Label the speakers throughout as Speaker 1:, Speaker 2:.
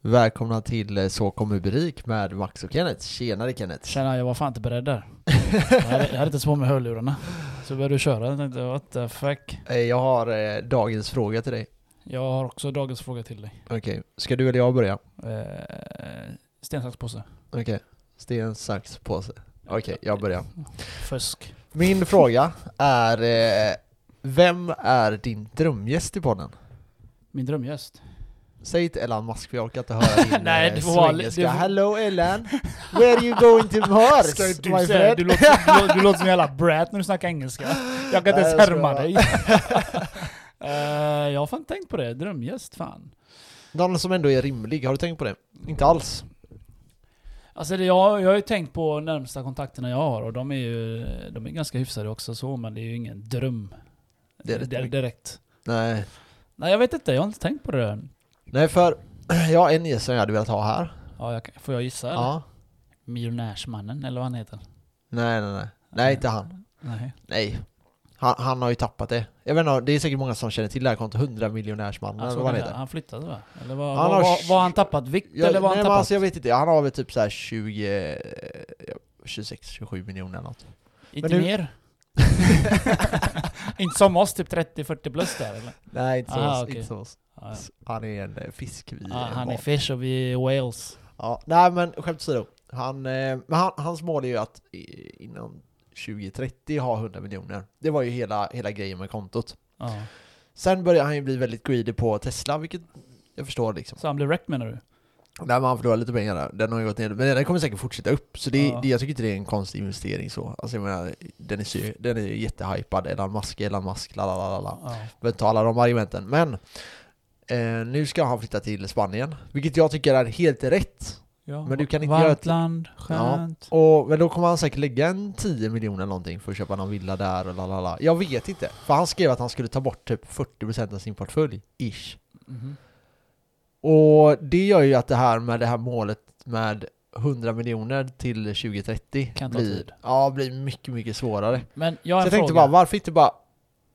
Speaker 1: Välkomna till eh, Så kommer du bli rik med Max och Kenneth. Tjenare Kenneth!
Speaker 2: Tjena, jag var fan inte beredd där. Jag hade, jag hade inte så på mig hörlurarna. Så började du köra, jag tänkte what the fuck.
Speaker 1: Eh, Jag har eh, dagens fråga till dig.
Speaker 2: Jag har också dagens fråga till dig.
Speaker 1: Okej, ska du eller jag börja?
Speaker 2: Eh, sten, sax, påse.
Speaker 1: Okej, sten, sax, påse. Okej, jag börjar.
Speaker 2: Fusk.
Speaker 1: Min fråga är, eh, vem är din drömgäst i podden?
Speaker 2: Min drömgäst.
Speaker 1: Säg inte Elon Musk för jag orkar inte höra din
Speaker 2: Nej,
Speaker 1: eh,
Speaker 2: det var-
Speaker 1: svengelska.
Speaker 2: det var-
Speaker 1: Hello Elon! Where you going to Mars? my friend?
Speaker 2: du, låter, du, låter, du låter som en jävla brat när du snackar engelska. Jag kan inte
Speaker 1: Nej,
Speaker 2: ens
Speaker 1: jag
Speaker 2: härma
Speaker 1: skojar.
Speaker 2: dig. Eh, jag har fan tänkt på det, drömgäst fan.
Speaker 1: Någon som ändå är rimlig, har du tänkt på det? Inte alls?
Speaker 2: Alltså det, jag, jag har ju tänkt på närmsta kontakterna jag har och de är ju de är ganska hyfsade också så, men det är ju ingen dröm.
Speaker 1: Det är det inte.
Speaker 2: direkt.
Speaker 1: Nej.
Speaker 2: Nej jag vet inte, jag har inte tänkt på det. där.
Speaker 1: Nej för, jag har en gäst som jag hade velat ha här.
Speaker 2: Ja, jag, kan- får jag gissa eller?
Speaker 1: Ja.
Speaker 2: Miljonärsmannen eller vad han heter?
Speaker 1: Nej, nej, nej. Nej, inte han.
Speaker 2: Nej.
Speaker 1: Nej. Han, han har ju tappat det. Jag vet inte, det är säkert många som känner till det här kontot, 100 miljonärsmannen
Speaker 2: Han,
Speaker 1: eller
Speaker 2: såg
Speaker 1: vad han
Speaker 2: den där.
Speaker 1: heter.
Speaker 2: han flyttade va? Eller var,
Speaker 1: Han
Speaker 2: han
Speaker 1: har
Speaker 2: var,
Speaker 1: tj-
Speaker 2: var, var han tappat vikt
Speaker 1: Jag,
Speaker 2: eller var
Speaker 1: nej,
Speaker 2: han
Speaker 1: men
Speaker 2: tappat?
Speaker 1: alltså, jag vet inte, han har väl typ så här 20, eh, 26-27 miljoner eller något.
Speaker 2: inte
Speaker 1: alltså, men du-
Speaker 2: mer? inte som oss, typ 30-40 plus där eller?
Speaker 1: Nej, inte så.
Speaker 2: Aha,
Speaker 1: oss,
Speaker 2: Ah, okej.
Speaker 1: inte så. oss.
Speaker 2: Ja, ja.
Speaker 1: Han är en eh, fisk vi
Speaker 2: Ja,
Speaker 1: eh,
Speaker 2: han är
Speaker 1: var.
Speaker 2: fish och vi är whales.
Speaker 1: Ja, nej men skämt åsido. Han, eh, men han, hans mål är ju att eh, innan 2030 ha 100 miljoner. Det var ju hela, hela grejen med kontot.
Speaker 2: Ja.
Speaker 1: Sen började han ju bli väldigt greedy på Tesla, vilket jag förstår liksom.
Speaker 2: Så han blev wrecked menar du?
Speaker 1: Nej men han förlorar lite pengar där. Den har ju gått ner, men den kommer säkert fortsätta upp. Så det,
Speaker 2: Ja.
Speaker 1: det, jag tycker inte det är en konstig investering så. Alltså jag menar, den är, sy- den är ju jättehypad. Elon Musk, Elon Musk, la la la la la.
Speaker 2: Ja.
Speaker 1: Jag behöver inte alla de argumenten. Men eh, nu ska han flytta till Spanien, vilket jag tycker är helt rätt.
Speaker 2: Ja.
Speaker 1: Men du kan inte
Speaker 2: Varmt
Speaker 1: göra ett-
Speaker 2: land, skönt.
Speaker 1: Och, men då kommer han säkert lägga en 10 miljoner eller någonting för att köpa någon villa där och lalala. Jag vet inte. För han skrev att han skulle ta bort typ 40% av sin portfölj, ish.
Speaker 2: Mhm.
Speaker 1: Och det gör ju att det här med det här målet med 100 miljoner till 2030
Speaker 2: Kan ta
Speaker 1: blir,
Speaker 2: tid.
Speaker 1: ja, blir mycket, mycket svårare.
Speaker 2: Men jag
Speaker 1: Så
Speaker 2: har
Speaker 1: jag
Speaker 2: en
Speaker 1: tänkte
Speaker 2: fråga.
Speaker 1: bara, varför inte bara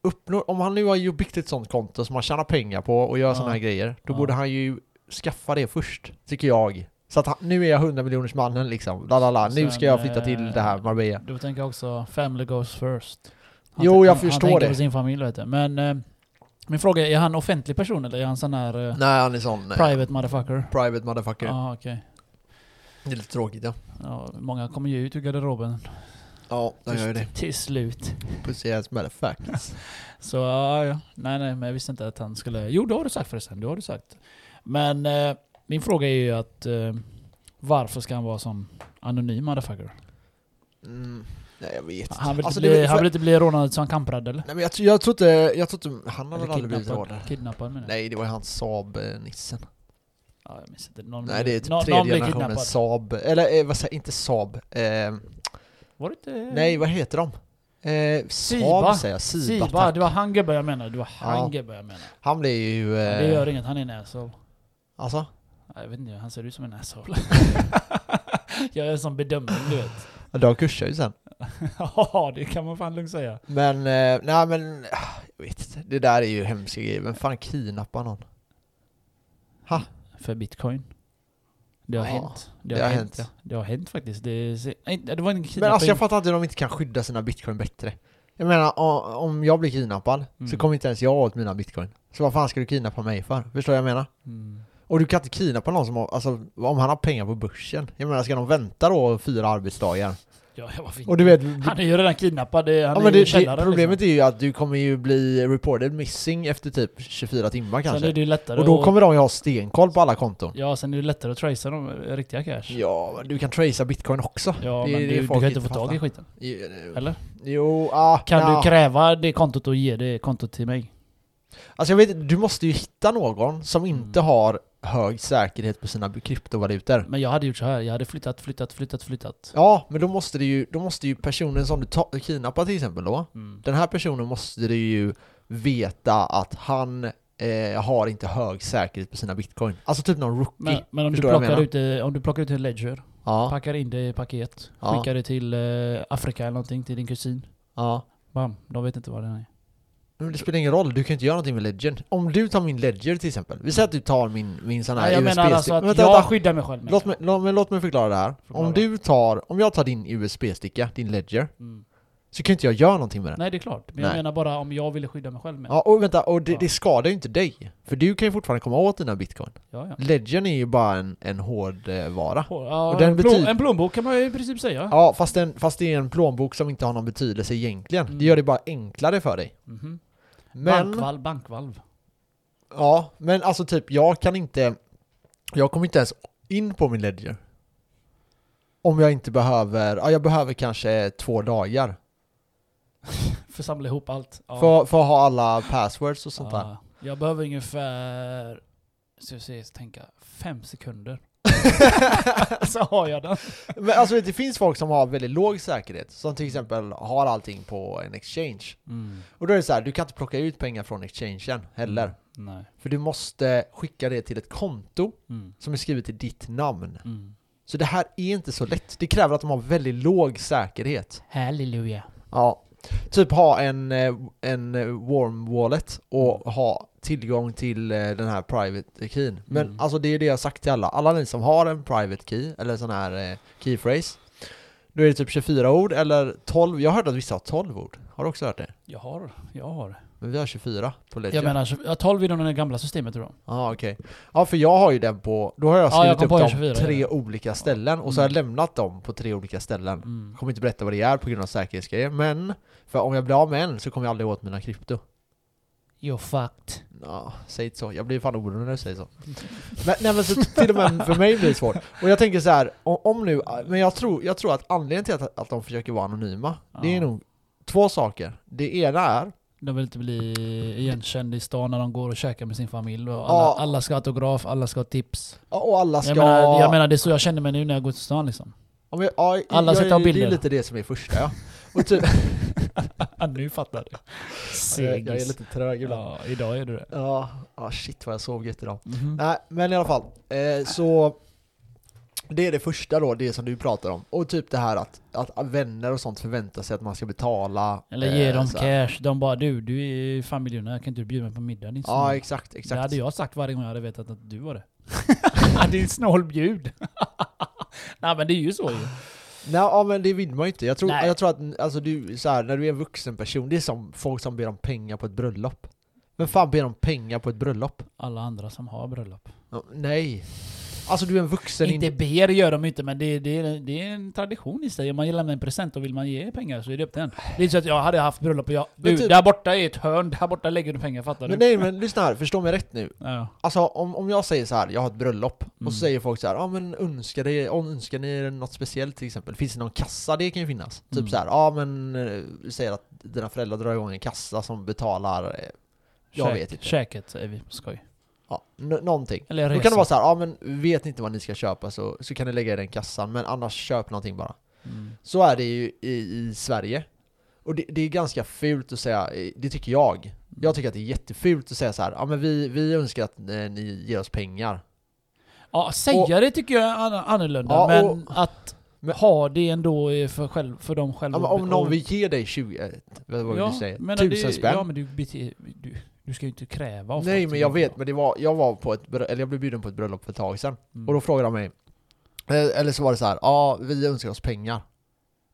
Speaker 1: uppnå, om han nu har ju byggt ett sånt konto som han tjänar pengar på och gör
Speaker 2: Ja.
Speaker 1: sådana här grejer, då
Speaker 2: Ja.
Speaker 1: borde han ju skaffa det först, tycker jag. Så att han, nu är jag 100 miljoners mannen liksom, lalala, nu
Speaker 2: Sen,
Speaker 1: ska jag flytta till
Speaker 2: eh,
Speaker 1: det här Marbella.
Speaker 2: Då tänker jag också family goes first.
Speaker 1: Jo,
Speaker 2: tän-
Speaker 1: jag
Speaker 2: han,
Speaker 1: förstår
Speaker 2: han tänker
Speaker 1: det.
Speaker 2: på sin familj vet du. Men eh, min fråga är, är han offentlig person eller är han sån här eh,
Speaker 1: Nej, han är sån eh,
Speaker 2: private motherfucker?
Speaker 1: private motherfucker.
Speaker 2: Ja, okej.
Speaker 1: Det är lite tråkigt ja.
Speaker 2: Ja, många kommer ju ut ur garderoben
Speaker 1: Ja, jag gör ju det.
Speaker 2: till, till slut.
Speaker 1: Pussy ass motherfuckers.
Speaker 2: Så ja, ja. Nej, nej, men jag visste inte att han skulle... Jo, det har du sagt förresten. Det har du sagt. Men eh, min fråga är ju att eh, varför ska han vara sån anonym motherfucker?
Speaker 1: Mm, nej, jag vet
Speaker 2: Han vill,
Speaker 1: Alltså, det
Speaker 2: inte,
Speaker 1: är
Speaker 2: bli,
Speaker 1: väl-
Speaker 2: han vill inte bli rånad som kamprädd eller?
Speaker 1: Nej men jag, tror- jag tror inte, jag tror inte, han har väl
Speaker 2: Eller
Speaker 1: aldrig blivit
Speaker 2: kidnappad,
Speaker 1: rånad?
Speaker 2: kidnappad menar jag.
Speaker 1: Nej, det var ju hans Saab-nissen.
Speaker 2: Ja, jag minns inte. Någon
Speaker 1: Nej, det
Speaker 2: blir-
Speaker 1: är typ
Speaker 2: nå- någon
Speaker 1: tredje
Speaker 2: blir
Speaker 1: generationen
Speaker 2: kidnappad. Mm.
Speaker 1: Saab, eller eh, vad säger inte Saab. Eh,
Speaker 2: Var det inte...
Speaker 1: nej, vad heter de? Eh, Saab
Speaker 2: Siba.
Speaker 1: säger jag, Siba.
Speaker 2: Siba,
Speaker 1: tack.
Speaker 2: det var han gubben jag menade. Det var han
Speaker 1: Ja.
Speaker 2: gubben jag menade.
Speaker 1: Han blev ju... Eh,
Speaker 2: Det gör inget, han är en asshole.
Speaker 1: Alltså?
Speaker 2: Nej, Jag vet inte, han ser ut som en asshole. jag är en sån bedömning du vet.
Speaker 1: Ja, De kursar ju sen.
Speaker 2: Ja, det kan man fan lugnt säga.
Speaker 1: Men, eh, nej men, ah, jag vet inte. Det där är ju hemska grejer. Vem fan kidnappar någon?
Speaker 2: För bitcoin. Det har
Speaker 1: Ja,
Speaker 2: hänt. Det,
Speaker 1: det
Speaker 2: har
Speaker 1: har
Speaker 2: hänt.
Speaker 1: hänt.
Speaker 2: ja. Det har hänt faktiskt. Det, se- nej, det var ingen
Speaker 1: Men alltså
Speaker 2: kidnappning.
Speaker 1: jag fattar inte hur de inte kan skydda sina bitcoin bättre. Jag menar, o- om jag blir kidnappad så
Speaker 2: Mm.
Speaker 1: kommer inte ens jag åt mina bitcoin. Så vad fan ska du kidnappa mig för? Förstår jag vad jag menar?
Speaker 2: Mm.
Speaker 1: Och du kan inte kidnappa någon som har, alltså om han har pengar på börsen. Jag menar, ska de vänta då fyra arbetsdagar?
Speaker 2: Ja, jag var fin.
Speaker 1: Och du vet,
Speaker 2: Han är ju redan kidnappad. Det- Han
Speaker 1: ja, men
Speaker 2: är ju i
Speaker 1: det, det,
Speaker 2: källaren
Speaker 1: problemet
Speaker 2: liksom.
Speaker 1: är ju att du kommer ju bli reported missing efter typ 24 timmar
Speaker 2: Sen är
Speaker 1: kanske.
Speaker 2: det ju lättare
Speaker 1: Och då
Speaker 2: att-
Speaker 1: kommer de ju ha stenkoll på alla konton.
Speaker 2: Ja, sen är det lättare att tracea de riktiga cash.
Speaker 1: Ja, men du kan tracea bitcoin också.
Speaker 2: Ja,
Speaker 1: Det är
Speaker 2: men
Speaker 1: det
Speaker 2: du, du
Speaker 1: folk
Speaker 2: kan inte få tag
Speaker 1: fattar.
Speaker 2: i skiten.
Speaker 1: Jo,
Speaker 2: Eller?
Speaker 1: Jo, ah,
Speaker 2: Kan
Speaker 1: nja.
Speaker 2: du kräva det kontot och ge det kontot till mig?
Speaker 1: Alltså jag vet inte, du måste ju hitta någon som inte
Speaker 2: Mm.
Speaker 1: har hög säkerhet på sina kryptovalutor.
Speaker 2: Men jag hade gjort så här. jag hade flyttat, flyttat, flyttat, flyttat.
Speaker 1: Ja, men då måste, det ju, då måste ju personen som du ta- kidnappar till exempel då,
Speaker 2: Mm.
Speaker 1: den här personen måste du ju veta att han eh, har inte hög säkerhet på sina bitcoin. Alltså typ någon rookie.
Speaker 2: Men, men om, du
Speaker 1: förstår vad jag
Speaker 2: plockar
Speaker 1: menar?
Speaker 2: ut det, om du plockar ut en ledger,
Speaker 1: ja,
Speaker 2: packar in det i paket,
Speaker 1: Ja.
Speaker 2: skickar det till eh, Afrika eller någonting, till din kusin.
Speaker 1: ja.
Speaker 2: Bam, de vet inte vad det är.
Speaker 1: Men det spelar ingen roll, du kan inte göra någonting med Ledger. Om du tar min Ledger till exempel, vi säger att du tar min, min sån här
Speaker 2: Nej, jag
Speaker 1: USB-stick.
Speaker 2: menar alltså att
Speaker 1: Men vänta,
Speaker 2: jag
Speaker 1: vänta.
Speaker 2: skyddar mig själv. med
Speaker 1: Låt
Speaker 2: det.
Speaker 1: mig, låt, mig, låt mig förklara det här.
Speaker 2: Förklara.
Speaker 1: Om du tar, om jag tar din USB-sticka, din Ledger,
Speaker 2: Mm.
Speaker 1: så kan inte jag göra någonting med den.
Speaker 2: Nej, det är klart. Men jag
Speaker 1: Nej.
Speaker 2: menar bara om jag ville skydda mig själv med det.
Speaker 1: Ja, och vänta, och det,
Speaker 2: Ja.
Speaker 1: det skadar ju inte dig. För du kan ju fortfarande komma åt dina bitcoin.
Speaker 2: Ja, ja.
Speaker 1: Ledgern är ju bara en, en hård eh, vara.
Speaker 2: På, ja
Speaker 1: Och den
Speaker 2: en, plom,
Speaker 1: betyder-
Speaker 2: en plånbok kan man ju i princip säga.
Speaker 1: Ja, fast, den, fast det är en plånbok som inte har någon betydelse egentligen.
Speaker 2: Mm.
Speaker 1: Det gör det bara enklare för dig.
Speaker 2: Mhm.
Speaker 1: Men...
Speaker 2: Bankvalv, bankvalv.
Speaker 1: Ja, men alltså typ jag kan inte Jag kommer inte ens in på min ledger Om jag inte behöver, ja jag behöver kanske två dagar
Speaker 2: För att samla ihop allt. Ja.
Speaker 1: för, för att ha alla passwords och sånt där
Speaker 2: Ja. Jag behöver ungefär, så jag säger, tänka, fem sekunder. så har jag den.
Speaker 1: Men alltså vet du, det finns folk som har väldigt låg säkerhet Som till exempel har allting på en exchange
Speaker 2: Mm,
Speaker 1: Och då är det så här, du kan inte plocka ut pengar från exchangen heller
Speaker 2: Nej.
Speaker 1: För du måste skicka det till ett konto
Speaker 2: Mm.
Speaker 1: som är skrivet i ditt namn
Speaker 2: Mm.
Speaker 1: Så det här är inte så lätt Det kräver att de har väldigt låg säkerhet
Speaker 2: Halleluja.
Speaker 1: Ja. Typ ha en, eh, en eh, warm wallet
Speaker 2: Mm.
Speaker 1: och ha tillgång till eh, den här private keyn. Men
Speaker 2: Mm.
Speaker 1: alltså det är det jag har sagt till alla. Alla ni som har en private key eller sån här eh, key phrase. Då är det typ 24 ord eller 12. Jag har hört att vissa har 12 ord. Har du också hört det?
Speaker 2: Jag har, jag har.
Speaker 1: Men vi har 24 på Ledger.
Speaker 2: Jag menar, jag har 12 inom det gamla systemet tror jag.
Speaker 1: Ja, okej. Ja, för jag har ju den på... Då har jag
Speaker 2: Ja, jag
Speaker 1: skrivit
Speaker 2: kom
Speaker 1: upp
Speaker 2: på
Speaker 1: dem
Speaker 2: 24,
Speaker 1: tre
Speaker 2: ja.
Speaker 1: olika ställen och så har jag lämnat dem på tre olika ställen.
Speaker 2: Mm.
Speaker 1: Jag kommer inte berätta vad det är på grund av säkerhetsgrejer, men... För om jag blir av med en så kommer jag aldrig åt mina krypto.
Speaker 2: You're fucked.
Speaker 1: Ja, säg inte så. Jag blir fan orolig när du säger så. Men, nej men så till och med för mig blir det svårt. Och jag tänker så här, om, om nu, men jag tror, jag tror att anledningen till att, att de försöker vara anonyma, det
Speaker 2: Ja.
Speaker 1: är nog två saker. Det ena är,
Speaker 2: De vill inte bli igenkända i stan när de går och käkar med sin familj. Och alla,
Speaker 1: Ja.
Speaker 2: alla ska ha autograf, alla ska ha tips.
Speaker 1: ja, och alla ska...
Speaker 2: Jag, menar, jag menar, det är så jag känner mig nu när jag går till stan liksom.
Speaker 1: om jag, ja,
Speaker 2: alla ska
Speaker 1: jag,
Speaker 2: ta
Speaker 1: Det
Speaker 2: bilder.
Speaker 1: är lite det som är första ja. Och typ,
Speaker 2: nu fattar du.
Speaker 1: jag,
Speaker 2: Segis.
Speaker 1: jag är lite trög ibland.
Speaker 2: Ja, idag är du det.
Speaker 1: Ja, ja shit vad jag sov gött idag.
Speaker 2: Mhm.
Speaker 1: Nej, men i alla fall. Eh, så det är det första då, det som du pratar om. Och typ det här att, att vänner och sånt förväntar sig att man ska betala.
Speaker 2: Eller ge
Speaker 1: eh,
Speaker 2: dem
Speaker 1: så här.
Speaker 2: cash. De bara du, du är ju fan miljonär, kan inte du bjuda mig på middag din
Speaker 1: Ja,
Speaker 2: snål?"
Speaker 1: exakt,
Speaker 2: Det
Speaker 1: exakt.
Speaker 2: hade jag sagt varje gång jag hade vetat att du var det. din snålbjud. Nej men det är ju så ju.
Speaker 1: Nej, ja, men det vill man ju inte. Jag tror,
Speaker 2: Nej.
Speaker 1: jag tror att alltså, du, så här, när du är en vuxen person, det är som folk som ber om pengar på ett bröllop. Men fan ber om pengar på ett bröllop?
Speaker 2: Alla andra som har bröllop.
Speaker 1: Ja, nej. Alltså du är en vuxen... in-
Speaker 2: inte ber gör de inte men det, det, det är en tradition i sig. Om man lämnar en present och vill man ge pengar så är det upp till en. Det är inte så att jag hade haft bröllop och jag...
Speaker 1: Men
Speaker 2: Du,
Speaker 1: typ-
Speaker 2: där borta är ett hörn, där borta lägger du pengar, fattar
Speaker 1: Men
Speaker 2: du?
Speaker 1: nej, men lyssna här, förstå mig rätt nu.
Speaker 2: Ja.
Speaker 1: Alltså om, om jag säger så här, jag har ett bröllop,
Speaker 2: Mm.
Speaker 1: och så säger folk så här, ja ah, men önskar, det, om önskar ni er något speciellt till exempel? Finns det någon kassa? Det kan ju finnas.
Speaker 2: Mm.
Speaker 1: Typ så här, ja ah, men, eh, vi säger att dina föräldrar drar igång en kassa som betalar, eh, jag
Speaker 2: Käk-
Speaker 1: vet inte.
Speaker 2: Käket säger vi på skoj.
Speaker 1: ja, n- någonting.
Speaker 2: Eller
Speaker 1: Då
Speaker 2: resa.
Speaker 1: kan det vara så här, ja ah, men vet ni inte vad ni ska köpa så, så kan ni lägga i den kassan, men annars köp någonting bara.
Speaker 2: Mm.
Speaker 1: Så är det ju i, i Sverige. Och det, det är ganska fult att säga, eh, det tycker jag.
Speaker 2: Mm.
Speaker 1: Jag tycker att det är jättefult att säga så här, ja ah, men vi, vi önskar att eh, ni ger oss pengar.
Speaker 2: Ja, säga
Speaker 1: Och-
Speaker 2: det tycker jag är an- annorlunda,
Speaker 1: Ja,
Speaker 2: men
Speaker 1: och-
Speaker 2: att
Speaker 1: Men-
Speaker 2: ha det ändå är för, själv, för dem själva.
Speaker 1: Ja, men om någon
Speaker 2: Och-
Speaker 1: vill ge dig 20, eh, vad var det
Speaker 2: Ja,
Speaker 1: du säger?
Speaker 2: men
Speaker 1: Tusen
Speaker 2: det,
Speaker 1: spänn?
Speaker 2: Ja, men du, bete- du, du ska ju inte kräva av
Speaker 1: Nej
Speaker 2: folk,
Speaker 1: men jag
Speaker 2: tycker
Speaker 1: vet, men det var, jag var på ett, brö- eller jag blev bjuden på ett bröllop för ett tag sedan.
Speaker 2: Mm.
Speaker 1: Och då frågade de mig, eh, eller så var det så här, ja vi önskar oss pengar.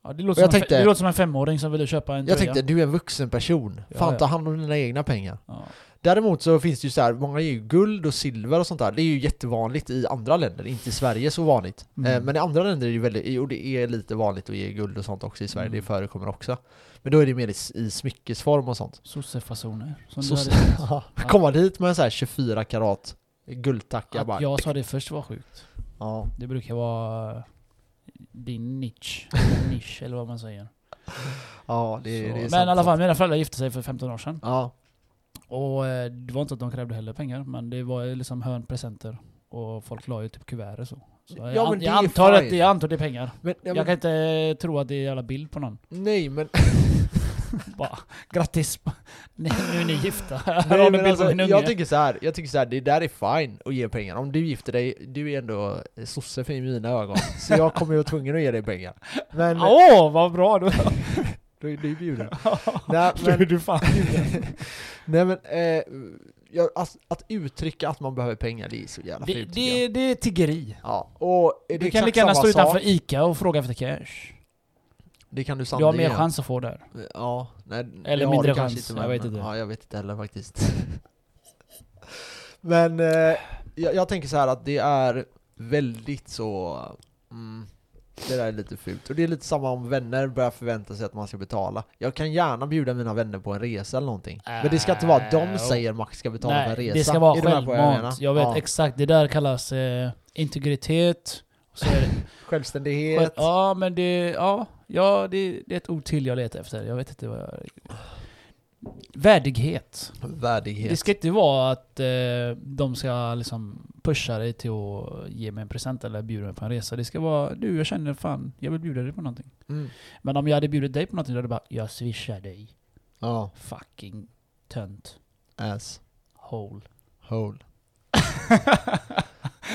Speaker 2: Ja, det, låter
Speaker 1: jag
Speaker 2: som en fe-
Speaker 1: tänkte-
Speaker 2: det låter som en femåring som ville köpa en
Speaker 1: Jag
Speaker 2: tröja.
Speaker 1: tänkte, du är en vuxen person,
Speaker 2: Ja,
Speaker 1: fan
Speaker 2: ja.
Speaker 1: ta hand om dina egna pengar.
Speaker 2: Ja.
Speaker 1: Däremot så finns det ju så här, många ger ju guld och silver och sånt där, det är ju jättevanligt i andra länder, inte i Sverige så vanligt.
Speaker 2: Mm.
Speaker 1: Eh, men i andra länder är det ju väldigt, och det är lite vanligt att ge guld och sånt också i Sverige,
Speaker 2: Mm.
Speaker 1: det förekommer också. Men då är det mer i, s- i smyckesform och sånt.
Speaker 2: Sossefasoner. Som du
Speaker 1: Sosse-
Speaker 2: hade sagt.
Speaker 1: Ja. Komma dit med en så här 24 karat guldtacka bara.
Speaker 2: Att jag sa det först var sjukt.
Speaker 1: Ja.
Speaker 2: Det brukar vara eh, din nisch. nisch eller vad man säger.
Speaker 1: ja, det,
Speaker 2: Så-
Speaker 1: det är sant,
Speaker 2: men i alla fall,
Speaker 1: sant.
Speaker 2: mina föräldrar gifte sig för 15 år sedan.
Speaker 1: Ja,
Speaker 2: Och eh, det var inte att de krävde heller pengar, men det var ju liksom hörnpresenter. Och folk la ju typ kuvert och så. så jag,
Speaker 1: Ja, men
Speaker 2: an-
Speaker 1: det
Speaker 2: jag,
Speaker 1: är
Speaker 2: antar
Speaker 1: fine.
Speaker 2: att, jag antar att det är pengar.
Speaker 1: men, ja,
Speaker 2: jag
Speaker 1: men
Speaker 2: kan inte eh, tro att det är jävla bild på någon.
Speaker 1: nej men...
Speaker 2: Bara, grattis! Ni, nu är ni gifta. Här
Speaker 1: nej,
Speaker 2: har ni
Speaker 1: men
Speaker 2: en bild på
Speaker 1: alltså,
Speaker 2: min unge.
Speaker 1: jag tycker så här, jag tycker så här, det där är fine att ge pengar. Om du gifter dig, du är ändå sosse för i mina ögon. så jag kommer ju vara tvungen att ge dig pengar. Men,
Speaker 2: Åh, vad bra! Då.
Speaker 1: Då är du bjuden. Nej,
Speaker 2: Då
Speaker 1: men-
Speaker 2: är du fan bjuden.
Speaker 1: Nej men, eh, jag, att, att uttrycka att man behöver pengar, det är så jävla
Speaker 2: det,
Speaker 1: fult tycker jag.
Speaker 2: det, det är tiggeri.
Speaker 1: Ja, och det är
Speaker 2: Du
Speaker 1: exakt
Speaker 2: kan lika gärna
Speaker 1: samma
Speaker 2: stå
Speaker 1: sak.
Speaker 2: utanför ICA och fråga efter cash.
Speaker 1: Det kan du
Speaker 2: Du har
Speaker 1: sannerligen.
Speaker 2: mer chans att få där.
Speaker 1: Ja, nej,
Speaker 2: Eller
Speaker 1: det har
Speaker 2: mindre
Speaker 1: du kanske
Speaker 2: chans,
Speaker 1: inte,
Speaker 2: jag
Speaker 1: men-
Speaker 2: vet inte.
Speaker 1: Ja, jag vet inte heller faktiskt. men eh, jag, jag tänker så här att det är väldigt så... Mm, det där är lite fult. Och det är lite samma om vänner börjar förvänta sig att man ska betala. Jag kan gärna bjuda mina vänner på en resa eller någonting. Men det ska inte vara att de
Speaker 2: Äh,
Speaker 1: säger att Max ska betala för en resa.
Speaker 2: det ska vara
Speaker 1: Är du med på vad menar?
Speaker 2: självmant. Jag vet
Speaker 1: ja.
Speaker 2: exakt, det där kallas eh, integritet. Och Så är det,
Speaker 1: Självständighet.
Speaker 2: eh, Ja, men det, ja, ja, det, det är ett ord till jag letar efter. Jag vet inte vad jag... Värdighet.
Speaker 1: Värdighet.
Speaker 2: Det ska inte vara att eh, de ska liksom pusha dig till att ge mig en present eller bjuda mig på en resa. Det ska vara du, jag känner fan, jag vill bjuda dig på någonting.
Speaker 1: Mm.
Speaker 2: Men om jag hade bjudit dig på någonting, då hade du bara jag swishar dig.
Speaker 1: Ja,
Speaker 2: Fucking tönt.
Speaker 1: ass.
Speaker 2: Hole.
Speaker 1: Hole.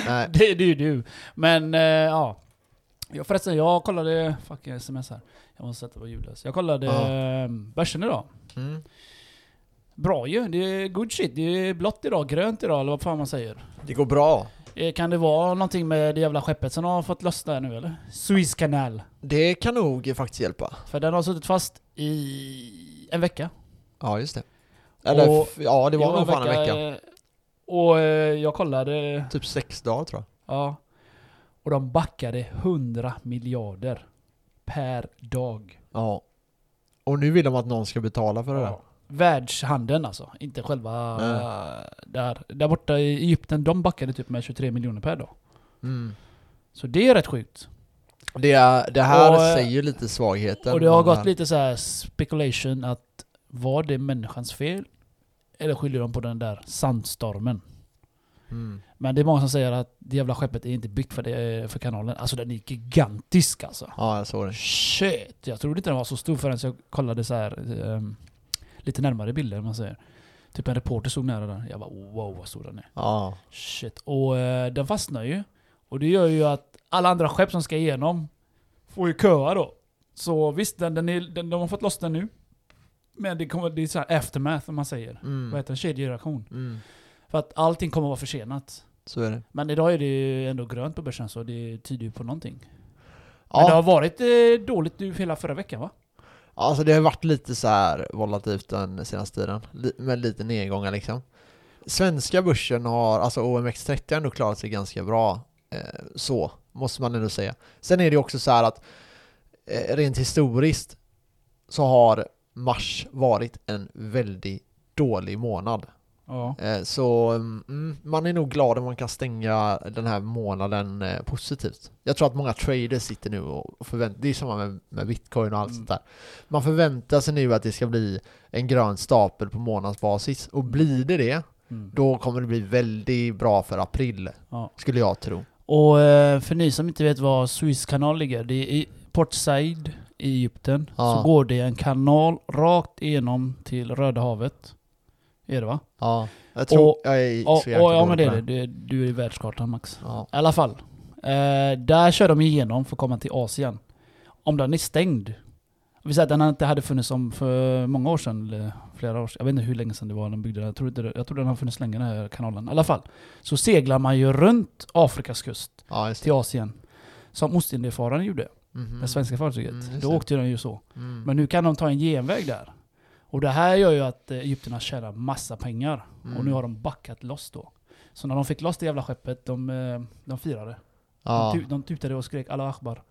Speaker 1: Nej.
Speaker 2: Det är ju du. Men eh, ja. Jag, förresten, jag kollade... Fuck, jag sms här. Jag måste sätta på ljudlös. Jag kollade
Speaker 1: Ja.
Speaker 2: eh, börsen idag.
Speaker 1: Mm.
Speaker 2: Bra ju. Det är good shit. Det är blått idag, grönt idag eller vad fan man säger.
Speaker 1: Det går bra.
Speaker 2: Eh, kan det vara någonting med det jävla skeppet som har fått lossna nu eller? Suezkanal.
Speaker 1: Det kan nog faktiskt hjälpa.
Speaker 2: För den har suttit fast i en vecka.
Speaker 1: Ja, just det. Eller,
Speaker 2: Och-
Speaker 1: f- ja, det var nog fan en vecka.
Speaker 2: eh, Och eh, jag kollade...
Speaker 1: Typ sex dagar tror jag.
Speaker 2: Ja. Och de backade 100 miljarder per dag.
Speaker 1: Ja. Och nu vill de att någon ska betala för det där.
Speaker 2: Ja. Världshandeln alltså, inte själva... eh, Där, där borta i Egypten, de backade typ med 23 miljoner per dag.
Speaker 1: Mm.
Speaker 2: Så det är rätt sjukt.
Speaker 1: Det, är, det här
Speaker 2: Och, eh,
Speaker 1: säger ju lite svagheten. eh,
Speaker 2: och det har
Speaker 1: med den
Speaker 2: gått
Speaker 1: här.
Speaker 2: lite så här speculation att var det människans fel? Eller skyller de på den där sandstormen?
Speaker 1: Mm.
Speaker 2: Men det är många som säger att det jävla skeppet är inte byggt för, det, för kanalen. Alltså den är gigantisk alltså.
Speaker 1: Ja, jag såg det.
Speaker 2: Shit! Jag trodde inte den var så stor förrän jag kollade så här ehm, lite närmare bilder om man säger. Typ en reporter stod nära den. Jag bara "Oh, wow vad stor den är.
Speaker 1: Ja.
Speaker 2: Shit. Och eh, den fastnar ju. Och det gör ju att alla andra skepp som ska igenom får ju köa då. Så visst, den, den är, den, de har fått loss den nu. Men det, kommer, det är så här aftermath om man säger. Vad
Speaker 1: Mm.
Speaker 2: heter det? Kedjereaktion.
Speaker 1: Mm.
Speaker 2: För att allting kommer vara försenat.
Speaker 1: Så är det.
Speaker 2: Men idag är det ju ändå grönt på börsen så det tyder ju på någonting. Men det
Speaker 1: Ja,
Speaker 2: har varit eh, dåligt nu hela förra veckan va?
Speaker 1: alltså det har varit lite så här volatilt den senaste tiden. Li- Med lite nedgångar liksom. Svenska börsen har, alltså OMX30 har ändå klarat sig ganska bra. Eh, så, måste man ändå säga. Sen är det också så här att eh, rent historiskt så har mars varit en väldigt dålig månad.
Speaker 2: Ja.
Speaker 1: Eh, så mm, man är nog glad om man kan stänga den här månaden eh, positivt. Jag tror att många traders sitter nu och förväntar det är samma med, med bitcoin och allt
Speaker 2: Mm.
Speaker 1: sånt där. Man förväntar sig nu att det ska bli en grön stapel på månadsbasis och blir det det,
Speaker 2: Mm.
Speaker 1: då kommer det bli väldigt bra för april,
Speaker 2: Ja.
Speaker 1: skulle jag tro.
Speaker 2: Och eh, för ni som inte vet var Suezkanal ligger, det är i Port Said i Egypten.
Speaker 1: Ja.
Speaker 2: Så går det en kanal rakt igenom till Röda havet. Är det va?
Speaker 1: Ja, jag tror
Speaker 2: Och-
Speaker 1: jag är
Speaker 2: Och,
Speaker 1: så
Speaker 2: och,
Speaker 1: jäkla
Speaker 2: ja
Speaker 1: dålig
Speaker 2: men
Speaker 1: på
Speaker 2: det är det. Du, du är i världskartan Max.
Speaker 1: Ja.
Speaker 2: I alla fall. Eh, där kör de igenom för att komma till Asien. Om den är stängd. Vi säger att den inte hade funnits om för många år sedan, eller flera år sedan. Jag vet inte hur länge sedan det var den byggde den. Jag tror, inte, det- jag tror den har funnits länge den här kanalen. I alla fall. Så seglar man ju runt Afrikas kust
Speaker 1: ja, just det.
Speaker 2: till Asien. Som Ostindiefararen gjorde,
Speaker 1: Mhm.
Speaker 2: det svenska fartyget.
Speaker 1: Mm, just
Speaker 2: Då
Speaker 1: det.
Speaker 2: åkte den ju så.
Speaker 1: Mm.
Speaker 2: Men nu kan de ta en genväg där. Och det här gör ju att eh, egyptierna tjänar massa pengar. Och
Speaker 1: Mm.
Speaker 2: nu har de backat loss då. Så när de fick loss det jävla skeppet, de, eh, de firade.
Speaker 1: ja.
Speaker 2: De, tu- de tutade och skrek Allah Akbar.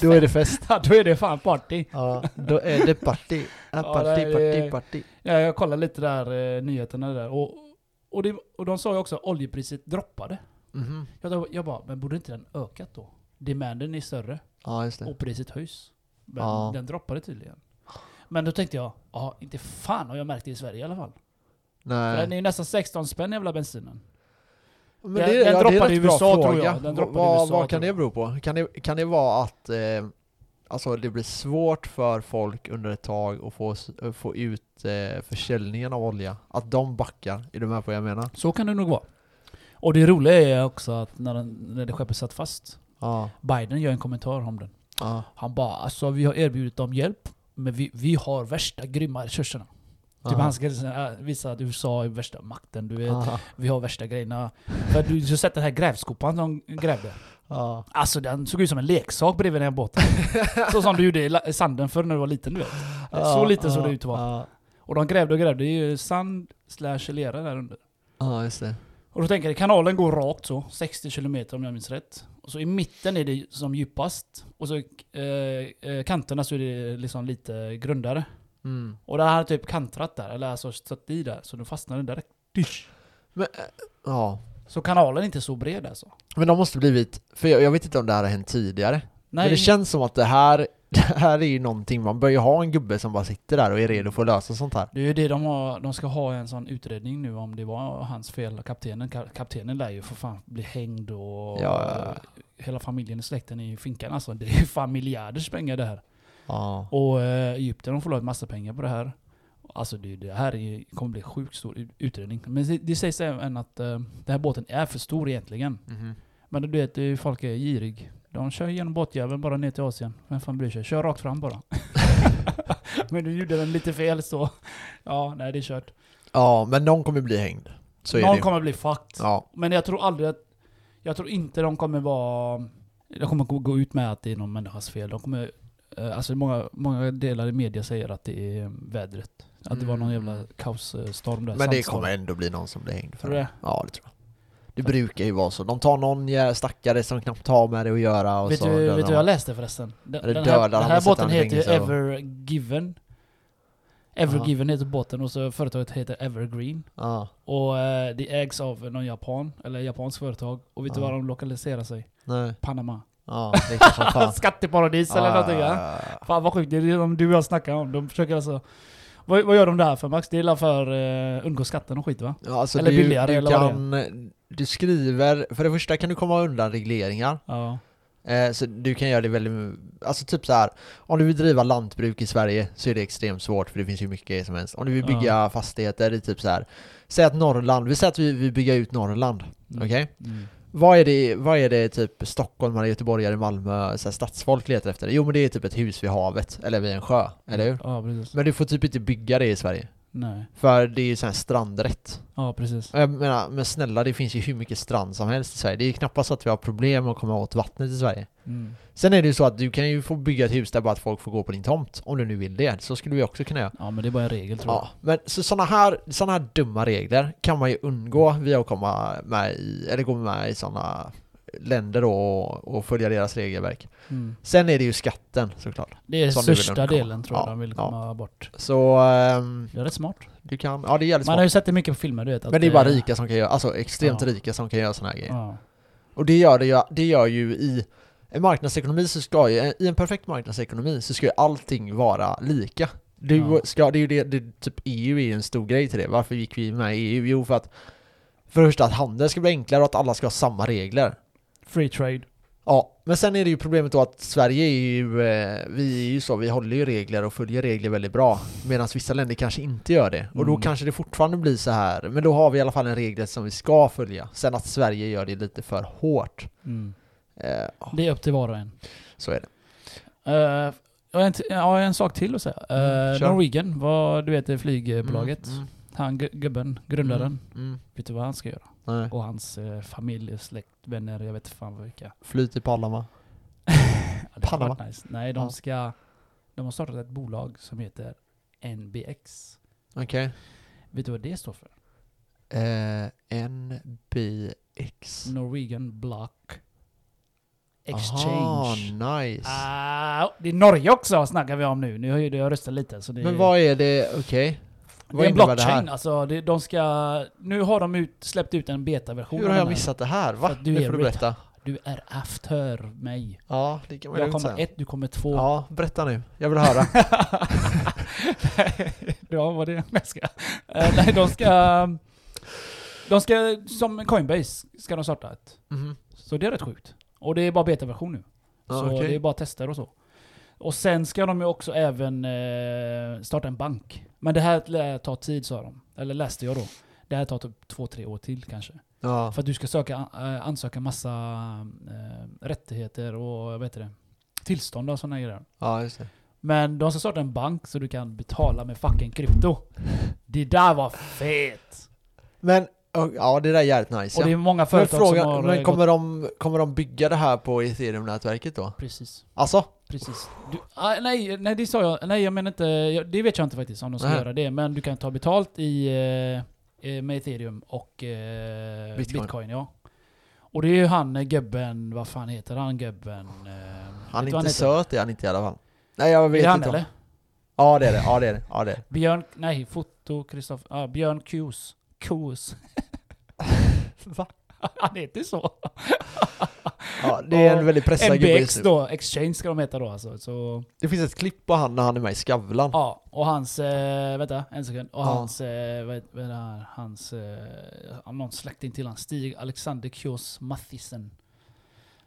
Speaker 1: Då är det fest.
Speaker 2: Ja, då är det fan party!
Speaker 1: Ja, då är det party. Ja,
Speaker 2: det
Speaker 1: party,
Speaker 2: är-
Speaker 1: party, party.
Speaker 2: Ja, jag kollade lite där, eh, nyheterna där. Och, och, det, och de sa ju också att oljepriset droppade.
Speaker 1: Mhm.
Speaker 2: Jag, jag bara, men borde inte den ökat då? Demanden är större.
Speaker 1: Ja, just det.
Speaker 2: Och priset höjs. Men
Speaker 1: Ja.
Speaker 2: den droppade tydligen. Men då tänkte jag, ja inte fan har jag märkt det i Sverige i alla fall. För
Speaker 1: Nej.
Speaker 2: den är ju nästan 16 spänn jävla bensinen.
Speaker 1: Men
Speaker 2: Den-
Speaker 1: det, ja,
Speaker 2: den
Speaker 1: det
Speaker 2: droppade
Speaker 1: är
Speaker 2: i
Speaker 1: rätt bra
Speaker 2: USA,
Speaker 1: fråga.
Speaker 2: tror jag. Den droppade i
Speaker 1: vad,
Speaker 2: USA,
Speaker 1: vad kan
Speaker 2: tror
Speaker 1: det
Speaker 2: jag.
Speaker 1: bero på? Kan det, kan det vara att eh, alltså det blir svårt för folk under ett tag att få, s- eh, få ut eh, försäljningen av olja? Att de backar? Är du med på vad jag menar?
Speaker 2: Så kan det nog vara. Och det roliga är också att när, den, när det skeppet satt fast,
Speaker 1: Ja,
Speaker 2: Biden gör en kommentar om den.
Speaker 1: Ja.
Speaker 2: Han bara alltså vi har erbjudit dem hjälp, men vi, vi har värsta grymma resurserna. Typ
Speaker 1: Aha.
Speaker 2: han ska äh, visa att USA är värsta makten, du vet.
Speaker 1: Aha.
Speaker 2: Vi har värsta grejerna. För du har sett den här grävskopan som de grävde?
Speaker 1: Ja.
Speaker 2: Alltså den såg ut som en leksak bredvid den här båten. så som du gjorde i la- sanden förr när du var liten du vet. Så liten såg det ut att vara.
Speaker 1: Ja,
Speaker 2: Och de grävde och grävde, det är ju sand slash lera där under.
Speaker 1: ja just det.
Speaker 2: Och då tänker jag, kanalen går rakt så, 60 km om jag minns rätt. Och så i mitten är det som djupast. Och så eh, eh, kanterna så är det liksom lite grundare.
Speaker 1: Mm.
Speaker 2: Och det här har typ kantrat där, eller alltså satt i där, så den fastnade direkt.
Speaker 1: Men, eh, ja.
Speaker 2: Så kanalen är inte så bred alltså.
Speaker 1: Men de måste blivit, för jag, jag vet inte om det här har hänt tidigare.
Speaker 2: Nej,
Speaker 1: Men det känns som att det här, det här är ju någonting, man bör ju ha en gubbe som bara sitter där och är redo för att lösa sånt här.
Speaker 2: det är ju det de har, de ska ha en sån utredning nu om det var hans fel, kaptenen. Ka- Kaptenen lär ju för fan bli hängd och...
Speaker 1: Ja.
Speaker 2: Hela familjen och släkten är ju i finkan alltså. Det är ju fan miljarders pengar det här.
Speaker 1: Ja.
Speaker 2: Och eh, Egypten har förlorat massa pengar på det här. Alltså det, det här är, ju- kommer bli sjukt stor ut- utredning. Men det, det sägs även att eh, den här båten är för stor egentligen.
Speaker 1: Mhm.
Speaker 2: Men du vet, det är ju- folk är girig. De kör genom båtjäveln bara ner till Asien. Vem fan bryr sig? Kör rakt fram bara. Men du gjorde den lite fel så... Ja, nej det är kört.
Speaker 1: Ja, men någon kommer bli hängd. Så är det
Speaker 2: Någon
Speaker 1: ju.
Speaker 2: kommer bli fucked.
Speaker 1: Ja.
Speaker 2: Men jag tror aldrig att... Jag tror inte de kommer vara... De kommer gå- gå ut med att det är någon människas fel. De kommer... eh, Alltså många, många delar i media säger att det är eh, vädret. Att det var någon
Speaker 1: Mm.
Speaker 2: jävla kaosstorm där.
Speaker 1: Men det
Speaker 2: sandstorm.
Speaker 1: kommer ändå bli någon som blir hängd för
Speaker 2: Tror du
Speaker 1: det.
Speaker 2: det?
Speaker 1: Ja, det tror jag. Det brukar ju vara så. De tar någon jä- stackare som knappt har med det att göra och
Speaker 2: Vet
Speaker 1: så
Speaker 2: du,
Speaker 1: dödar
Speaker 2: vet du
Speaker 1: de.
Speaker 2: vad jag läste förresten? Den,
Speaker 1: Eller
Speaker 2: den
Speaker 1: dödar
Speaker 2: här,
Speaker 1: han
Speaker 2: den
Speaker 1: och
Speaker 2: här
Speaker 1: sätter
Speaker 2: båten
Speaker 1: han i
Speaker 2: heter ju
Speaker 1: fängelse då.
Speaker 2: Ever Given. Ever
Speaker 1: Aha.
Speaker 2: Given heter båten och så företaget heter Evergreen.
Speaker 1: Ja.
Speaker 2: Och eh, det ägs av någon japan, eller japanskt företag. Och vet du
Speaker 1: Ja.
Speaker 2: var de lokaliserar sig?
Speaker 1: Nej.
Speaker 2: Panama.
Speaker 1: Ja, det är klart som fan.
Speaker 2: Skatteparadis eller någonting ja.
Speaker 1: ja.
Speaker 2: Fan vad sjukt, det är det de du och jag snackar om. De försöker alltså... Vad, vad gör de där för Max? Det är väl för eh, undgå skatten och skit va?
Speaker 1: Ja, alltså
Speaker 2: Eller
Speaker 1: du,
Speaker 2: billigare,
Speaker 1: du
Speaker 2: eller vad det är.
Speaker 1: kan, Du skriver, för det första kan du komma undan regleringar.
Speaker 2: Ja.
Speaker 1: Eh, så du kan göra det väldigt, alltså typ så här. om du vill driva lantbruk i Sverige så är det extremt svårt för det finns ju mycket som helst. Om du vill bygga fastigheter i typ så här. säg att Norrland, vi säger att vi vill bygga ut Norrland,
Speaker 2: Mm.
Speaker 1: okej?
Speaker 2: Mm.
Speaker 1: Vad är det, vad är det typ stockholmare, göteborgare, Malmö, så här stadsfolk letar efter? Jo men det är typ ett hus vid havet, eller vid en sjö, eller hur?
Speaker 2: Ja precis.
Speaker 1: Men du får typ inte bygga det i Sverige,
Speaker 2: Nej.
Speaker 1: för det är ju sån här strandrätt.
Speaker 2: Ja precis.
Speaker 1: Jag menar, men snälla det finns ju hur mycket strand som helst i Sverige. Det är ju knappast så att vi har problem med att komma åt vattnet i Sverige.
Speaker 2: Mm.
Speaker 1: Sen är det ju så att du kan ju få bygga ett hus där bara att folk får gå på din tomt, om du nu vill det. Så skulle vi också kunna göra.
Speaker 2: Ja men det är bara en regel tror
Speaker 1: Ja, men så sådana här, såna här dumma regler kan man ju undgå via att komma med i, eller gå med i sådana länder då och, och följa deras regelverk.
Speaker 2: jag. Mm.
Speaker 1: Sen är det ju skatten såklart.
Speaker 2: Det är
Speaker 1: Som du vill
Speaker 2: största
Speaker 1: undkomma.
Speaker 2: delen tror jag
Speaker 1: Ja,
Speaker 2: de vill
Speaker 1: ja.
Speaker 2: komma bort.
Speaker 1: Så ehm,
Speaker 2: Det är rätt smart.
Speaker 1: du kan, ja det är jävligt
Speaker 2: Man har
Speaker 1: smart.
Speaker 2: ju sett det mycket på filmer du vet. att
Speaker 1: Men det är bara rika som kan göra, alltså extremt
Speaker 2: Ja.
Speaker 1: rika som kan göra sådana här grejer.
Speaker 2: Ja.
Speaker 1: Och det gör, det, ju- det gör ju i en marknadsekonomi så ska ju, i en perfekt marknadsekonomi så ska ju allting vara lika. Du
Speaker 2: Ja.
Speaker 1: ska, det är ju det, det, typ EU är ju en stor grej till det. Varför gick vi med i EU? Jo för att för det första att handeln ska bli enklare och att alla ska ha samma regler.
Speaker 2: Free trade.
Speaker 1: Ja, men sen är det ju problemet då att Sverige är ju, eh, vi är ju så, vi håller ju regler och följer regler väldigt bra. Medan vissa länder kanske inte gör det. Och då
Speaker 2: Mm.
Speaker 1: kanske det fortfarande blir så här, men då har vi i alla fall en regel som vi ska följa. Sen att Sverige gör det lite för hårt.
Speaker 2: Mm.
Speaker 1: Eh, ja,
Speaker 2: Det är upp till var och en.
Speaker 1: så är det.
Speaker 2: Eh, jag har en, t- jag har en sak till att säga. Eh,
Speaker 1: Mm, kör.
Speaker 2: Norwegian, vad, du vet det flygbolaget.
Speaker 1: Mm,
Speaker 2: Han gu- gubben, grundaren.
Speaker 1: mm, mm.
Speaker 2: Vet du vad han ska göra?
Speaker 1: Nej.
Speaker 2: Och hans eh, familj, släkt, vänner, jag vet fan vilka.
Speaker 1: Fly till Palama.
Speaker 2: Ja, det hade varit
Speaker 1: Panama.
Speaker 2: nice. Nej, de
Speaker 1: Ja.
Speaker 2: ska... De har startat ett bolag som heter NBX.
Speaker 1: Okej.
Speaker 2: Vet du vad det står för?
Speaker 1: Eh, NBX.
Speaker 2: Mm, Norwegian Block
Speaker 1: Aha,
Speaker 2: Exchange.
Speaker 1: nice.
Speaker 2: Ah, det är Norge också snackar vi om nu. Nu har ju jag röstat lite. Så det,
Speaker 1: Men vad är det, okej?
Speaker 2: det
Speaker 1: Vad
Speaker 2: är en
Speaker 1: innebär det
Speaker 2: blockchain.
Speaker 1: här?
Speaker 2: alltså, det, de ska, nu har de ut, släppt ut en betaversion.
Speaker 1: Hur
Speaker 2: av
Speaker 1: har
Speaker 2: den
Speaker 1: jag
Speaker 2: här.
Speaker 1: missat det här? Va?
Speaker 2: För att du
Speaker 1: Det
Speaker 2: är
Speaker 1: får du
Speaker 2: red.
Speaker 1: berätta.
Speaker 2: Du är after mig.
Speaker 1: Ja, det kan man
Speaker 2: Jag
Speaker 1: lugnt
Speaker 2: kommer
Speaker 1: säga.
Speaker 2: ett, du kommer två.
Speaker 1: Ja, berätta nu. Jag vill höra.
Speaker 2: ja, vad det jag ska. Eh, nej, de ska... De ska, som Coinbase, ska de starta ett.
Speaker 1: Mhm.
Speaker 2: Så det är rätt sjukt. Och det är bara betaversion nu.
Speaker 1: Ja, Ah,
Speaker 2: så
Speaker 1: okej.
Speaker 2: det är bara tester och så. Och sen ska de ju också även eh, starta en bank. Men det här lär ta tid sa de. Eller läste jag då. Det här tar typ två, tre år till kanske.
Speaker 1: Ja.
Speaker 2: För att du ska söka, eh, ansöka massa eh, rättigheter och vad heter det? tillstånd och sådana grejer.
Speaker 1: Ja, just det.
Speaker 2: Men de ska starta en bank så du kan betala med fucking krypto. Det där var fet!
Speaker 1: Men, och, ja det där är jävligt nice
Speaker 2: Och det
Speaker 1: ja.
Speaker 2: är många
Speaker 1: Men
Speaker 2: företag som har
Speaker 1: frågan,
Speaker 2: eh,
Speaker 1: men kommer de, kommer de bygga det här på ethereum-nätverket då?
Speaker 2: gått... Precis,
Speaker 1: Alltså?
Speaker 2: precis. Du, ah, nej, nej det sa jag, nej jag menar inte, jag, det vet jag inte faktiskt om de ska
Speaker 1: Nej.
Speaker 2: göra det. Men du kan ta betalt i, eh, eh, med ethereum och eh,
Speaker 1: Bitcoin.
Speaker 2: bitcoin. ja. Och det är ju han eh, gubben, vad fan heter han gubben? Eh, vet
Speaker 1: Han
Speaker 2: du
Speaker 1: är
Speaker 2: vad
Speaker 1: inte
Speaker 2: heter?
Speaker 1: söt är han inte i alla fall. Nej jag
Speaker 2: Är
Speaker 1: vet
Speaker 2: det han
Speaker 1: inte. om-
Speaker 2: eller?
Speaker 1: Ja det är det, ja det är det, ja det är det.
Speaker 2: Björn, nej, foto, Kristoffer, ah, Björn Kus. Kus. Va? Han heter så.
Speaker 1: Ja, det Mm. är en
Speaker 2: Och
Speaker 1: väldigt pressad gubbe
Speaker 2: MBX
Speaker 1: just nu.
Speaker 2: då, Exchange ska de heta då alltså. Så,
Speaker 1: Det finns ett klipp på han när han är med i Skavlan.
Speaker 2: ja, och hans, eh, vänta en sekund, och
Speaker 1: Ja.
Speaker 2: hans, eh, vad heter vad är det här, hans, eh, någon släkting till han, Stig Alexander Kjos Mathisen.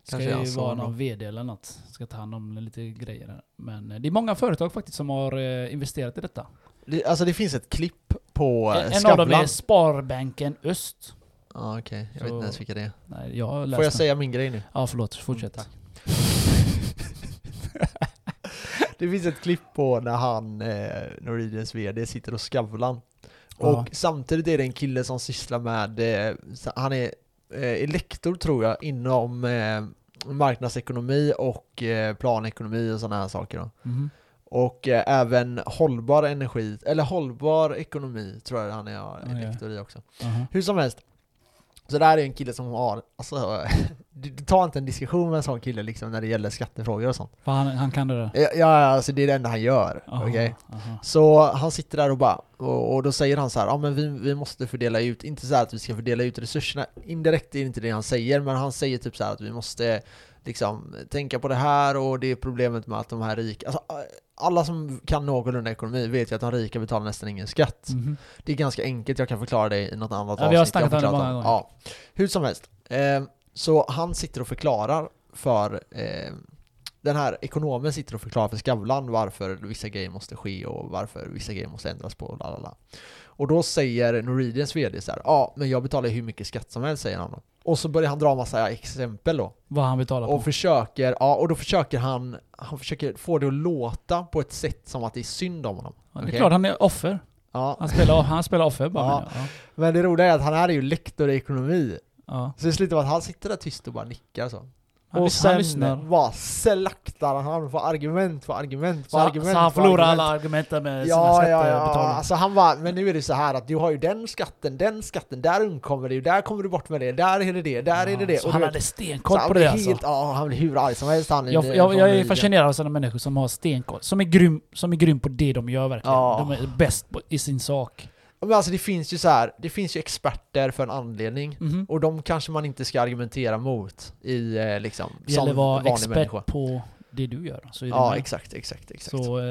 Speaker 2: Ska
Speaker 1: Kanske är han
Speaker 2: ju
Speaker 1: så
Speaker 2: vara
Speaker 1: då.
Speaker 2: någon VD eller något. Ska ta hand om lite grejer här. Men eh, det är många företag faktiskt som har eh, investerat i detta.
Speaker 1: Det, alltså det finns ett klipp på eh,
Speaker 2: en en av
Speaker 1: Skavlan.
Speaker 2: dem är Sparbanken Öst.
Speaker 1: Ja okej, jag vet
Speaker 2: Så-
Speaker 1: inte ens vilka det är.
Speaker 2: Nej, jag har läst
Speaker 1: Får jag
Speaker 2: den.
Speaker 1: säga min grej nu?
Speaker 2: Ja, förlåt. Fortsätt.
Speaker 1: Mm, Det finns ett klipp på när han, eh, Norwegians VD, sitter och Skavlan. Och
Speaker 2: Ja.
Speaker 1: samtidigt är det en kille som sysslar med, eh, så- han är eh, är lektor tror jag inom eh, marknadsekonomi och eh, planekonomi och sådana här saker. Då.
Speaker 2: Mhm.
Speaker 1: Och eh, även hållbar energi, eller hållbar ekonomi tror jag han är, är
Speaker 2: Okej.
Speaker 1: lektor i också.
Speaker 2: Aha.
Speaker 1: Hur som helst. Så det här är en kille som har, alltså, du du tar inte en diskussion med en sån kille liksom när det gäller skattefrågor och sånt.
Speaker 2: För han, han kan det där.
Speaker 1: Ja, ja, alltså det är det enda han gör.
Speaker 2: Aha,
Speaker 1: Okej?
Speaker 2: aha.
Speaker 1: Så han sitter där och bara, och, och då säger han så här, ja men vi, vi måste fördela ut, inte så här att vi ska fördela ut resurserna, indirekt är det inte det han säger, men han säger typ så här att vi måste liksom tänka på det här och det är problemet med att de här rika, alltså, alla som kan någorlunda ekonomi vet ju att de rika betalar nästan ingen skatt.
Speaker 2: Mhm.
Speaker 1: Det är ganska enkelt, jag kan förklara det i något annat
Speaker 2: Ja, vi har
Speaker 1: avsnitt. Jag
Speaker 2: snackat om det
Speaker 1: förklarat
Speaker 2: många gånger.
Speaker 1: Ja. Hur som helst. Eh, så han sitter och förklarar för eh, den här ekonomen sitter och förklarar för Skavlan varför vissa grejer måste ske och varför vissa grejer måste ändras på. och Lalala. Och då säger Norwegians VD så här, ja men jag betalar ju hur mycket skatt som helst säger han då. Och så börjar han dra massa exempel då.
Speaker 2: Vad han betalar
Speaker 1: Och
Speaker 2: på.
Speaker 1: försöker, ja och då försöker han, han försöker få det att låta på ett sätt som att det är synd om honom.
Speaker 2: Ja, Det är
Speaker 1: Okej.
Speaker 2: klart han är offer.
Speaker 1: Ja.
Speaker 2: Han spelar, han spelar offer bara.
Speaker 1: Ja.
Speaker 2: menar jag.
Speaker 1: Men det roliga är att han här är ju lektor i ekonomi.
Speaker 2: Ja.
Speaker 1: Så det slutar med att han sitter där tyst och bara nickar så.
Speaker 2: Han,
Speaker 1: och
Speaker 2: lys- han
Speaker 1: sen
Speaker 2: lyssnar.
Speaker 1: bara slaktar han på argument för argument
Speaker 2: Så,
Speaker 1: för argument.
Speaker 2: han- så han
Speaker 1: för
Speaker 2: förlorar
Speaker 1: argument.
Speaker 2: alla argument där med sina
Speaker 1: Ja, ja, ja.
Speaker 2: skattebetalningar.
Speaker 1: Alltså han bara, men nu är det så här att du har ju den skatten, den skatten, där undkommer det ju, där kommer du bort med det, där är det det, där är det det.
Speaker 2: Så
Speaker 1: Och
Speaker 2: han
Speaker 1: du
Speaker 2: hade
Speaker 1: vet,
Speaker 2: stenkoll
Speaker 1: så han
Speaker 2: på
Speaker 1: blir
Speaker 2: det alltså.
Speaker 1: helt, ja, han blir hur arg som helst han.
Speaker 2: Jag,
Speaker 1: eh, från
Speaker 2: jag, jag är
Speaker 1: Norwegian.
Speaker 2: fascinerad av sådana människor som har stenkoll. Som är grym, som är grym på det de gör verkligen.
Speaker 1: Ja.
Speaker 2: De är bäst på, i sin sak.
Speaker 1: Men alltså det finns ju så här, det finns ju experter för en anledning.
Speaker 2: Mhm.
Speaker 1: Och de kanske man inte ska argumentera mot i eh, liksom,
Speaker 2: Det
Speaker 1: som
Speaker 2: gäller att vara
Speaker 1: vanlig
Speaker 2: expert
Speaker 1: människa.
Speaker 2: på det du gör. Så är det
Speaker 1: Ja,
Speaker 2: med.
Speaker 1: exakt, exakt, exakt.
Speaker 2: Så, eh,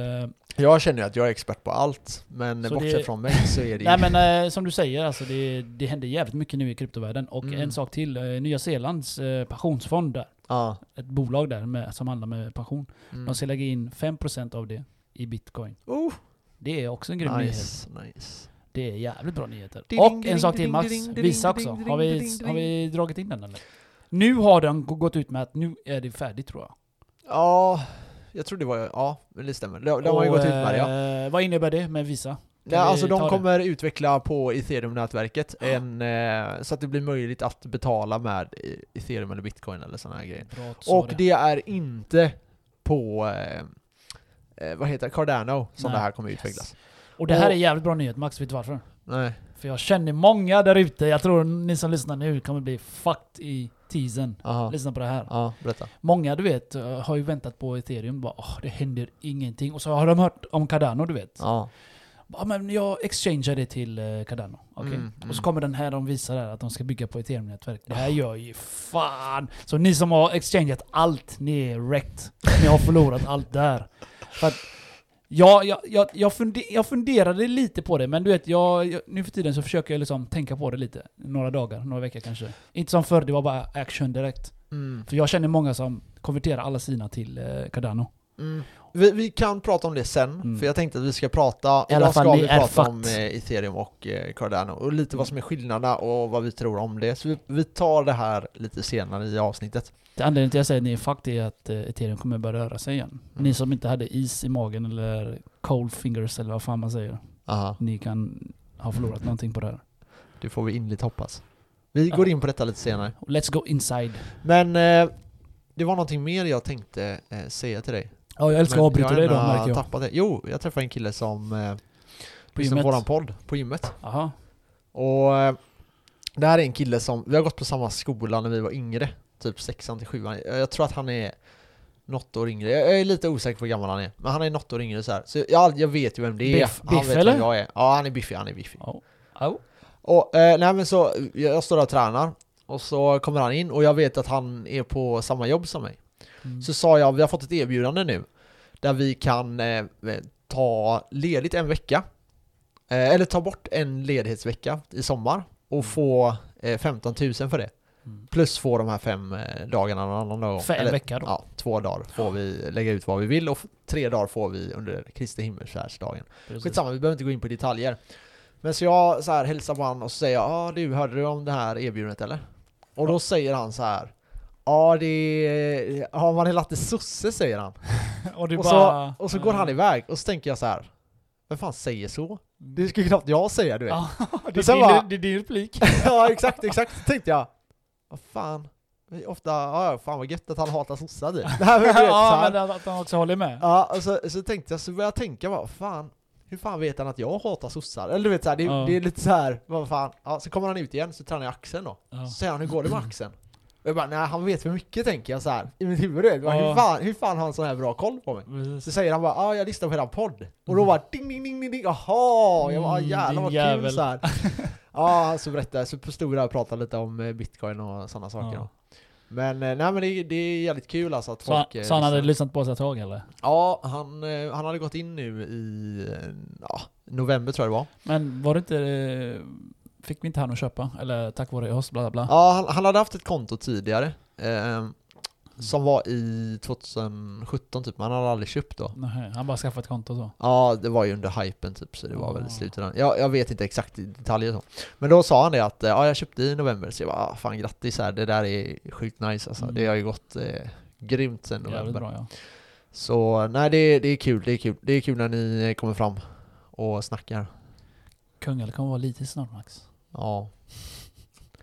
Speaker 1: Jag känner ju att jag är expert på allt, men
Speaker 2: Så
Speaker 1: bortsett
Speaker 2: det-
Speaker 1: från mig så är det ju...
Speaker 2: Nej men eh, som du säger, alltså, det, det händer jävligt mycket nu i kryptovärlden. Och
Speaker 1: Mm.
Speaker 2: en sak till, eh, Nya Zeelands eh, pensionsfond där,
Speaker 1: Ja.
Speaker 2: ett bolag där med, som handlar med pension.
Speaker 1: Mm.
Speaker 2: De ska lägga in 5% av det i bitcoin.
Speaker 1: Oh,
Speaker 2: Det är också en grym nyhet.
Speaker 1: nice, nice.
Speaker 2: Det är jävligt bra nyheter.
Speaker 1: Ding,
Speaker 2: och
Speaker 1: ding,
Speaker 2: en
Speaker 1: ding,
Speaker 2: sak till
Speaker 1: ding,
Speaker 2: Mats,
Speaker 1: ding, ding,
Speaker 2: visa
Speaker 1: ding,
Speaker 2: också.
Speaker 1: ding,
Speaker 2: Har vi,
Speaker 1: ding, ding.
Speaker 2: har vi dragit in den eller? Nu har den g- gått ut med att nu är det färdigt tror jag.
Speaker 1: Ja, jag tror det var... Ja, men det stämmer. De, de har ju
Speaker 2: Och,
Speaker 1: gått ut med det, ja.
Speaker 2: eh, Vad innebär det med visa?
Speaker 1: Nej, alltså
Speaker 2: vi ta
Speaker 1: de
Speaker 2: det?
Speaker 1: kommer utveckla på ethereum-nätverket
Speaker 2: Ja.
Speaker 1: en, eh, så att det blir möjligt att betala med e- ethereum eller bitcoin eller sådana här grejer.
Speaker 2: Bra att du sa
Speaker 1: Och det är inte på... Eh, eh, vad heter det? Cardano som
Speaker 2: Nej.
Speaker 1: det här kommer
Speaker 2: Yes.
Speaker 1: utvecklas.
Speaker 2: och det här
Speaker 1: och-
Speaker 2: är jävligt bra nyhet Max, vet du varför?
Speaker 1: Nej.
Speaker 2: För jag känner många där ute, jag tror ni som lyssnar nu kommer bli fucked i teasen.
Speaker 1: Aha.
Speaker 2: Lyssna på det här.
Speaker 1: Ja, berätta.
Speaker 2: Många du vet eh, har ju väntat på ethereum, bara "Åh, det händer ingenting. Och så har de hört om Cardano du vet.
Speaker 1: Ja.
Speaker 2: Ja men jag exchangear det till eh, Cardano. Okej?
Speaker 1: Mm,
Speaker 2: Och
Speaker 1: mm. Ah.
Speaker 2: så kommer den här de visar där att de ska bygga på ethereum-nätverk. Det här gör ju fan! Så ni som har exchangeat allt, ni är wrecked. Ni har förlorat allt där. För att, ja, jag, jag, jag, funde, jag funderade lite på det, men du vet, jag, jag, nu för tiden så försöker jag liksom tänka på det lite. Några dagar, några veckor kanske. Inte som förr, det var bara action direkt.
Speaker 1: Mm.
Speaker 2: För jag känner många som konverterar alla sina till eh, Cardano.
Speaker 1: Mm. Vi, vi kan prata om det sen,
Speaker 2: Mm.
Speaker 1: för jag tänkte att vi ska prata,
Speaker 2: I alla
Speaker 1: idag ska
Speaker 2: fall i
Speaker 1: vi prata
Speaker 2: RFAT.
Speaker 1: om eh, ethereum och eh, Cardano och lite vad som är skillnaderna och vad vi tror om det. Så vi, vi tar det här lite senare i avsnittet.
Speaker 2: Det Anledningen till att jag säger att ni är fucked är att eh, ethereum kommer börja röra sig igen.
Speaker 1: Mm.
Speaker 2: Ni som inte hade is i magen eller cold fingers eller vad fan man säger.
Speaker 1: Aha,
Speaker 2: Ni kan ha förlorat någonting på det här.
Speaker 1: det får vi innerligt hoppas. Vi
Speaker 2: Ja.
Speaker 1: går in på detta lite senare.
Speaker 2: Let's go inside.
Speaker 1: Men eh, det var någonting mer jag tänkte eh, säga till dig.
Speaker 2: Ja, jag älskar
Speaker 1: Men
Speaker 2: att avbryta dig då
Speaker 1: har ändå
Speaker 2: märker jag.
Speaker 1: Tappat det. Jo, jag träffade en kille som eh,
Speaker 2: På
Speaker 1: lyssnar
Speaker 2: gymmet.
Speaker 1: på våran podd på gymmet.
Speaker 2: Aha.
Speaker 1: Och eh, det här är en kille som, vi har gått på samma skola när vi var yngre, typ sexan till sjuan. Jag jag tror att han är något år yngre, jag jag är lite osäker på hur gammal han är, men han är något år yngre så här. Så jag, jag vet ju vem det är,
Speaker 2: Biff-
Speaker 1: han
Speaker 2: Biff,
Speaker 1: vet
Speaker 2: eller?
Speaker 1: vem jag är. Ja, han är biffig, han är biffig.
Speaker 2: Ja. Au.
Speaker 1: Och eh, nej men så, jag, jag står där och tränar, och så kommer han in och jag vet att han är på samma jobb som mig.
Speaker 2: Mm.
Speaker 1: Så sa jag, vi har fått ett erbjudande nu där vi kan eh, ta ledigt en vecka. Eh, eller ta bort en ledighetsvecka i sommar och få eh, 15 000 för det.
Speaker 2: Mm.
Speaker 1: Plus få de här fem eh, dagarna någon annan gång.
Speaker 2: För en
Speaker 1: eller,
Speaker 2: vecka då.
Speaker 1: Ja, två dagar får vi lägga ut vad vi vill och f- tre dagar får vi under Kristi himmelsfärdsdagen.
Speaker 2: Precis.
Speaker 1: Skitsamma, vi behöver inte gå in på detaljer. Men så jag så här hälsar på honom och så säger jag ah, du, hörde du om det här erbjudandet eller? Och då säger han så här Ja det är... Har man en latte sosse säger han.
Speaker 2: Och, du
Speaker 1: Och
Speaker 2: bara, Mm.
Speaker 1: så, och så går han iväg och så tänker jag så här Vem fan säger så? Det
Speaker 2: Det,
Speaker 1: skulle knappt jag säga du vet.
Speaker 2: ja, det,
Speaker 1: Men
Speaker 2: är
Speaker 1: sen
Speaker 2: din,
Speaker 1: bara-
Speaker 2: det är din replik.
Speaker 1: ja exakt, exakt. Så tänkte jag Vad fan? Vi Ofta, ja ja, fan vad gött att han hatar sossar du. Nej, men du vet, så
Speaker 2: ja,
Speaker 1: här.
Speaker 2: men att- att han också håller med.
Speaker 1: Ja, och så, så tänkte jag, så började jag tänka bara, fan, hur fan vet han att jag hatar sossar? Eller du vet såhär, det,
Speaker 2: Ja.
Speaker 1: det är lite såhär, vad fan. Ja, så kommer han ut igen, så tränar jag axeln då.
Speaker 2: Ja.
Speaker 1: Så säger han, hur går det med axeln? Och jag bara, nej han vet för mycket tänker jag såhär, i mitt huvud. du vet. Bara,
Speaker 2: Ja.
Speaker 1: Hur, fan, hur fan har han sån här bra koll på mig? Så säger han bara, ja ah, jag lyssnar på eran podd. Och då
Speaker 2: Mm.
Speaker 1: bara, ding ding ding ding ding, jaha! Jag bara, ah,
Speaker 2: Mm,
Speaker 1: jävlar
Speaker 2: din
Speaker 1: vad
Speaker 2: jävel.
Speaker 1: kul såhär. ja, så berättade jag, så stod vi där och pratade lite om eh, bitcoin och sådana saker
Speaker 2: Ja.
Speaker 1: då. Men eh, nej men det, det är jävligt kul alltså att
Speaker 2: Så,
Speaker 1: folk...
Speaker 2: han,
Speaker 1: eh,
Speaker 2: så han hade
Speaker 1: lyssnar.
Speaker 2: lyssnat på oss ett tag eller?
Speaker 1: Ja, han, eh, han hade gått in nu i eh, ja, november tror jag det var.
Speaker 2: Men var det inte... eh, Fick vi inte han att köpa? Eller tack vare oss, bla bla bla.
Speaker 1: Ja, han, han hade haft ett konto tidigare. Eh, som var i 2017 typ, men han hade aldrig köpt då.
Speaker 2: Nähä, han bara skaffade ett konto så.
Speaker 1: Ja, det var ju under hypen typ, så det var väl
Speaker 2: Ah.
Speaker 1: i slutändan. Jag, jag vet inte exakt i detaljer så. Men då sa han det att, eh, ja jag köpte i november, så jag bara, ah, fan grattis här, det där är sjukt nice alltså.
Speaker 2: Mm.
Speaker 1: Det har ju gått eh, grymt sen november.
Speaker 2: Jävligt bra ja.
Speaker 1: Så nej, det, det är kul, det är kul. Det är kul när ni eh, kommer fram och snackar.
Speaker 2: Kungälv kommer vara lite snart Max.
Speaker 1: Ja,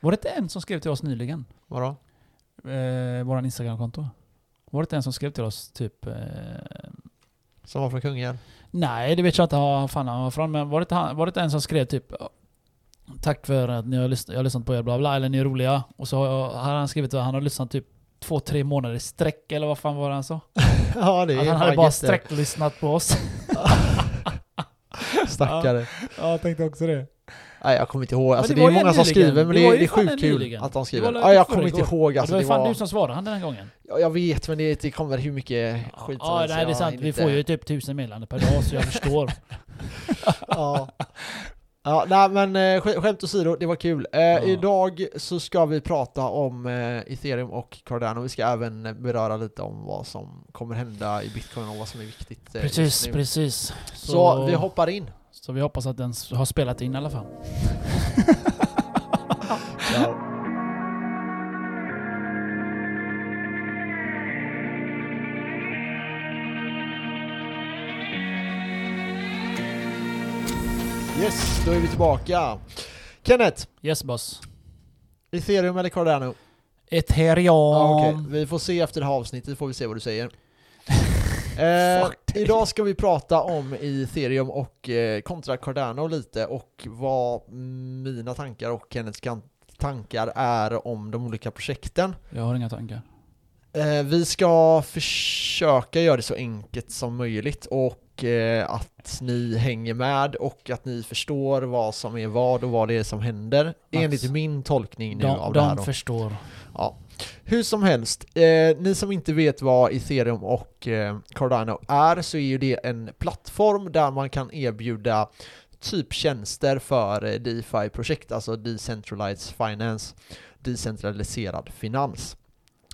Speaker 2: Var det inte en som skrev till oss nyligen?
Speaker 1: vadå?
Speaker 2: Eh, våran Instagram-konto? Var det inte en som skrev till oss typ... Eh,
Speaker 1: Som var från Kungälv?
Speaker 2: nej, det vet jag inte vad fan han var från. Men var det, inte han, var det inte en som skrev typ... eh, Tack för att ni har lyssnat, jag har lyssnat på er bla bla, eller ni är roliga. Och så har jag- har han skrivit att han har lyssnat typ två, tre månader i sträck eller vad fan var det han sa?
Speaker 1: Ja det
Speaker 2: Att
Speaker 1: är
Speaker 2: han hade bara sträcklyssnat på oss.
Speaker 1: Stackare.
Speaker 2: ja, jag tänkte också det.
Speaker 1: Nej jag kommer inte ihåg, alltså,
Speaker 2: det
Speaker 1: det,
Speaker 2: var
Speaker 1: är
Speaker 2: ju
Speaker 1: många som
Speaker 2: nyligen.
Speaker 1: skriver men
Speaker 2: Det
Speaker 1: det,
Speaker 2: var
Speaker 1: är-
Speaker 2: ju
Speaker 1: det är
Speaker 2: fan
Speaker 1: sjukt kul
Speaker 2: nyligen.
Speaker 1: att de
Speaker 2: Det
Speaker 1: skriver.
Speaker 2: var
Speaker 1: Ja, jag
Speaker 2: förrgår.
Speaker 1: kommer inte ihåg alltså,
Speaker 2: det var
Speaker 1: det
Speaker 2: ju fan
Speaker 1: var...
Speaker 2: du som svarade han den här gången.
Speaker 1: Ja, jag vet men det, det kommer hur mycket skit som
Speaker 2: Ja,
Speaker 1: helst,
Speaker 2: nej, det är
Speaker 1: jag
Speaker 2: sant.
Speaker 1: hinner
Speaker 2: Vi
Speaker 1: inte-
Speaker 2: får ju typ tusen meddelanden per dag, så jag förstår.
Speaker 1: Ja. Ja, nej men eh, sk- skämt åsido, det var kul. Eh,
Speaker 2: Ja.
Speaker 1: Idag så ska vi prata om eh, ethereum och Cardano. Vi ska även beröra lite om vad som kommer hända i bitcoin och vad som är viktigt. eh,
Speaker 2: Precis,
Speaker 1: just nu.
Speaker 2: precis.
Speaker 1: Så, vi hoppar in.
Speaker 2: så vi hoppas att den s- har spelat in i alla fall.
Speaker 1: Yes, då är vi tillbaka. Kenneth,
Speaker 2: Yes boss.
Speaker 1: ethereum eller Cardano?
Speaker 2: Ethereum.
Speaker 1: Ja, okej. Vi får se efter det här avsnittet, får vi se vad du säger. eh,
Speaker 2: Fuck dig.
Speaker 1: idag ska vi prata om ethereum och eh, kontra Cardano lite och vad mina tankar och Kenneths kan- tankar är om de olika projekten.
Speaker 2: Jag har inga tankar.
Speaker 1: Eh, vi ska försöka göra det så enkelt som möjligt och eh, att ni hänger med och att ni förstår vad som är vad och vad det är som händer enligt min tolkning nu
Speaker 2: De,
Speaker 1: av det här.
Speaker 2: de
Speaker 1: Då.
Speaker 2: förstår.
Speaker 1: Hur som helst, eh, ni som inte vet vad ethereum och eh, Cardano är så är ju det en plattform där man kan erbjuda typ tjänster för eh, DeFi-projekt, alltså Decentralized Finance, decentraliserad finans.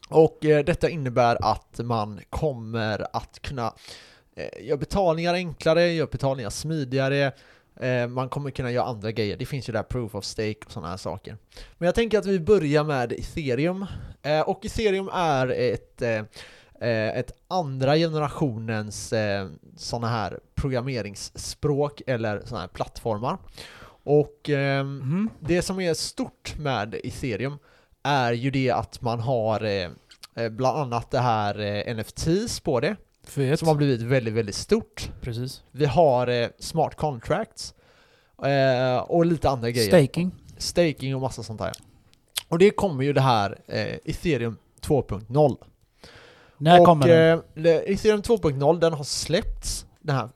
Speaker 1: Och eh, detta innebär att man kommer att kunna eh, göra betalningar enklare, göra betalningar smidigare, eh, man kommer kunna göra andra grejer. Det finns ju där proof of stake och sådana här saker. Men jag tänker att vi börjar med ethereum. Eh, och ethereum är ett, eh, eh, ett andra generationens eh, sådana här programmeringsspråk eller sådana här plattformar. Och ehm,
Speaker 2: Mhm.
Speaker 1: det som är stort med ethereum är ju det att man har eh, eh, bland annat det här eh, NFTs på det,
Speaker 2: Fet.
Speaker 1: som har blivit väldigt, väldigt stort.
Speaker 2: Precis.
Speaker 1: Vi har eh, smart contracts eh, och lite andra grejer.
Speaker 2: Staking.
Speaker 1: Staking och massa sånt där. Och det kommer ju det här eh, ethereum 2.0.
Speaker 2: När
Speaker 1: och,
Speaker 2: kommer den?
Speaker 1: eh, le- ethereum 2.0, den har släppts, den här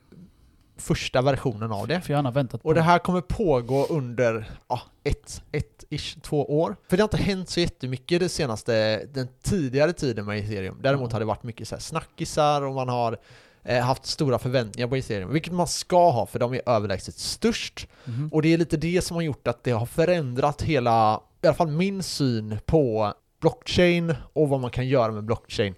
Speaker 1: första versionen av det.
Speaker 2: För jag har gärna väntat på
Speaker 1: Och det här kommer pågå under ja, ett, ett ish, två år. För det har inte hänt så jättemycket det senaste, den tidigare tiden med ethereum. Däremot har det varit mycket så här snackisar och man har eh, haft stora förväntningar på ethereum. Vilket man ska ha för de är överlägset störst.
Speaker 2: Mhm.
Speaker 1: Och det är lite det som har gjort att det har förändrat hela, i alla fall min syn på blockchain och vad man kan göra med blockchain.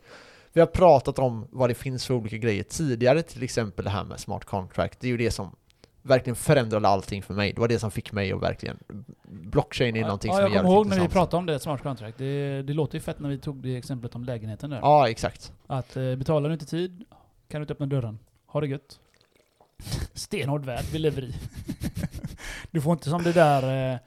Speaker 1: Vi har pratat om vad det finns för olika grejer tidigare, till exempel det här med smart contract. Det är ju det som verkligen förändrade allting för mig. Det var det som fick mig att verkligen... Blockchain är någonting
Speaker 2: ja,
Speaker 1: som är
Speaker 2: jag
Speaker 1: jävligt
Speaker 2: kommer ihåg när vi
Speaker 1: intressant.
Speaker 2: pratade om det, smart contract. Det, det låter ju fett när vi tog det exemplet om lägenheten där.
Speaker 1: Ja, exakt.
Speaker 2: Att eh, betalar du inte i tid kan du inte öppna dörren. Ha det gött. Stenhård värld vi lever i. du får inte som det där eh,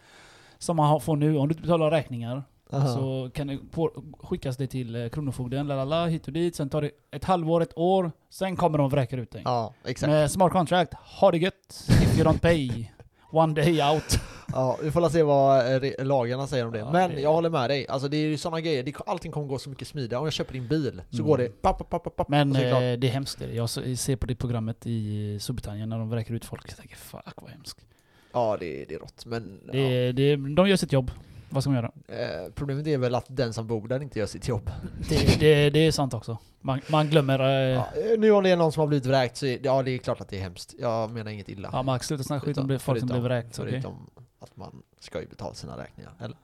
Speaker 2: som man har- får nu. Om du inte betalar räkningar
Speaker 1: Aha.
Speaker 2: så kan det på, skickas det till eh, Kronofogden, lalala, hit och dit. Sen tar det ett halvår, ett år. Sen kommer de och vräker ut dig.
Speaker 1: Ja, exakt.
Speaker 2: Med smart contract, ha det gött. If you don't pay, one day out.
Speaker 1: Ja, vi får la se vad eh, re- lagarna säger om det.
Speaker 2: Ja,
Speaker 1: Men
Speaker 2: det-
Speaker 1: jag håller med dig. Alltså det är ju sådana grejer. Det, allting kommer gå så mycket smidigare. Om jag köper din bil så
Speaker 2: Mm.
Speaker 1: går det... Papp, papp, papp, papp,
Speaker 2: Men
Speaker 1: och så är det klart.
Speaker 2: eh, det är hemskt. det. Jag så- ser på det programmet i Storbritannien när de vräker ut folk. Jag tänker fuck vad hemskt.
Speaker 1: Ja, det, det är rått. Men ja.
Speaker 2: Det, det, de gör sitt jobb. Vad ska man göra?
Speaker 1: eh, problemet är väl att den som bor där inte gör sitt jobb.
Speaker 2: Det, det, det är sant också. Man, man glömmer... Eh, ja.
Speaker 1: Ja, eh, nu om det är någon som har blivit vräkt så är, ja, det är klart att det är hemskt. Jag menar inget illa.
Speaker 2: Max, sluta snacka skit om
Speaker 1: Förutom-
Speaker 2: det- folk som blir
Speaker 1: förutom-
Speaker 2: vräkt. okej?
Speaker 1: Förutom att man ska ju betala sina räkningar. Eller?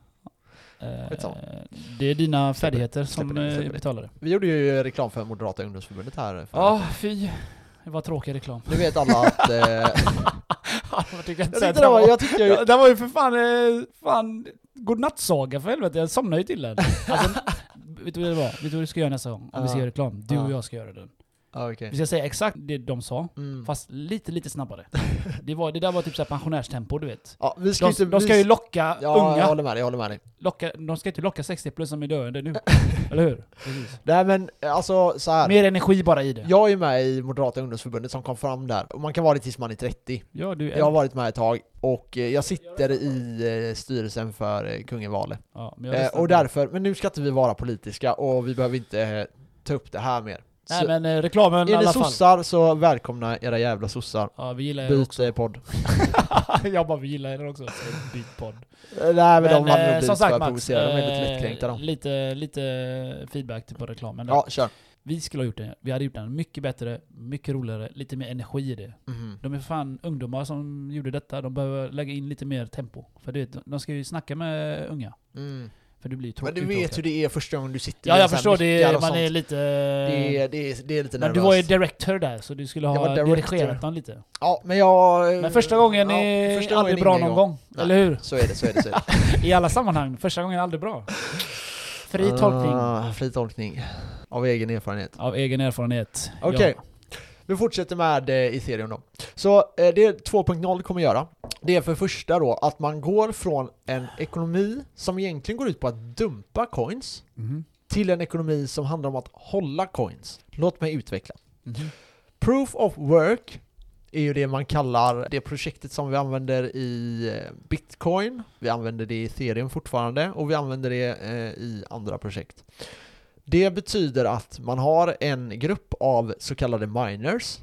Speaker 1: skitsamma.
Speaker 2: Eh, det är dina färdigheter som
Speaker 1: släpper det,
Speaker 2: eh,
Speaker 1: släpper det.
Speaker 2: betalar det.
Speaker 1: Vi gjorde ju reklam för Moderata ungdomsförbundet här. För,
Speaker 2: Ja, fy. Det var tråkig reklam.
Speaker 1: Nu vet alla att... Eh,
Speaker 2: jag tycker
Speaker 1: jag, tyckte det var, jag tyckte ju...
Speaker 2: Ja, det var ju för fan, eh, fan godnattsaga för helvete. Jag somnade ju till den. Alltså, vet du vad det var? Vet du vad du ska göra nästa gång? Om vi ska
Speaker 1: Ja.
Speaker 2: göra reklam? Du och
Speaker 1: Ja.
Speaker 2: jag ska göra den.
Speaker 1: Ja, okej.
Speaker 2: Vi ska säga exakt det de sa,
Speaker 1: Mm.
Speaker 2: fast lite, lite snabbare. Det, var, det där var typ såhär pensionärstempo, du vet.
Speaker 1: Ja, vi ska
Speaker 2: De,
Speaker 1: inte...
Speaker 2: de ska
Speaker 1: vi-
Speaker 2: ju locka
Speaker 1: Ja, jag
Speaker 2: unga.
Speaker 1: håller med dig, jag håller med dig.
Speaker 2: Locka, de ska inte locka 60 plus som är döende nu. Eller hur? Precis.
Speaker 1: Nej men alltså så här.
Speaker 2: Mer energi bara i det.
Speaker 1: Jag är med i Moderata ungdomsförbundet som kom fram där, och man kan vara det tills man är 30.
Speaker 2: Ja, du är...
Speaker 1: Jag har varit med ett tag, och eh, jag sitter i eh, styrelsen för eh, kungen Vale.
Speaker 2: Ja, men jag
Speaker 1: Eh,
Speaker 2: lyssnar
Speaker 1: Och
Speaker 2: på-
Speaker 1: därför, men nu ska inte vi vara politiska, och vi behöver inte eh, ta upp det här mer.
Speaker 2: Nej
Speaker 1: Så-
Speaker 2: men eh, reklamen i
Speaker 1: Är
Speaker 2: alla
Speaker 1: ni
Speaker 2: fall.
Speaker 1: sossar så välkomna era jävla sossar.
Speaker 2: Ja, vi gillar er
Speaker 1: Byt
Speaker 2: också.
Speaker 1: eh, podd.
Speaker 2: jag bara, vi gillar er också. Byt podd.
Speaker 1: Eh, Nej men, de hade nog
Speaker 2: eh, som
Speaker 1: blivit
Speaker 2: sagt,
Speaker 1: för
Speaker 2: Max,
Speaker 1: provocerade, de är lite
Speaker 2: eh,
Speaker 1: lättkränkta de.
Speaker 2: Lite, lite feedback till på reklamen. där.
Speaker 1: Ja, kör.
Speaker 2: Vi skulle ha gjort det. Vi hade gjort den mycket bättre, mycket roligare, lite mer energi i det.
Speaker 1: Mhm.
Speaker 2: De är fan ungdomar som gjorde detta. De behöver lägga in lite mer tempo. För du vet, de ska ju snacka med unga.
Speaker 1: Mm.
Speaker 2: För du blir ju
Speaker 1: Men
Speaker 2: tråkig.
Speaker 1: du vet hur det är första gången du sitter
Speaker 2: Ja,
Speaker 1: med
Speaker 2: jag
Speaker 1: så här
Speaker 2: förstår. Det,
Speaker 1: mickar
Speaker 2: är-
Speaker 1: och
Speaker 2: man
Speaker 1: sånt.
Speaker 2: är lite...
Speaker 1: det, är, det, är, det är lite
Speaker 2: men
Speaker 1: nervöst.
Speaker 2: du var ju director där, så du skulle
Speaker 1: Jag
Speaker 2: ha
Speaker 1: var director.
Speaker 2: dirigerat dem lite.
Speaker 1: Ja, men jag...
Speaker 2: Men första gången
Speaker 1: ja,
Speaker 2: är
Speaker 1: första
Speaker 2: aldrig
Speaker 1: gången
Speaker 2: bra
Speaker 1: ingen
Speaker 2: någon gång.
Speaker 1: Nej.
Speaker 2: Eller hur?
Speaker 1: Så är det, så är det, så är det.
Speaker 2: I alla sammanhang. Första gången är aldrig bra. Fri tolkning.
Speaker 1: Ah, fri tolkning. Av egen erfarenhet.
Speaker 2: Av egen erfarenhet.
Speaker 1: Okej. Vi fortsätter med eh, Ethereum då. Så eh, det 2.0 kommer göra, det är för första då att man går från en ekonomi som egentligen går ut på att dumpa coins
Speaker 2: Ja. Mhm.
Speaker 1: till en ekonomi som handlar om att hålla coins. Låt mig utveckla.
Speaker 2: Mhm.
Speaker 1: Proof of work är ju det man kallar det projektet som vi använder i eh, Bitcoin. Vi använder det i Ethereum fortfarande och vi använder det eh, i andra projekt. Det betyder att man har en grupp av så kallade miners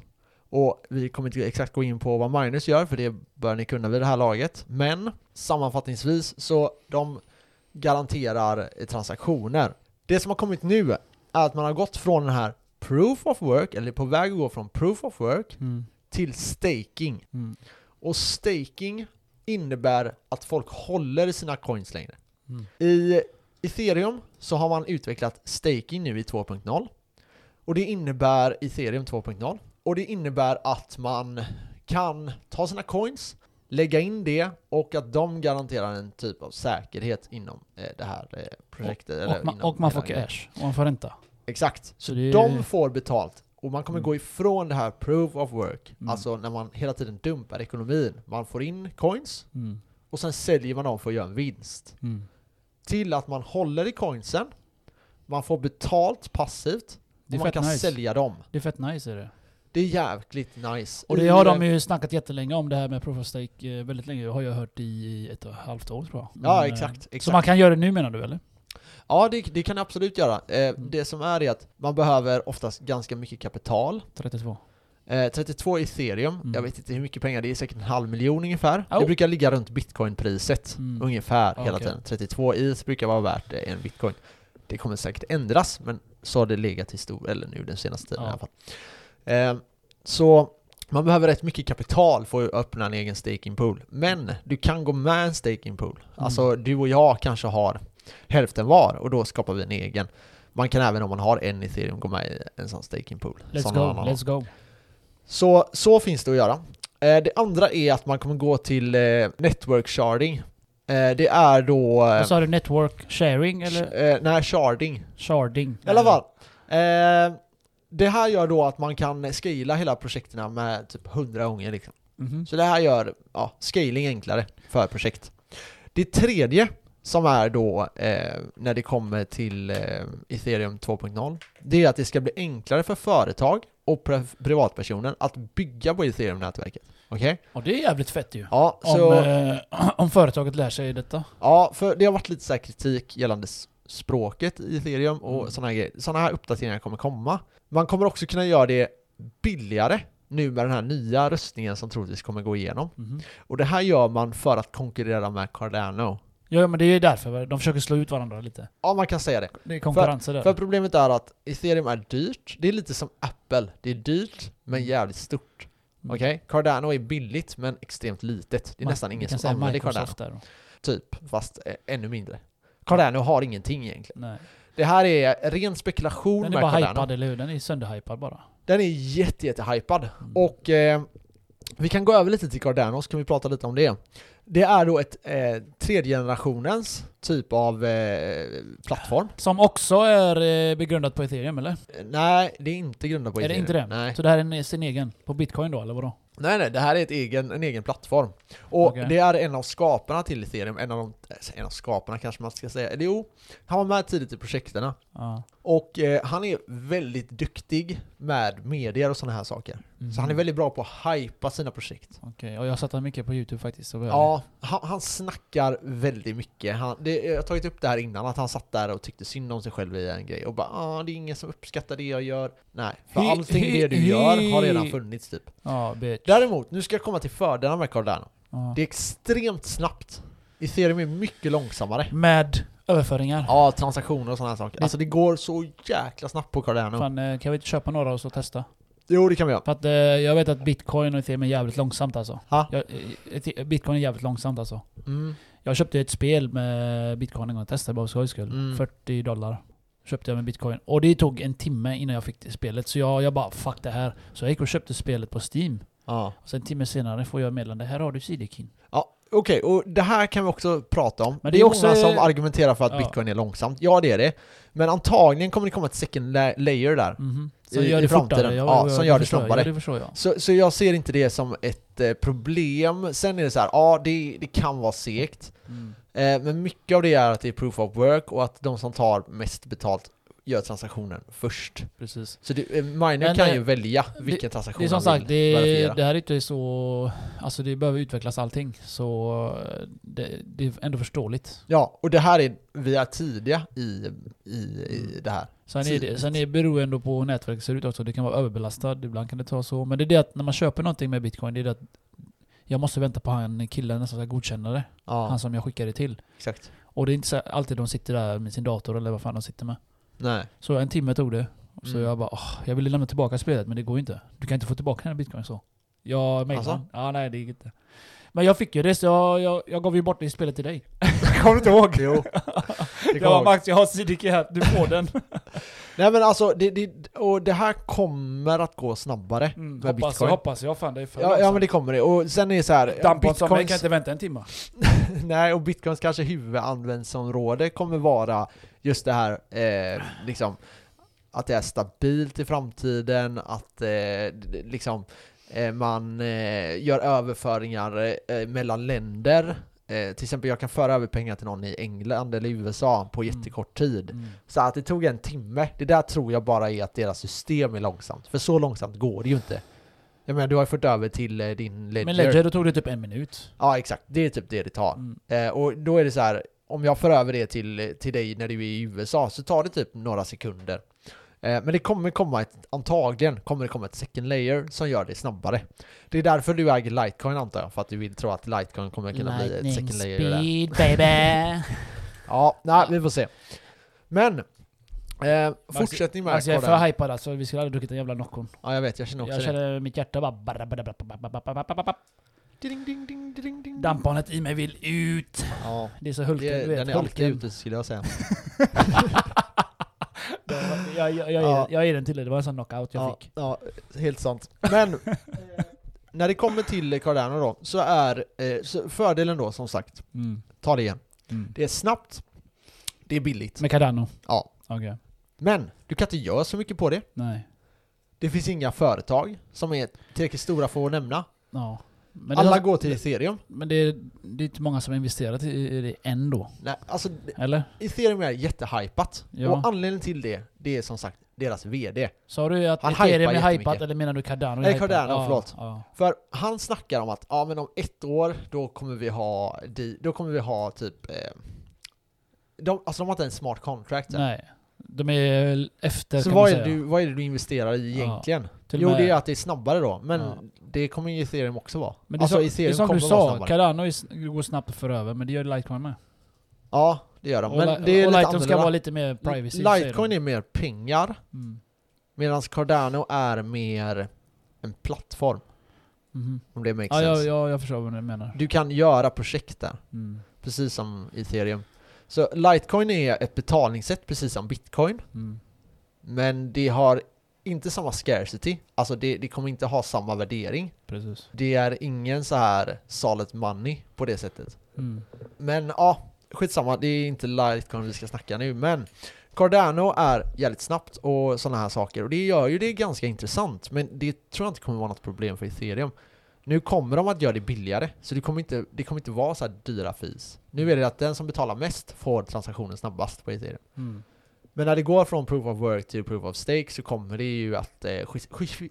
Speaker 1: och vi kommer inte exakt gå in på vad miners gör för det bör ni kunna vid det här laget. Men sammanfattningsvis så de garanterar eh, transaktioner. Det som har kommit nu är att man har gått från den här proof of work, eller är på väg att gå från proof of work
Speaker 2: Mm.
Speaker 1: till staking.
Speaker 2: Mm.
Speaker 1: Och staking innebär att folk håller sina coins längre.
Speaker 2: Mm.
Speaker 1: I Ethereum så har man utvecklat staking nu i 2.0 och det innebär Ethereum 2.0 och det innebär att man kan ta sina coins, lägga in det och att de garanterar en typ av säkerhet inom eh, det här eh, projektet. eller
Speaker 2: Och man,
Speaker 1: inom
Speaker 2: och man får
Speaker 1: hela grejen.
Speaker 2: cash. Och man får ränta.
Speaker 1: Exakt.
Speaker 2: Så det är...
Speaker 1: De får betalt och man kommer
Speaker 2: Mm.
Speaker 1: gå ifrån det här proof of work,
Speaker 2: Mm.
Speaker 1: alltså när man hela tiden dumpar ekonomin. Man får in coins
Speaker 2: Mm.
Speaker 1: och sen säljer man dem för att göra en vinst.
Speaker 2: Mm.
Speaker 1: Till att man håller i coinsen, man får betalt passivt
Speaker 2: Det
Speaker 1: och
Speaker 2: är
Speaker 1: man
Speaker 2: fett
Speaker 1: kan
Speaker 2: nice.
Speaker 1: sälja dem.
Speaker 2: Det är fett nice är det.
Speaker 1: Det är jävligt nice.
Speaker 2: Och
Speaker 1: I,
Speaker 2: det har de
Speaker 1: eh,
Speaker 2: ju snackat jättelänge om det här med Proof of Stake. eh, Väldigt länge. Det har jag hört i ett och ett halvt år tror jag. Men,
Speaker 1: Ja,
Speaker 2: eh,
Speaker 1: exakt.
Speaker 2: Så
Speaker 1: exakt.
Speaker 2: man kan göra det nu menar du eller?
Speaker 1: Ja, det, det kan jag absolut göra. Eh,
Speaker 2: Mm.
Speaker 1: Det som är är att man behöver oftast ganska mycket kapital.
Speaker 2: 32.
Speaker 1: Eh, 32 ethereum,
Speaker 2: Mm.
Speaker 1: jag vet inte hur mycket pengar, det är säkert en halv miljon ungefär.
Speaker 2: Oh.
Speaker 1: Det brukar ligga runt bitcoinpriset
Speaker 2: Mm.
Speaker 1: ungefär
Speaker 2: Ah,
Speaker 1: hela
Speaker 2: okej.
Speaker 1: tiden. 32 is brukar vara värt eh, en bitcoin. Det kommer säkert ändras, men så har det legat i stor, eller nu den senaste tiden
Speaker 2: Ja.
Speaker 1: i alla fall. Eh, så man behöver rätt mycket kapital för att öppna en egen staking pool. Men du kan gå med en staking pool. Alltså
Speaker 2: Mm.
Speaker 1: du och jag kanske har hälften var och då skapar vi en egen. Man kan även om man har en ethereum gå med i en sån staking pool.
Speaker 2: Let's
Speaker 1: Sån
Speaker 2: go,
Speaker 1: har man.
Speaker 2: let's go.
Speaker 1: Så, så finns det att göra. Eh, det andra är att man kommer gå till eh, network sharding. Eh, det är då... Eh,
Speaker 2: Vad sa du? Network sharing eller
Speaker 1: eh, nej, sharding.
Speaker 2: sharding?
Speaker 1: I alla fall. Eh, det här gör då att man kan scala hela projekten med typ 100 gånger liksom.
Speaker 2: Mhm.
Speaker 1: Så det här gör ja, scaling enklare för projekt. Det tredje som är då eh, när det kommer till eh, Ethereum 2.0 det är att det ska bli enklare för företag och pri- privatpersoner att bygga på Ethereum-nätverket. Okej?
Speaker 2: Och det är jävligt fett ju.
Speaker 1: Ja,
Speaker 2: Om,
Speaker 1: så,
Speaker 2: eh, om företaget lär sig detta.
Speaker 1: ja, för det har varit lite så här kritik gällande s- språket i Ethereum och
Speaker 2: Mm.
Speaker 1: sådana här grejer. Sådana här uppdateringar kommer komma. Man kommer också kunna göra det billigare nu med den här nya röstningen som troligtvis kommer gå igenom.
Speaker 2: Mhm.
Speaker 1: Och det här gör man för att konkurrera med Cardano.
Speaker 2: Ja men det är ju därför. va? De försöker slå ut varandra lite.
Speaker 1: Ja, man kan säga det.
Speaker 2: Det är konkurrenser där.
Speaker 1: För problemet är att ethereum är dyrt. Det är lite som Apple. Det är dyrt, men jävligt stort.
Speaker 2: Mm.
Speaker 1: Okej? Cardano är billigt, men extremt litet. Det är
Speaker 2: Man-
Speaker 1: nästan
Speaker 2: vi
Speaker 1: ingen som
Speaker 2: kan säga
Speaker 1: använder Cardano.
Speaker 2: Microsoft där. då.
Speaker 1: Typ, fast eh, ännu mindre. Cardano har ingenting egentligen.
Speaker 2: Nej.
Speaker 1: Det här är ren spekulation
Speaker 2: Den är
Speaker 1: med
Speaker 2: bara
Speaker 1: Cardano.
Speaker 2: hypad, eller hur? Den är sönderhypad bara.
Speaker 1: Den är jätte, jätte hypad.
Speaker 2: Mm.
Speaker 1: Och eh, vi kan gå över lite till Cardano så kan vi prata lite om det. Det är då ett eh, tredje generationens typ av eh, plattform.
Speaker 2: Som också är eh, begrundat på ethereum eller?
Speaker 1: Eh, Nej, det är inte grundat på
Speaker 2: Är det inte det?
Speaker 1: Nej.
Speaker 2: Så det här är en- sin egen? På bitcoin då eller vadå?
Speaker 1: nej, nej, det här är ett egen, en egen plattform. Och
Speaker 2: Okej.
Speaker 1: det är en av skaparna till ethereum, en av, de, eh, en av skaparna kanske man ska säga. Eller jo, han var med tidigt i projekterna.
Speaker 2: Ja.
Speaker 1: Och eh, han är väldigt duktig med medier och sådana här saker. Så han är väldigt bra på att hypa sina projekt.
Speaker 2: Mm. Okej, och jag satt mycket på youtube faktiskt. Så
Speaker 1: Ja, han, han snackar väldigt mycket. Han, det, jag har tagit upp det här innan, att han satt där och tyckte synd om sig själv i en grej och bara ah, det är ingen som uppskattar det jag gör. Nej, för
Speaker 2: He-
Speaker 1: allting
Speaker 2: he-
Speaker 1: det du gör har
Speaker 2: he-
Speaker 1: redan funnits typ.
Speaker 2: Ja, bitch.
Speaker 1: Däremot, nu ska jag komma till fördelarna med Cardano.
Speaker 2: Ja.
Speaker 1: Det är extremt snabbt. Ethereum är mycket långsammare.
Speaker 2: Med överföringar.
Speaker 1: Ja, transaktioner och sådana här saker. Alltså det går så jäkla snabbt på Cardano.
Speaker 2: Fan, eh, kan vi inte köpa några och så testa?
Speaker 1: Jo, det kan vi göra.
Speaker 2: För att eh, jag vet att bitcoin och ethereum är jävligt långsamt alltså.
Speaker 1: Ha?
Speaker 2: Jag, eh, ethe- bitcoin är jävligt långsamt alltså.
Speaker 1: Mm.
Speaker 2: Jag köpte ett spel med bitcoin en gång och testade bara för skojs skull.
Speaker 1: Mm.
Speaker 2: 40 dollar köpte jag med bitcoin. Och det tog en timme innan jag fick det spelet. Så jag, jag bara 'fuck det här' Så jag gick och köpte spelet på Steam.
Speaker 1: Ja.
Speaker 2: Och sen en timme senare får jag ett meddelande 'Här har du Sidekin'
Speaker 1: Ja, Okej, och det här kan vi också prata om.
Speaker 2: Men
Speaker 1: det
Speaker 2: det
Speaker 1: är
Speaker 2: är också-
Speaker 1: många som argumenterar för att
Speaker 2: Ja.
Speaker 1: bitcoin är långsamt. Ja, det är det. Men antagligen kommer det komma ett second la- layer där.
Speaker 2: Mhm.
Speaker 1: I- i framtiden. Ja, som gör det
Speaker 2: förstår jag.
Speaker 1: snabbare.
Speaker 2: Ja, det förstår jag.
Speaker 1: Så, så jag ser inte det som ett eh, problem. Sen är det så här, ja det, det kan vara segt.
Speaker 2: Mm.
Speaker 1: Eh, men mycket av det är att det är proof of work och att de som tar mest betalt gör transaktionen först.
Speaker 2: Precis.
Speaker 1: Så det, eh, miner
Speaker 2: Men,
Speaker 1: kan
Speaker 2: eh,
Speaker 1: ju välja
Speaker 2: det-
Speaker 1: vilken transaktion
Speaker 2: Det är som
Speaker 1: han
Speaker 2: sagt,
Speaker 1: vill
Speaker 2: det,
Speaker 1: verifiera.
Speaker 2: det här är inte så... Alltså det behöver utvecklas allting. Så eh, det, det är ändå förståeligt.
Speaker 1: Ja, och det här är, vi är tidiga i, i, i det här.
Speaker 2: Sen, är det,
Speaker 1: Tidigt.
Speaker 2: sen är, beror det ändå på hur nätverket ser ut också. Det kan vara överbelastat, ibland kan det ta så. Men det är det att när man köper någonting med bitcoin, det är det att jag måste vänta på han killen alltså som ska godkänna det.
Speaker 1: Ja,
Speaker 2: Han som jag skickar det till.
Speaker 1: exakt.
Speaker 2: Och det är inte så alltid de sitter där med sin dator eller vad fan de sitter med.
Speaker 1: Nej.
Speaker 2: Så en timme tog det. Så
Speaker 1: Mm.
Speaker 2: jag bara åh, jag ville lämna tillbaka spelet men det går ju inte. Du kan inte få tillbaka den här bitcoin så. Jag mejlade
Speaker 1: Alltså?
Speaker 2: han. Ja, nej det gick inte. Men jag fick ju det så jag, jag, jag gav ju bort det spelet till dig.
Speaker 1: Kommer du inte ihåg? Jo. Det kommer
Speaker 2: Jag bara
Speaker 1: jag ihåg.
Speaker 2: Max, jag har Siddiqui här, du får den.
Speaker 1: Nej men alltså, det, det, och det här kommer att gå snabbare
Speaker 2: Mm,
Speaker 1: med
Speaker 2: hoppas jag,
Speaker 1: bitcoin.
Speaker 2: hoppas jag. Fan det är för
Speaker 1: ja, ja men det kommer det. Och sen är det så här, ja,
Speaker 2: Dampband som mig kan
Speaker 1: bitcoins,
Speaker 2: inte vänta en timme.
Speaker 1: nej, och bitcoins kanske huvudanvändningsområde kommer vara just det här eh, liksom att det är stabilt i framtiden, att eh, d- d- liksom eh, man eh, gör överföringar eh, mellan länder. Eh, till exempel jag kan föra över pengar till någon i England eller USA på
Speaker 2: Mm.
Speaker 1: jättekort tid.
Speaker 2: Mm.
Speaker 1: Så att det tog en timme, det där tror jag bara är att deras system är långsamt. För så långsamt går det ju inte. Jag menar, du har ju fört över till eh, din ledger.
Speaker 2: Men Ledger, då tog det typ en minut.
Speaker 1: Ja, exakt. Det är typ det det tar.
Speaker 2: Mm.
Speaker 1: Eh, och då är det så här, om jag för över det till, till dig när du är i USA så tar det typ några sekunder. Eh, men det kommer komma ett, antagligen kommer det komma ett second layer som gör det snabbare. Det är därför du äger Litecoin antar jag, för att du vill tro att Litecoin kommer kunna bli ett second layer. Där.
Speaker 2: baby!
Speaker 1: Ja, nej, vi får se. Men, eh,
Speaker 2: Max-
Speaker 1: fortsättning med
Speaker 2: Alltså jag är
Speaker 1: koden.
Speaker 2: för hypad alltså, vi skulle aldrig druckit en jävla Noccon.
Speaker 1: Ja, jag vet, jag känner också
Speaker 2: Jag
Speaker 1: jag
Speaker 2: känner mitt hjärta bara... barra, barra, barra, barra, barra, barra, barra, barra.
Speaker 1: det. Ding, ding, ding, ding, ding.
Speaker 2: Dampandet i mig vill ut!
Speaker 1: Ja,
Speaker 2: Det är så Hulken,
Speaker 1: det,
Speaker 2: du vet.
Speaker 1: den är alltid
Speaker 2: hulken.
Speaker 1: ute skulle jag säga.
Speaker 2: Jag, jag, jag,
Speaker 1: Ja.
Speaker 2: jag, jag ger den till dig, det var en sån knockout jag
Speaker 1: ja,
Speaker 2: fick.
Speaker 1: ja, helt sant. Men när det kommer till Cardano då, så är eh, så fördelen då som sagt,
Speaker 2: Mm.
Speaker 1: ta det igen.
Speaker 2: Mm.
Speaker 1: Det är snabbt, det är billigt.
Speaker 2: Med Cardano?
Speaker 1: Ja.
Speaker 2: Okej.
Speaker 1: Men du kan inte göra så mycket på det.
Speaker 2: Nej.
Speaker 1: Det finns inga företag som är tillräckligt stora för att nämna.
Speaker 2: Ja. Men det,
Speaker 1: Alla
Speaker 2: är-
Speaker 1: går till ethereum.
Speaker 2: Men det är, det är inte många som har investerat i- i det än då.
Speaker 1: Nej, alltså
Speaker 2: Eller?
Speaker 1: ethereum är jättehypat.
Speaker 2: Ja.
Speaker 1: Och anledningen till det, det är som sagt deras VD.
Speaker 2: Sa du att
Speaker 1: Han
Speaker 2: Ethereum
Speaker 1: hypar
Speaker 2: är hypat
Speaker 1: jättemycket.
Speaker 2: eller menar du Cardano? är
Speaker 1: Nej,
Speaker 2: hypat?
Speaker 1: Cardano,
Speaker 2: ja,
Speaker 1: förlåt.
Speaker 2: Ja.
Speaker 1: För han snackar om att ja men om ett år då kommer vi ha, di- då kommer vi ha typ eh, de, alltså de har inte en smart contract. här.
Speaker 2: Nej. De är väl efter
Speaker 1: Så
Speaker 2: kan
Speaker 1: vad
Speaker 2: man
Speaker 1: är,
Speaker 2: säga.
Speaker 1: du, vad är det du investerar i
Speaker 2: Ja,
Speaker 1: egentligen?
Speaker 2: Till
Speaker 1: jo
Speaker 2: och med-
Speaker 1: det är att det är snabbare då, men
Speaker 2: Ja.
Speaker 1: det kommer ju ethereum också vara.
Speaker 2: Men det är,
Speaker 1: alltså
Speaker 2: som, det är
Speaker 1: ethereum
Speaker 2: som
Speaker 1: kommer
Speaker 2: du
Speaker 1: att vara
Speaker 2: sa,
Speaker 1: snabbare.
Speaker 2: Cardano är, s- går snabbt att föra över men det gör Litecoin med.
Speaker 1: Ja, det gör de.
Speaker 2: och
Speaker 1: Men
Speaker 2: Li-
Speaker 1: det är
Speaker 2: och
Speaker 1: lite
Speaker 2: Litecoin ska vara
Speaker 1: annorlunda.
Speaker 2: lite mer privacy.
Speaker 1: Litecoin är mer pengar,
Speaker 2: Mm.
Speaker 1: medan Cardano är mer en plattform.
Speaker 2: Mhm.
Speaker 1: Om det makes
Speaker 2: Ja, ja,
Speaker 1: sense.
Speaker 2: ja, jag förstår vad du menar.
Speaker 1: Du kan göra projekt där.
Speaker 2: Mm.
Speaker 1: precis som ethereum. Så Litecoin är ett betalningssätt precis som bitcoin,
Speaker 2: Mm.
Speaker 1: men det har inte samma scarcity, alltså det, det kommer inte ha samma värdering.
Speaker 2: Precis.
Speaker 1: Det är ingen så här solid money på det sättet.
Speaker 2: Mm.
Speaker 1: Men ja, skitsamma, det är inte Litecoin vi ska snacka nu, men Cardano är jävligt snabbt och sådana här saker och det gör ju det ganska intressant, men det tror jag inte kommer vara något problem för ethereum. Nu kommer de att göra det billigare, så det kommer inte, det kommer inte vara så här dyra fees. Nu är det att den som betalar mest får transaktionen snabbast på ethereum.
Speaker 2: Mm.
Speaker 1: Men när det går från proof of work till proof of stake så kommer det ju att eh, skif-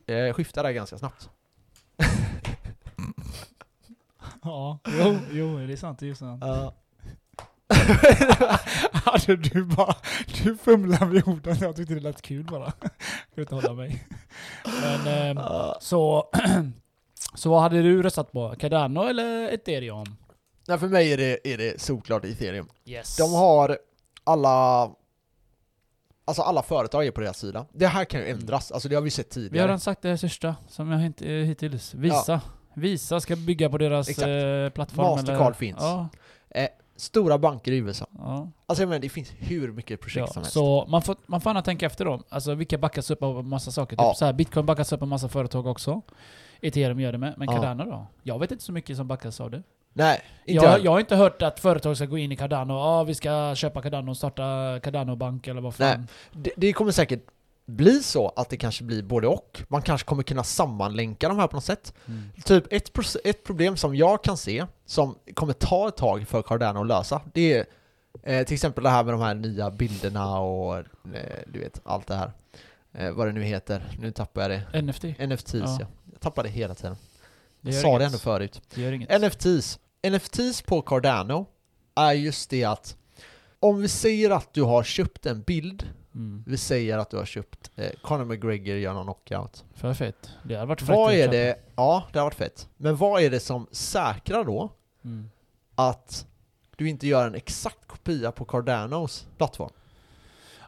Speaker 1: skif- eh, skifta där ganska snabbt.
Speaker 2: Ja, jo, jo, det är sant. Det är sant. Hade du bara... Du fumlar med orden. Jag tyckte det lät kul bara. Jag kunde inte hålla mig. Men ehm,
Speaker 1: Ja.
Speaker 2: så... Så vad hade du röstat på? Cardano eller Ethereum?
Speaker 1: Nej, för mig är det, är det såklart ethereum.
Speaker 2: Yes.
Speaker 1: De har alla... Alltså alla företag är på deras sida. Det här kan ju ändras, alltså det har vi sett
Speaker 2: Mm. Vi har
Speaker 1: tidigare.
Speaker 2: redan sagt det största som jag hänt eh, hittills. Visa. Visa ska bygga på deras
Speaker 1: Exakt.
Speaker 2: eh, plattform.
Speaker 1: Mastercard
Speaker 2: eller-
Speaker 1: finns.
Speaker 2: Ja,
Speaker 1: Stora banker i USA.
Speaker 2: ja.
Speaker 1: Alltså jag menar, det finns hur mycket projekt som
Speaker 2: Ja,
Speaker 1: helst.
Speaker 2: så man får, man får gärna tänka efter då. Alltså vilka backas upp av massa saker.
Speaker 1: Ja.
Speaker 2: Typ så här, Bitcoin backas upp av massa företag också. Ethereum gör det med. Men
Speaker 1: Ja.
Speaker 2: Cardano då? Jag vet inte så mycket som backas av det.
Speaker 1: Nej, inte
Speaker 2: Jag,
Speaker 1: jag.
Speaker 2: jag har inte hört att företag ska gå in i Cardano. Ja, vi ska köpa Cardano och starta Cardano-bank eller vad fan.
Speaker 1: Det, det kommer säkert bli så att det kanske blir både och. Man kanske kommer kunna sammanlänka de här på något sätt.
Speaker 2: Mm.
Speaker 1: Typ ett, proce- ett problem som jag kan se, som kommer ta ett tag för Cardano att lösa, det är eh, till exempel det här med de här nya bilderna och eh, du vet, allt det här. Eh, vad det nu heter, nu tappar jag det.
Speaker 2: NFT.
Speaker 1: NFTs ja.
Speaker 2: Ja.
Speaker 1: Jag tappar det hela tiden.
Speaker 2: Det
Speaker 1: Jag
Speaker 2: gör
Speaker 1: sa det
Speaker 2: inget.
Speaker 1: ändå förut.
Speaker 2: Det gör inget.
Speaker 1: NFTs. NFTs på Cardano är just det att om vi säger att du har köpt en bild,
Speaker 2: Mm.
Speaker 1: vi säger att du har köpt eh, Conor McGregor gör någon knockout.
Speaker 2: För fett. Det hade varit fräckt
Speaker 1: Vad
Speaker 2: att
Speaker 1: är
Speaker 2: köpa.
Speaker 1: det, ja det har varit fett, men vad är det som säkrar då
Speaker 2: Mm.
Speaker 1: att du inte gör en exakt kopia på Cardanos plattform?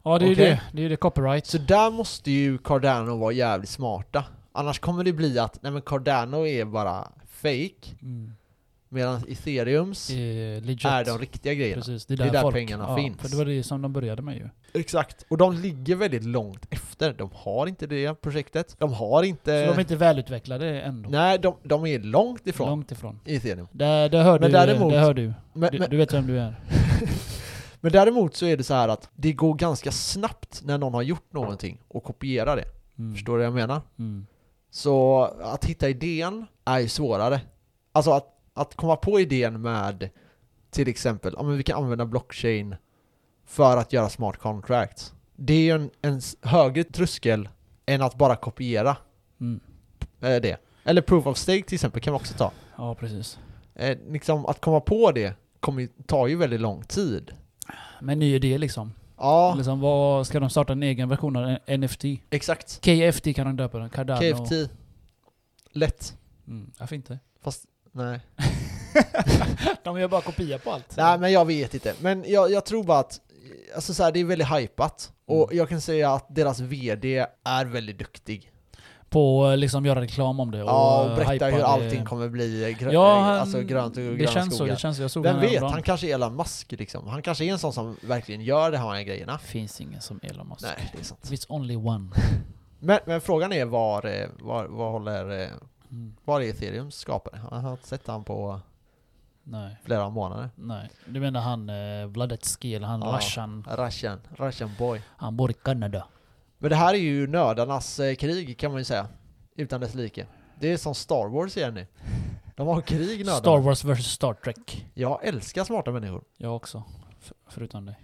Speaker 2: Ja, det är ju
Speaker 1: Okej.
Speaker 2: det. Det är ju det. Copyright.
Speaker 1: Så där måste ju Cardano vara jävligt smarta. Annars kommer det bli att, nej men Cardano är bara fake,
Speaker 2: Mm.
Speaker 1: Medan ethereums
Speaker 2: Eh, legit.
Speaker 1: är de riktiga grejerna.
Speaker 2: Precis, det är
Speaker 1: Det
Speaker 2: där,
Speaker 1: är där
Speaker 2: folk,
Speaker 1: pengarna
Speaker 2: ja,
Speaker 1: finns.
Speaker 2: För det var det som de började med ju.
Speaker 1: Exakt. Och de ligger väldigt långt efter. De har inte det projektet. De har inte...
Speaker 2: Så de är inte välutvecklade ändå.
Speaker 1: Nej, de, de är långt ifrån
Speaker 2: Långt ifrån.
Speaker 1: ethereum.
Speaker 2: Det, det hör
Speaker 1: Men
Speaker 2: du.
Speaker 1: däremot-
Speaker 2: det hör du.
Speaker 1: Men,
Speaker 2: Du,
Speaker 1: men,
Speaker 2: du vet vem du är.
Speaker 1: men däremot så är det så här att det går ganska snabbt när någon har gjort någonting och kopierar det.
Speaker 2: Mm.
Speaker 1: Förstår du vad jag menar?
Speaker 2: Mm.
Speaker 1: Så att hitta idén är ju svårare. Alltså att, att komma på idén med till exempel, ja men vi kan använda blockchain för att göra smart contracts. Det är ju en, en s- högre tröskel än att bara kopiera
Speaker 2: Mm.
Speaker 1: eh, det. Eller proof of stake till exempel kan man också ta.
Speaker 2: Ja, precis.
Speaker 1: Eh, liksom att komma på det kommer, ju- tar ju väldigt lång tid.
Speaker 2: Men ny idé liksom.
Speaker 1: Ja,
Speaker 2: liksom vad, ska de starta en egen version av en NFT?
Speaker 1: exakt.
Speaker 2: KFT kan de döpa den. Cardano.
Speaker 1: KFT. Lätt.
Speaker 2: Mm. Varför inte?
Speaker 1: Fast nej.
Speaker 2: De gör bara kopia på allt.
Speaker 1: Nej men jag vet inte, men jag, jag tror bara att Alltså så här, det är väldigt hypat och
Speaker 2: Mm.
Speaker 1: jag kan säga att deras VD är väldigt duktig.
Speaker 2: På eh, liksom göra reklam om det och,
Speaker 1: Ja, och
Speaker 2: eh,
Speaker 1: berättar
Speaker 2: hypa
Speaker 1: hur
Speaker 2: det.
Speaker 1: allting kommer bli grö-
Speaker 2: Ja,
Speaker 1: eh,
Speaker 2: han-
Speaker 1: alltså, grönt och
Speaker 2: Det
Speaker 1: gröna
Speaker 2: känns så,
Speaker 1: skogar.
Speaker 2: det känns så. Jag såg
Speaker 1: Vem
Speaker 2: den
Speaker 1: vet,
Speaker 2: häromdagen.
Speaker 1: han kanske är Elon Musk liksom. Han kanske är en sån som verkligen gör de här grejerna.
Speaker 2: Finns ingen som Elon Musk.
Speaker 1: Nej, det är sant.
Speaker 2: It's only one.
Speaker 1: Men, men frågan är var, eh, var, var håller, eh,
Speaker 2: Mm.
Speaker 1: var är Ethereums skapare? Jag har inte sett han på
Speaker 2: Nej.
Speaker 1: flera månader.
Speaker 2: Nej. Du menar han eh, Vladetski, eller han
Speaker 1: Ja.
Speaker 2: Russian.
Speaker 1: Russian, Russian boy.
Speaker 2: Han bor i Kanada.
Speaker 1: Men det här är ju nördarnas eh, krig kan man ju säga. Utan dess like. Det är som Star Wars igen nu. De har krig nördarna.
Speaker 2: Star Wars vs Star Trek.
Speaker 1: Jag älskar smarta människor.
Speaker 2: Jag också. F- förutom dig.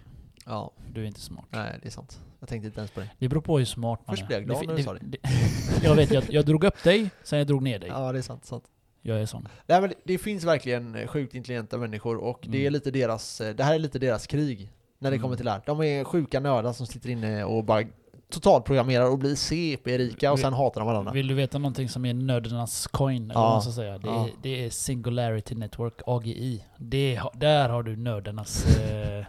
Speaker 1: Ja,
Speaker 2: Du är inte smart.
Speaker 1: nej det är sant. Jag tänkte inte ens på det.
Speaker 2: Det beror på hur smart man
Speaker 1: Först
Speaker 2: är.
Speaker 1: blev jag glad
Speaker 2: fi-
Speaker 1: när du sa det.
Speaker 2: jag vet, jag, jag drog upp dig, sen jag drog ner dig.
Speaker 1: Ja, det är sant. sant.
Speaker 2: Jag är sån.
Speaker 1: Nej, men det- det finns verkligen eh, sjukt intelligenta människor och det är
Speaker 2: Mm.
Speaker 1: lite deras, eh, det här är lite deras krig. När det
Speaker 2: Mm.
Speaker 1: kommer till det här. De är sjuka nördar som sitter inne och bara totalprogrammerar och blir CP-rika och
Speaker 2: Vi-
Speaker 1: sen hatar de varandra.
Speaker 2: Vill du veta någonting som är nördarnas coin? Eller
Speaker 1: Ja.
Speaker 2: vad man ska säga? Det,
Speaker 1: Ja.
Speaker 2: är, det är Singularity Network, AGI. Det, har- där har du nördarnas... eh,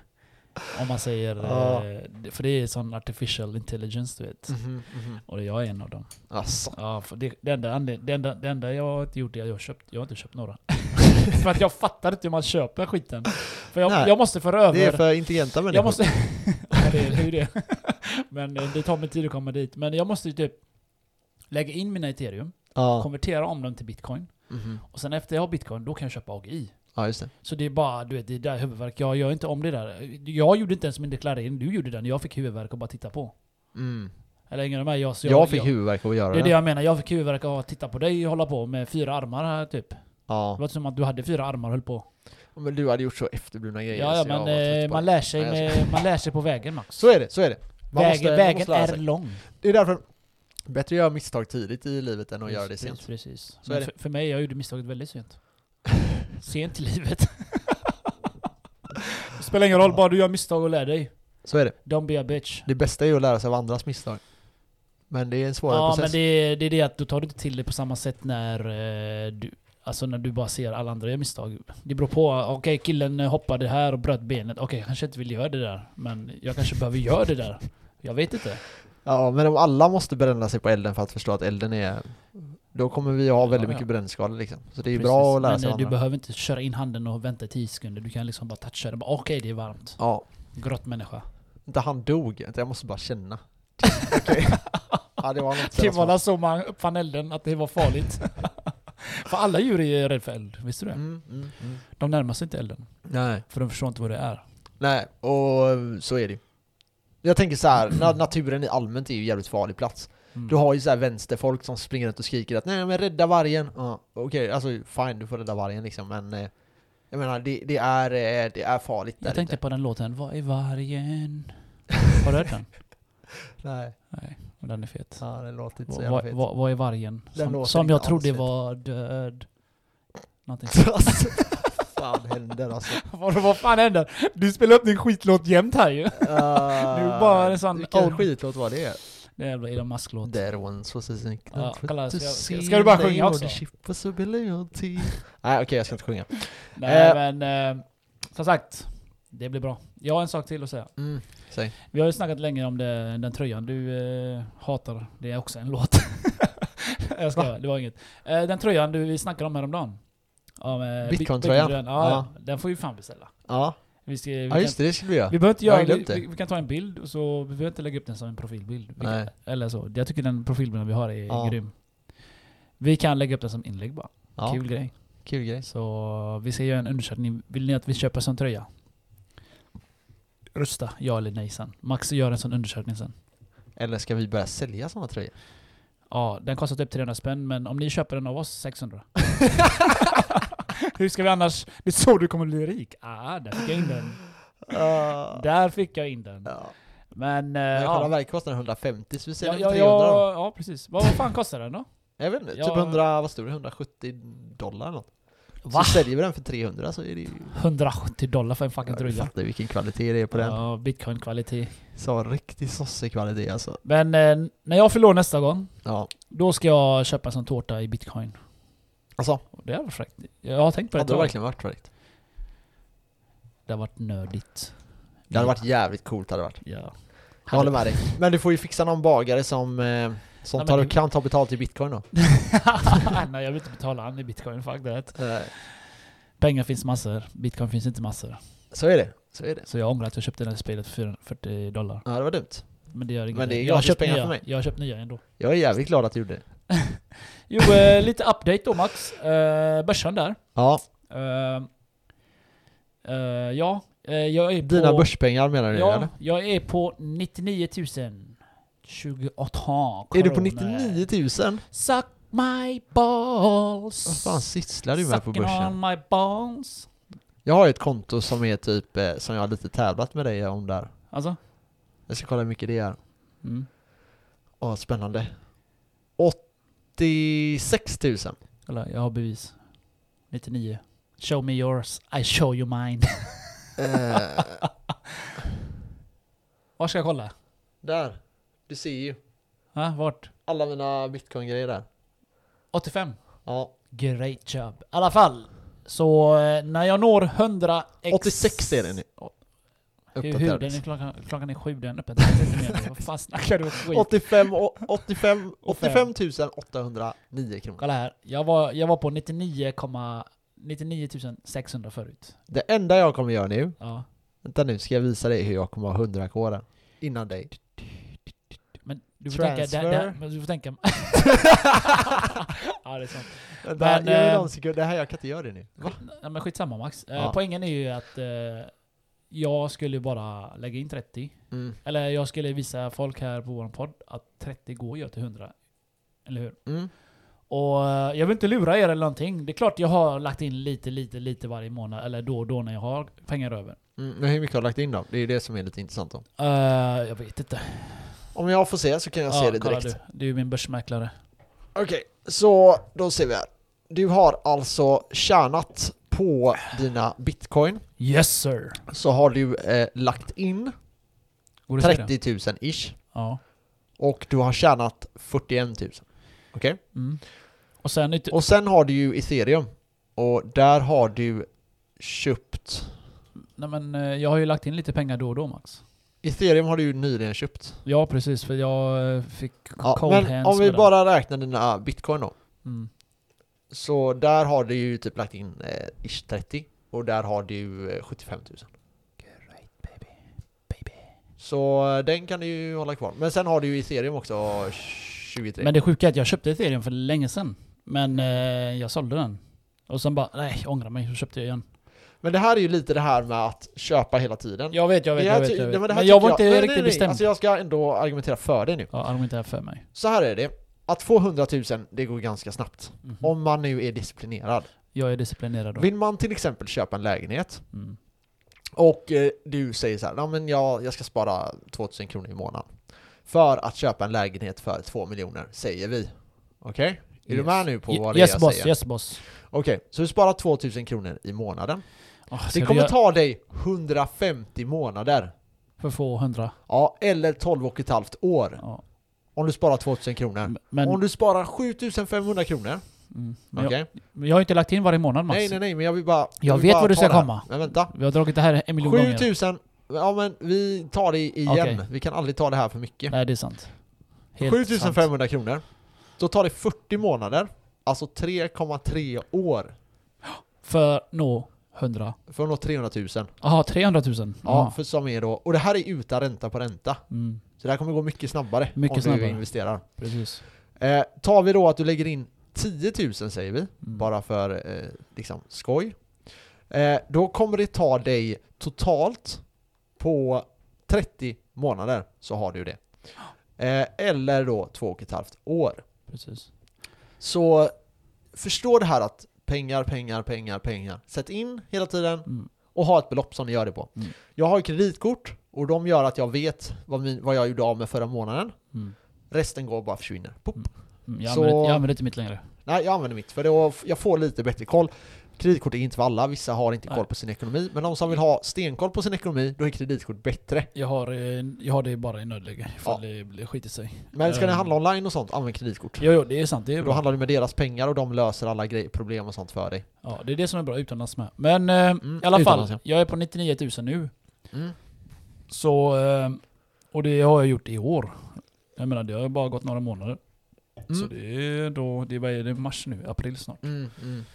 Speaker 2: om man säger...
Speaker 1: Ja.
Speaker 2: Eh, det- för det är sån artificial intelligence, du vet.
Speaker 1: Mhm, mhm.
Speaker 2: Och jag är en av dem.
Speaker 1: Alltså.
Speaker 2: Ja, för det, det, enda, anled- det, enda, det enda jag har inte gjort är att jag har köpt. Jag har inte köpt några. för att jag fattar inte hur man köper skiten. För jag,
Speaker 1: Nej.
Speaker 2: jag måste föra över...
Speaker 1: Det är för intelligenta människor.
Speaker 2: Jag måste... ja, det, är- det är ju det. Men eh, det tar mig tid att komma dit. Men jag måste ju typ lägga in mina ethereum,
Speaker 1: Ja.
Speaker 2: konvertera om dem till bitcoin.
Speaker 1: Mhm.
Speaker 2: Och sen efter jag har bitcoin, då kan jag köpa AGI.
Speaker 1: ja, just det.
Speaker 2: Så det är bara, du vet, det är där huvudvärk. Jag gör inte om det där. Jag gjorde inte ens min deklarering, du gjorde den. Jag fick huvudvärk och bara titta på.
Speaker 1: Mm.
Speaker 2: Eller ingen av mig. Jag, så
Speaker 1: jag fick huvudvärk av att göra
Speaker 2: Det
Speaker 1: det.
Speaker 2: är det jag menar, jag fick huvudvärk av att titta på dig och hålla på med fyra armar här typ. Det
Speaker 1: Ja.
Speaker 2: var som att du hade fyra armar och höll på.
Speaker 1: Men du hade gjort så efterblivna grejer.
Speaker 2: Ja, ja
Speaker 1: så jag
Speaker 2: men
Speaker 1: var trött
Speaker 2: eh,
Speaker 1: på
Speaker 2: man
Speaker 1: det.
Speaker 2: lär, sig
Speaker 1: Nej,
Speaker 2: med, man lär sig på vägen Max.
Speaker 1: Så är det, så är det. Man
Speaker 2: vägen
Speaker 1: måste- man
Speaker 2: vägen
Speaker 1: måste lära
Speaker 2: är
Speaker 1: sig.
Speaker 2: lång.
Speaker 1: Det är därför bättre att göra misstag tidigt i livet än att göra det
Speaker 2: Precis,
Speaker 1: sent.
Speaker 2: Precis.
Speaker 1: Så
Speaker 2: Men
Speaker 1: är det.
Speaker 2: För, för mig, jag gjorde misstaget väldigt sent. sent i livet. det spelar ingen roll, bara du gör misstag och lär dig.
Speaker 1: Så är det.
Speaker 2: Don't be a bitch.
Speaker 1: Det bästa är ju att lära sig av andras misstag. Men det är en svårare
Speaker 2: Ja, men
Speaker 1: process.
Speaker 2: det, är- det är det att då tar du inte till det på samma sätt när eh, du Alltså när du bara ser alla andra göra misstag. Det beror på. Okej, killen hoppade här och bröt benet. Okej, jag kanske inte vill göra det där. Men jag kanske behöver göra det där. Jag vet inte.
Speaker 1: Ja, men om alla måste bränna sig på elden för att förstå att elden är... Då kommer vi ha väldigt
Speaker 2: Ja, ja.
Speaker 1: mycket brännskador liksom. Så det är
Speaker 2: Precis.
Speaker 1: bra att lära
Speaker 2: men,
Speaker 1: sig
Speaker 2: eh,
Speaker 1: av
Speaker 2: Du
Speaker 1: andra.
Speaker 2: behöver inte köra in handen och vänta 10 sekunder. Du kan liksom bara toucha det. Bara, Okej, det är varmt.
Speaker 1: Ja.
Speaker 2: Grått människa.
Speaker 1: Inte han dog, utan jag måste bara känna. Okej. Ja, det var något
Speaker 2: Det var
Speaker 1: sådant.
Speaker 2: där så man uppfann elden, att det var farligt. för alla djur är ju rädda för eld, visste du det?
Speaker 1: mm, mm, mm.
Speaker 2: De närmar sig inte elden,
Speaker 1: Nej.
Speaker 2: för de förstår inte vad det är.
Speaker 1: Nej, och eh, så är det ju. Jag tänker så här, na- naturen i allmänt är ju en jävligt farlig plats.
Speaker 2: Mm.
Speaker 1: Du har ju så här vänsterfolk som springer runt och skriker att nej men rädda vargen. Ja, Okej, alltså fine du får rädda vargen liksom men eh, jag menar det, det, är, eh, det är farligt där
Speaker 2: Jag tänkte
Speaker 1: ute.
Speaker 2: på den låten, Vad är vargen? Har du hört den?
Speaker 1: Nej,
Speaker 2: Nej, men den är fet.
Speaker 1: ja, det låter inte så
Speaker 2: Vad
Speaker 1: jävla
Speaker 2: va,
Speaker 1: fet.
Speaker 2: va, vad är vargen?
Speaker 1: Den
Speaker 2: Som,
Speaker 1: låter
Speaker 2: som jag
Speaker 1: inte
Speaker 2: trodde
Speaker 1: alls fet.
Speaker 2: var död. Någonting.
Speaker 1: Alltså, vad fan händer alltså?
Speaker 2: vad, vad fan händer? Du spelar upp din skitlåt jämt här ju.
Speaker 1: Uh,
Speaker 2: bara en sån
Speaker 1: vilken
Speaker 2: old-
Speaker 1: skitlåt var det?
Speaker 2: Det är jävla Elon Musk-låt.
Speaker 1: There once was a snake
Speaker 2: Ja,
Speaker 1: not
Speaker 2: kolla,
Speaker 1: to
Speaker 2: ska jag- ska-
Speaker 1: see
Speaker 2: ska du bara
Speaker 1: they
Speaker 2: sjunga
Speaker 1: were
Speaker 2: också?
Speaker 1: the ship was a billionaire. Nej okej jag ska inte sjunga.
Speaker 2: Nej
Speaker 1: Eh.
Speaker 2: men, eh, som sagt. Det blir bra. Jag har en sak till att säga.
Speaker 1: Mm, säg.
Speaker 2: Vi har ju snackat länge om det, den tröjan du eh, hatar. Det är också en låt. jag skojar, det var inget. Eh, den tröjan du, vi snackade om häromdagen. Ja, med
Speaker 1: Bitcoin-tröjan.
Speaker 2: Bitcoin-tröjan. Ja,
Speaker 1: Ja.
Speaker 2: Den får vi fan beställa.
Speaker 1: Ja,
Speaker 2: Vi, ska, vi,
Speaker 1: ja
Speaker 2: kan,
Speaker 1: just det, det skulle vi göra.
Speaker 2: vi behöver inte
Speaker 1: Jag har
Speaker 2: göra,
Speaker 1: glömt det.
Speaker 2: vi, vi kan ta en bild och så, vi behöver inte lägga upp den som en profilbild. Vi kan,
Speaker 1: Nej.
Speaker 2: eller så. Jag tycker den profilbilden vi har är
Speaker 1: Ja.
Speaker 2: grym. Vi kan lägga upp den som inlägg bara.
Speaker 1: Ja,
Speaker 2: Kul grej.
Speaker 1: kul grej.
Speaker 2: Så vi ska göra en undersökning. Vill ni att vi köper en sån tröja? Rösta ja eller nej sen. Max gör en sån undersökning sen.
Speaker 1: Eller ska vi börja sälja sådana tröjor?
Speaker 2: Ja, den kostar typ 300 spänn, men om ni köper den av oss, 600. Hur ska vi annars... Det är så du kommer bli rik. Ah, där fick jag in den.
Speaker 1: Ja.
Speaker 2: Där fick jag in den.
Speaker 1: Ja.
Speaker 2: Men... eh,
Speaker 1: Men själva
Speaker 2: ja.
Speaker 1: verket kostar 150 så vi
Speaker 2: Ja,
Speaker 1: säljer den
Speaker 2: ja,
Speaker 1: 300 då.
Speaker 2: ja, ja, precis. Vad, vad fan kostar den då?
Speaker 1: Jag vet inte,
Speaker 2: Ja.
Speaker 1: typ 100, vad stod det? 170 dollar eller något.
Speaker 2: Va?
Speaker 1: Så säljer vi den för 300 så är det ju...
Speaker 2: 170 dollar för en fucking
Speaker 1: Du
Speaker 2: tröja.
Speaker 1: fattar vilken kvalitet det är på den.
Speaker 2: Ja, bitcoin-kvalitet.
Speaker 1: Så riktig sossekvalitet alltså.
Speaker 2: Men eh, när jag förlorar nästa gång,
Speaker 1: Ja.
Speaker 2: då ska jag köpa en sån tårta i bitcoin.
Speaker 1: Alltså,
Speaker 2: Det är väl fräckt. Jag har tänkt på det ett
Speaker 1: hade det
Speaker 2: tag.
Speaker 1: verkligen varit korrekt?
Speaker 2: Det har varit nördigt.
Speaker 1: Det hade varit jävligt coolt hade det varit.
Speaker 2: Ja.
Speaker 1: Jag håller med dig. Men du får ju fixa någon bagare som, eh, som
Speaker 2: Ja, men
Speaker 1: tar,
Speaker 2: det-
Speaker 1: kan ta betalt i bitcoin då.
Speaker 2: Nej, jag vill inte betala han i bitcoin. Fuck that.
Speaker 1: Eh,
Speaker 2: Pengar finns massor. Bitcoin finns inte massor.
Speaker 1: Så är det. Så är det.
Speaker 2: Så jag ångrar att jag köpte det här spelet för 440 dollar.
Speaker 1: Ja, det var dumt.
Speaker 2: Men det gör inget.
Speaker 1: Men det är
Speaker 2: jag har
Speaker 1: gratis
Speaker 2: köpt
Speaker 1: pengar
Speaker 2: nya.
Speaker 1: för mig.
Speaker 2: Jag har köpt nya ändå.
Speaker 1: Jag är jävligt glad att du gjorde det.
Speaker 2: Jo, eh, lite update då Max. Eh, börsen där.
Speaker 1: Ja,
Speaker 2: Eh, eh, ja, eh, jag är på...
Speaker 1: dina börspengar menar du nu,
Speaker 2: Ja,
Speaker 1: eller?
Speaker 2: jag är på 99 000. 28
Speaker 1: Är du på
Speaker 2: kronor.
Speaker 1: 99 000?
Speaker 2: Suck my balls.
Speaker 1: Vad fan sysslar du med på
Speaker 2: Sucking
Speaker 1: börsen?
Speaker 2: on my balls.
Speaker 1: Jag har ju ett konto som är typ, eh, som jag har lite tävlat med dig om där.
Speaker 2: Alltså?
Speaker 1: Jag ska kolla hur mycket det är.
Speaker 2: Mm.
Speaker 1: Åh, spännande. 86 000.
Speaker 2: Eller jag har bevis. 99. Show me yours, I show you mine.
Speaker 1: Eh,
Speaker 2: Var ska jag kolla?
Speaker 1: där. Du ser ju.
Speaker 2: Ha, vart?
Speaker 1: Alla mina bitcoin-grejer där.
Speaker 2: 85.
Speaker 1: Ja.
Speaker 2: Great job. I alla fall. Så eh, när jag når 100 x...
Speaker 1: 86 är det nu.
Speaker 2: Hur, hur? Den är
Speaker 1: Uppdaterades. klockan.
Speaker 2: klockan, klockan är sju, den uppdateras inte mer. Vad fan snackar du om skit?
Speaker 1: 85, och- 85, 85 809 kronor.
Speaker 2: Kolla här. Jag var, jag var på 99, 99 600 förut.
Speaker 1: Det enda jag kommer göra nu,
Speaker 2: Ja.
Speaker 1: vänta nu ska jag visa dig hur jag kommer ha 100 k där. Innan dig.
Speaker 2: Men du får tänka... Det, det,
Speaker 1: Transfer.
Speaker 2: men du får tänka... ja, det är sant.
Speaker 1: Vänta, här,
Speaker 2: Men,
Speaker 1: ge mig
Speaker 2: eh,
Speaker 1: någon sekund. Det här, jag kan inte göra det nu. Va?
Speaker 2: Ja, men skitsamma Max. Eh,
Speaker 1: Ja.
Speaker 2: Poängen är ju att eh, jag skulle bara lägga in 30.
Speaker 1: Mm.
Speaker 2: Eller jag skulle visa folk här på vår podd att 30 går ju till 100. Eller hur?
Speaker 1: Mm.
Speaker 2: Och eh, jag vill inte lura er eller någonting. Det är klart jag har lagt in lite, lite, lite varje månad. Eller då och då när jag har pengar över.
Speaker 1: Mm. Men hur mycket har du lagt in då? Det är ju det som är lite intressant då.
Speaker 2: Eh, jag vet inte.
Speaker 1: Om jag får se så kan jag
Speaker 2: Ja,
Speaker 1: se det
Speaker 2: kolla
Speaker 1: direkt.
Speaker 2: Du, du är min börsmäklare.
Speaker 1: Okej, så då ser vi här. Du har alltså tjänat på dina bitcoin.
Speaker 2: Yes sir!
Speaker 1: Så har du eh, lagt in
Speaker 2: Går det att säga det?
Speaker 1: 30 000 ish.
Speaker 2: Ja.
Speaker 1: Och du har tjänat 41 000. Okej?
Speaker 2: Mm. Och sen ytter-
Speaker 1: Och sen har du ju ethereum. Och där har du köpt...
Speaker 2: Nej men eh, jag har ju lagt in lite pengar då och då Max.
Speaker 1: Ethereum har du ju nyligen köpt.
Speaker 2: Ja precis, för jag eh, fick
Speaker 1: Ja,
Speaker 2: cold
Speaker 1: men
Speaker 2: hands
Speaker 1: om
Speaker 2: med
Speaker 1: vi
Speaker 2: den.
Speaker 1: bara räknar dina bitcoin då.
Speaker 2: Mm.
Speaker 1: Så där har du ju typ lagt in eh, ish 30 och där har du eh, 75 000. Så eh, den kan du ju hålla kvar. Men sen har du ju ethereum också 23.
Speaker 2: Men det sjuka är att jag köpte ethereum för länge sedan. Men eh, jag sålde den. Och sen bara, nej jag ångrar mig, så köpte jag igen.
Speaker 1: Men det här är ju lite det här med att köpa hela tiden.
Speaker 2: Jag vet, jag vet,
Speaker 1: Det
Speaker 2: jag
Speaker 1: här
Speaker 2: vet.
Speaker 1: ty-
Speaker 2: Jag
Speaker 1: nej,
Speaker 2: vet.
Speaker 1: men
Speaker 2: Men,
Speaker 1: det här tycker
Speaker 2: jag var inte
Speaker 1: Nej, nej,
Speaker 2: riktigt
Speaker 1: nej.
Speaker 2: bestämd.
Speaker 1: Alltså jag ska ändå argumentera för dig nu.
Speaker 2: Ja, argumentera här för mig.
Speaker 1: Så här är det. Att få 100 000, det går ganska snabbt.
Speaker 2: Mhm.
Speaker 1: Om man nu är disciplinerad.
Speaker 2: Jag är disciplinerad då.
Speaker 1: Vill man till exempel köpa en lägenhet
Speaker 2: Mm.
Speaker 1: Och eh, du säger så här, "Ja, men jag, jag ska spara 2000 kronor i månaden. För att köpa en lägenhet för 2 miljoner, säger vi. Okej? Är du
Speaker 2: Yes.
Speaker 1: med nu på vad det är
Speaker 2: yes
Speaker 1: jag
Speaker 2: boss,
Speaker 1: säger?
Speaker 2: yes boss.
Speaker 1: Okej, så du sparar 2000 kronor i månaden.
Speaker 2: Oh,
Speaker 1: Det kommer ta dig 150 månader.
Speaker 2: För att få 100.
Speaker 1: Ja, eller 12 och ett halvt år.
Speaker 2: Ja.
Speaker 1: Om du sparar 2000 kronor.
Speaker 2: Men,
Speaker 1: Om du sparar 7500 kronor.
Speaker 2: mm, men
Speaker 1: Okej?
Speaker 2: jag, jag har inte lagt in varje månad Max.
Speaker 1: Nej, nej, nej, men jag vill bara...
Speaker 2: Jag
Speaker 1: vill
Speaker 2: vet
Speaker 1: bara
Speaker 2: var du
Speaker 1: ta
Speaker 2: ska
Speaker 1: det här.
Speaker 2: komma.
Speaker 1: Men vänta.
Speaker 2: Vi har dragit det här en miljon gånger.
Speaker 1: 7000, ja men vi tar det igen.
Speaker 2: Okej.
Speaker 1: Vi kan aldrig ta det här för mycket.
Speaker 2: Nej det är sant. Helt sant.
Speaker 1: 7500 kronor. Då tar det 40 månader, alltså 3,3 år
Speaker 2: För nå 100.
Speaker 1: För att nå 300 000.
Speaker 2: Jaha, 300 000.
Speaker 1: Ja,
Speaker 2: Ja.
Speaker 1: för som är då, och det här är utan ränta på ränta.
Speaker 2: Mm,
Speaker 1: Så det här kommer gå mycket snabbare
Speaker 2: Mycket
Speaker 1: om du
Speaker 2: snabbare.
Speaker 1: investerar.
Speaker 2: precis.
Speaker 1: Eh, tar vi då att du lägger in 10 000 säger vi,
Speaker 2: Mm.
Speaker 1: bara för eh, liksom skoj. Eh, då kommer det ta dig totalt på 30 månader så har du det. Eh, eller då två och ett halvt år.
Speaker 2: precis.
Speaker 1: Så förstå det här att pengar, pengar, pengar, pengar. Sätt in hela tiden
Speaker 2: Mm.
Speaker 1: och ha ett belopp som ni gör det på.
Speaker 2: Mm.
Speaker 1: Jag har ju kreditkort och de gör att jag vet vad, min, vad jag gjorde av med förra månaden.
Speaker 2: Mm.
Speaker 1: Resten går och bara försvinner. Pop.
Speaker 2: Mm, jag,
Speaker 1: Så-
Speaker 2: använder, jag använder inte mitt längre.
Speaker 1: Nej, jag använder mitt för då jag får lite bättre koll. Kreditkort är inte för alla, vissa har inte
Speaker 2: Nej.
Speaker 1: koll på sin ekonomi. Men de som vill ha stenkoll på sin ekonomi, då är kreditkort bättre.
Speaker 2: Jag har, eh, jag har det bara i nödläge ifall det blir skit i sig.
Speaker 1: Men ska ni
Speaker 2: Ehm.
Speaker 1: handla online och sånt, använd kreditkort.
Speaker 2: Jo, jo, det är sant. Det är
Speaker 1: För då
Speaker 2: bra.
Speaker 1: handlar du med deras pengar och de löser alla grej, problem och sånt för dig.
Speaker 2: Ja, det är det som är bra utomlands med. Men eh, i alla fall,
Speaker 1: Mm, utomlands, ja.
Speaker 2: jag är på 99 000 nu.
Speaker 1: Mm.
Speaker 2: Så, eh, och det har jag gjort i år. Jag menar, det har bara gått några månader. Så
Speaker 1: Mm.
Speaker 2: det är då, det är, vad är det, mars nu? April snart.
Speaker 1: Mm, mm.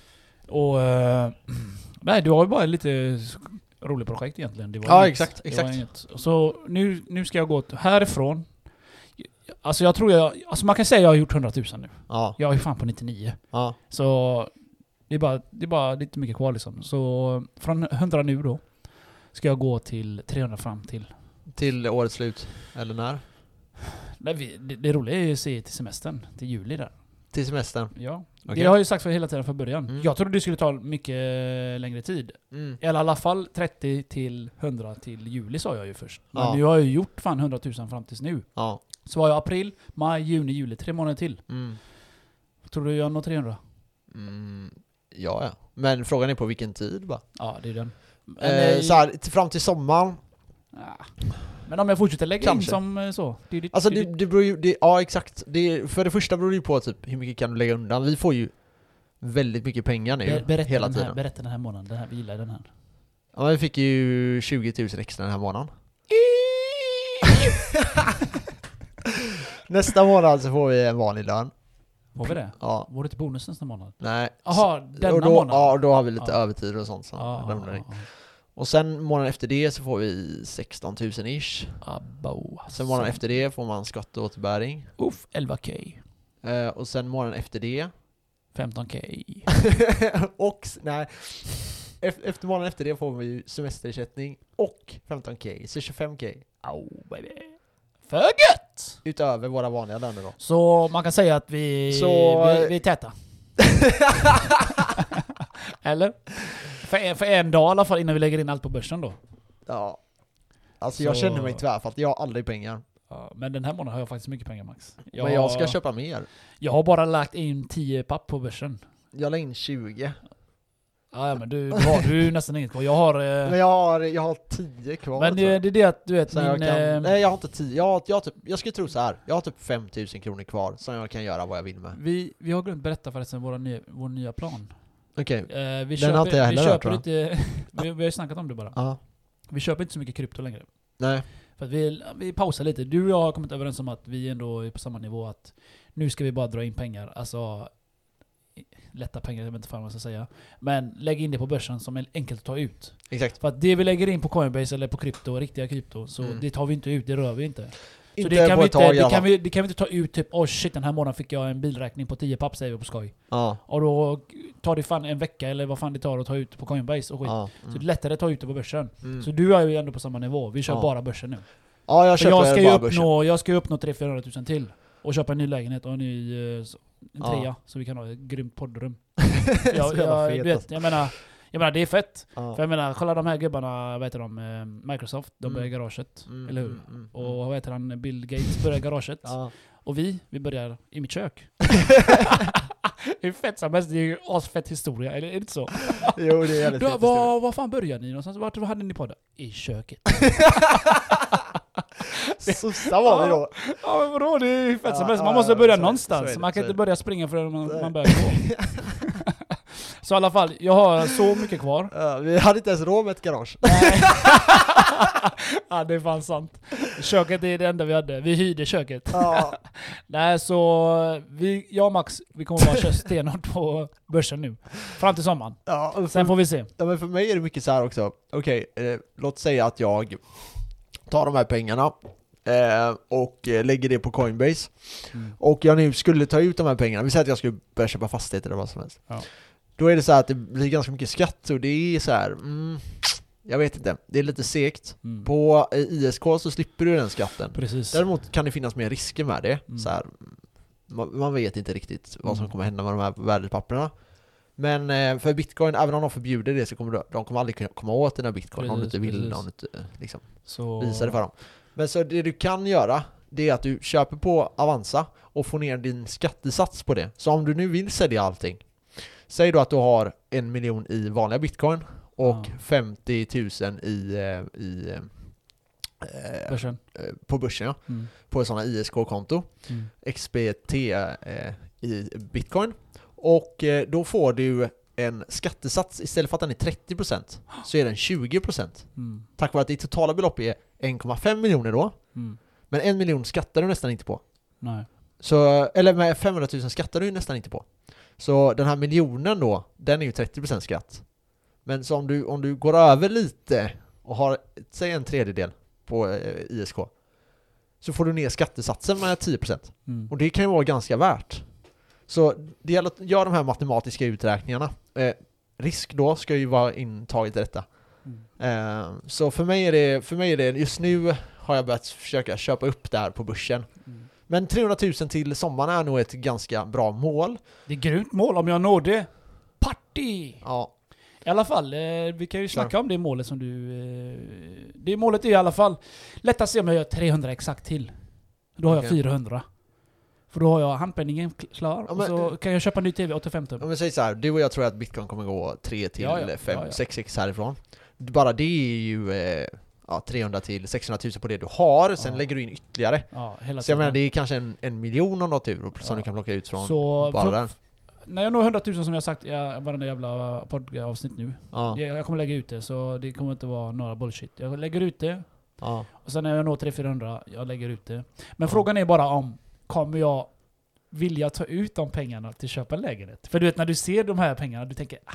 Speaker 2: Och... Eh, nej, det var ju bara lite roligt projekt egentligen. Det var
Speaker 1: Ja,
Speaker 2: inget-
Speaker 1: exakt,
Speaker 2: det
Speaker 1: exakt.
Speaker 2: Var inget. Så nu, nu ska jag gå t- härifrån. Alltså jag tror jag... Alltså man kan säga jag har gjort 100 000 nu.
Speaker 1: Ja,
Speaker 2: Jag är ju fan på 99.
Speaker 1: ja.
Speaker 2: Så det är bara, det är bara lite mycket kvar liksom. Så från 100 nu då ska jag gå till 300 fram till.
Speaker 1: Till årets slut. Eller när?
Speaker 2: Nej, vi- det, det roliga är ju att se till semestern, till juli där.
Speaker 1: Till semestern.
Speaker 2: Ja.
Speaker 1: Okej.
Speaker 2: Det har jag ju sagt för hela tiden från början.
Speaker 1: Mm.
Speaker 2: Jag trodde det skulle ta mycket längre tid.
Speaker 1: Mm.
Speaker 2: Eller i alla fall 30 till 100 till juli sa jag ju först. Men
Speaker 1: Ja.
Speaker 2: nu har jag ju gjort fan 100 000 fram tills nu.
Speaker 1: Ja.
Speaker 2: Så har jag april, maj, juni, juli, tre månader till.
Speaker 1: Mm.
Speaker 2: Tror du jag når 300?
Speaker 1: Mm. Ja, ja. Men frågan är på vilken tid bara.
Speaker 2: Ja, det är den. Men,
Speaker 1: Eh,
Speaker 2: eh,
Speaker 1: så här, till- fram till sommaren.
Speaker 2: ah. Men om jag fortsätter lägga
Speaker 1: Kanske.
Speaker 2: in som eh, så. Det är ditt-
Speaker 1: Alltså
Speaker 2: det är
Speaker 1: det,
Speaker 2: ditt-
Speaker 1: det beror ju, det, ja exakt. Det, för det första beror det ju på typ hur mycket kan du lägga undan. Vi får ju väldigt mycket pengar nu
Speaker 2: Ber- berätta,
Speaker 1: hela
Speaker 2: den här,
Speaker 1: tiden.
Speaker 2: berätta den här månaden, den här, vi gillar den här.
Speaker 1: Ja, men vi fick ju 20 000 extra den här månaden. Nästa månad så får vi en vanlig lön.
Speaker 2: Var vi det?
Speaker 1: Ja,
Speaker 2: Var det till bonus nästa månad?
Speaker 1: nej.
Speaker 2: Jaha, denna
Speaker 1: och då,
Speaker 2: månad? Ah,
Speaker 1: Ja, och då har vi lite
Speaker 2: Ja.
Speaker 1: övertid och sånt som
Speaker 2: Ja,
Speaker 1: ramlar in.
Speaker 2: ja,
Speaker 1: Och sen månaden efter det så får vi 16 000 ish.
Speaker 2: ja. ah. Abba, oh,
Speaker 1: Sen månaden efter det får man skatteåterbäring.
Speaker 2: Uff, 11k.
Speaker 1: Eh, och sen månaden efter det
Speaker 2: 15k.
Speaker 1: och, s- nej. Ef- Efter månaden efter det får vi ju semesterersättning och 15k, så 25k.
Speaker 2: Au, baby. För gött!
Speaker 1: Utöver våra vanliga löner då.
Speaker 2: Så man kan säga att vi,
Speaker 1: Så-
Speaker 2: vi, vi är täta. Eller? För en, för en dag i alla fall innan vi lägger in allt på börsen då.
Speaker 1: Ja. Alltså jag
Speaker 2: Så-
Speaker 1: känner mig tvärfatt, jag har aldrig pengar.
Speaker 2: Ja, Men den här månaden har jag faktiskt mycket pengar max.
Speaker 1: Men jag ska köpa mer.
Speaker 2: jag har bara lagt in 10 papp på börsen.
Speaker 1: Jag la in 20.
Speaker 2: Ja, ja, men du, du har du har ju nästan inget kvar. Jag har... eh,
Speaker 1: Men jag har, jag har 10 kvar.
Speaker 2: men
Speaker 1: tror
Speaker 2: det,
Speaker 1: jag.
Speaker 2: det är det att du vet,
Speaker 1: Så
Speaker 2: min...
Speaker 1: jag kan,
Speaker 2: eh,
Speaker 1: nej jag har inte 10, jag, har, jag, har typ, jag skulle tro så här. jag har typ 5000 kronor kvar som jag kan göra vad jag vill med.
Speaker 2: vi, vi har glömt berätta förresten vår nya, vår nya plan.
Speaker 1: Okej.
Speaker 2: Eh, vi Den
Speaker 1: har inte jag
Speaker 2: vi
Speaker 1: heller hört,
Speaker 2: köper
Speaker 1: tror
Speaker 2: inte, vi, vi har ju snackat om det bara.
Speaker 1: Ja.
Speaker 2: Vi köper inte så mycket krypto längre.
Speaker 1: Nej.
Speaker 2: För att vi, vi pausar lite. Du och jag har kommit överens om att vi ändå är på samma nivå. Att nu ska vi bara dra in pengar. Alltså lätta pengar, jag vet inte fan vad jag ska säga. Men lägg in det på börsen som är enkelt att ta ut.
Speaker 1: Exakt.
Speaker 2: För att det vi lägger in på Coinbase eller på krypto, riktiga krypto, så
Speaker 1: Mm.
Speaker 2: det tar vi inte ut, det rör vi inte.
Speaker 1: Inte
Speaker 2: så det kan,
Speaker 1: på
Speaker 2: vi
Speaker 1: ett tag
Speaker 2: inte,
Speaker 1: i alla
Speaker 2: det, kan
Speaker 1: fall.
Speaker 2: vi, det kan vi inte ta ut typ oh shit den här månaden fick jag en bilräkning på 10 papp säger vi på skoj.
Speaker 1: Ja.
Speaker 2: Och då tar det fan en vecka eller vad fan det tar att ta ut på Coinbase och skit.
Speaker 1: Ja.
Speaker 2: Så det är
Speaker 1: Mm.
Speaker 2: lättare att ta ut det på börsen.
Speaker 1: Mm.
Speaker 2: Så du är ju ändå på samma nivå, vi kör
Speaker 1: Ja.
Speaker 2: bara börsen nu.
Speaker 1: ja, jag
Speaker 2: För jag ska
Speaker 1: köper
Speaker 2: ju
Speaker 1: bara börsen.
Speaker 2: uppnå, jag ska ju uppnå 300 000 till. Och köpa en ny lägenhet och en ny eh, s- en
Speaker 1: Ja.
Speaker 2: trea. Så vi kan ha ett grymt poddrum.
Speaker 1: Så
Speaker 2: jag,
Speaker 1: jävla
Speaker 2: jag,
Speaker 1: fet
Speaker 2: du
Speaker 1: alltså.
Speaker 2: vet, jag menar, jag menar, det är fett.
Speaker 1: Ja.
Speaker 2: För jag menar, kolla de här gubbarna, vad heter de? eh, Microsoft, de
Speaker 1: Mm.
Speaker 2: börjar i garaget.
Speaker 1: Mm,
Speaker 2: eller hur?
Speaker 1: mm, mm, mm.
Speaker 2: Och vad heter han? Bill Gates börjar i garaget.
Speaker 1: Ja.
Speaker 2: Och vi, vi börjar i mitt kök. Hur fett som helst, det är ju asfett historia, eller är det inte så?
Speaker 1: Jo, det är jävligt
Speaker 2: Du,
Speaker 1: fint historia.
Speaker 2: var, var fan började ni någonstans? Vart hade ni podden? I köket.
Speaker 1: Sossar var vi då.
Speaker 2: Ja men vadå, det är ju fett som
Speaker 1: Ja,
Speaker 2: helst. Man
Speaker 1: ja,
Speaker 2: måste
Speaker 1: ja, så
Speaker 2: börja
Speaker 1: är det,
Speaker 2: någonstans.
Speaker 1: så är det,
Speaker 2: man kan
Speaker 1: så är
Speaker 2: inte
Speaker 1: det.
Speaker 2: börja springa förrän man,
Speaker 1: Nej.
Speaker 2: man börjar gå. Så i alla fall, jag har så mycket kvar.
Speaker 1: Eh, vi hade inte ens råd med ett garage.
Speaker 2: Nej. ja, det är fan sant. Köket är det enda vi hade. Vi hyrde köket.
Speaker 1: Ja,
Speaker 2: Nej, så vi, jag och Max, vi kommer bara köra stenhårt på börsen nu. Fram till sommaren.
Speaker 1: ja, och
Speaker 2: Sen
Speaker 1: för,
Speaker 2: får vi se.
Speaker 1: ja, men för mig är det mycket så här också. Okej, eh, låt säga att jag tar de här pengarna eh, och eh, lägger det på Coinbase.
Speaker 2: Mm.
Speaker 1: och jag nu skulle ta ut de här pengarna, vi säger att jag skulle börja köpa fastigheter eller vad som helst.
Speaker 2: Ja.
Speaker 1: Då är det så här att det blir ganska mycket skatt och det är så här, mm, jag vet inte, det är lite segt.
Speaker 2: Mm.
Speaker 1: På eh, ISK så slipper du den skatten.
Speaker 2: Precis.
Speaker 1: Däremot kan det finnas mer risker med det.
Speaker 2: Mm.
Speaker 1: Så här, man, man vet inte riktigt vad som
Speaker 2: Mm.
Speaker 1: kommer hända med de här värdepapperna. Men eh, för bitcoin, även om de förbjuder det så kommer du, de kommer aldrig kunna komma åt dina bitcoin om du
Speaker 2: Precis,
Speaker 1: inte vill,
Speaker 2: precis.
Speaker 1: om du inte eh, liksom,
Speaker 2: Så...
Speaker 1: visar det för dem. Men så det du kan göra, det är att du köper på Avanza och får ner din skattesats på det. Så om du nu vill sälja allting, säg då att du har en miljon i vanliga bitcoin och
Speaker 2: Ja.
Speaker 1: 50 000 i, eh, i eh, eh,
Speaker 2: Börsen.
Speaker 1: på börsen ja
Speaker 2: Mm.
Speaker 1: på ett sådant här ISK-konto,
Speaker 2: Mm.
Speaker 1: XBT eh, i bitcoin. Och eh, då får du en skattesats, istället för att den är 30% så är den 20%
Speaker 2: Mm.
Speaker 1: tack vare att ditt totala belopp är 1,5 miljoner då.
Speaker 2: Mm.
Speaker 1: Men en miljon skattar du nästan inte på.
Speaker 2: Nej.
Speaker 1: Så, eller med 500 000 skattar du ju nästan inte på. Så den här miljonen då, den är ju 30% skatt. Men så om du, om du går över lite och har, säg en tredjedel på eh, ISK, så får du ner skattesatsen med 10%.
Speaker 2: Mm.
Speaker 1: Och det kan ju vara ganska värt. Så det gäller att göra de här matematiska uträkningarna. Eh, risk då ska ju vara intaget i detta.
Speaker 2: Mm.
Speaker 1: Eh, så för mig, är det, för mig är det, just nu har jag börjat försöka köpa upp det här på börsen.
Speaker 2: Mm.
Speaker 1: Men 300 000 till sommaren är nog ett ganska bra mål.
Speaker 2: Det är grymt mål om jag når det. Party!
Speaker 1: Ja,
Speaker 2: I alla fall, eh, vi kan ju snacka om det målet som du... Eh, det målet är i alla fall... Lätt att se om jag gör 300 exakt till. Då har
Speaker 1: Okej.
Speaker 2: jag 400. För då har jag handpenningen kl- klar
Speaker 1: Ja,
Speaker 2: och
Speaker 1: men-
Speaker 2: så kan jag köpa en ny TV 85 tum.
Speaker 1: om jag säger så här, du och jag tror att bitcoin kommer gå 3 till
Speaker 2: Ja, ja.
Speaker 1: 5,
Speaker 2: Ja, ja.
Speaker 1: 6 x härifrån. Bara det är ju eh, ja, 300 till 600 000 på det du har, sen
Speaker 2: Ja.
Speaker 1: lägger du in ytterligare.
Speaker 2: Ja, hela
Speaker 1: Så jag menar, det
Speaker 2: tiden.
Speaker 1: är kanske en, en miljon om du har tur som
Speaker 2: Ja.
Speaker 1: du kan plocka ut från
Speaker 2: Så
Speaker 1: bara
Speaker 2: för-
Speaker 1: den.
Speaker 2: När jag når 100 000 som jag sagt i eh, varenda jävla poddavsnitt nu.
Speaker 1: Ja,
Speaker 2: Jag, jag kommer lägga ut det, så det kommer inte vara några bullshit. Jag lägger ut det,
Speaker 1: ja.
Speaker 2: och sen när jag når 300-400, jag lägger ut det. Men frågan är bara om, kommer jag vilja ta ut de pengarna till att köpa en lägenhet? För du vet när du ser de här pengarna, du tänker ah,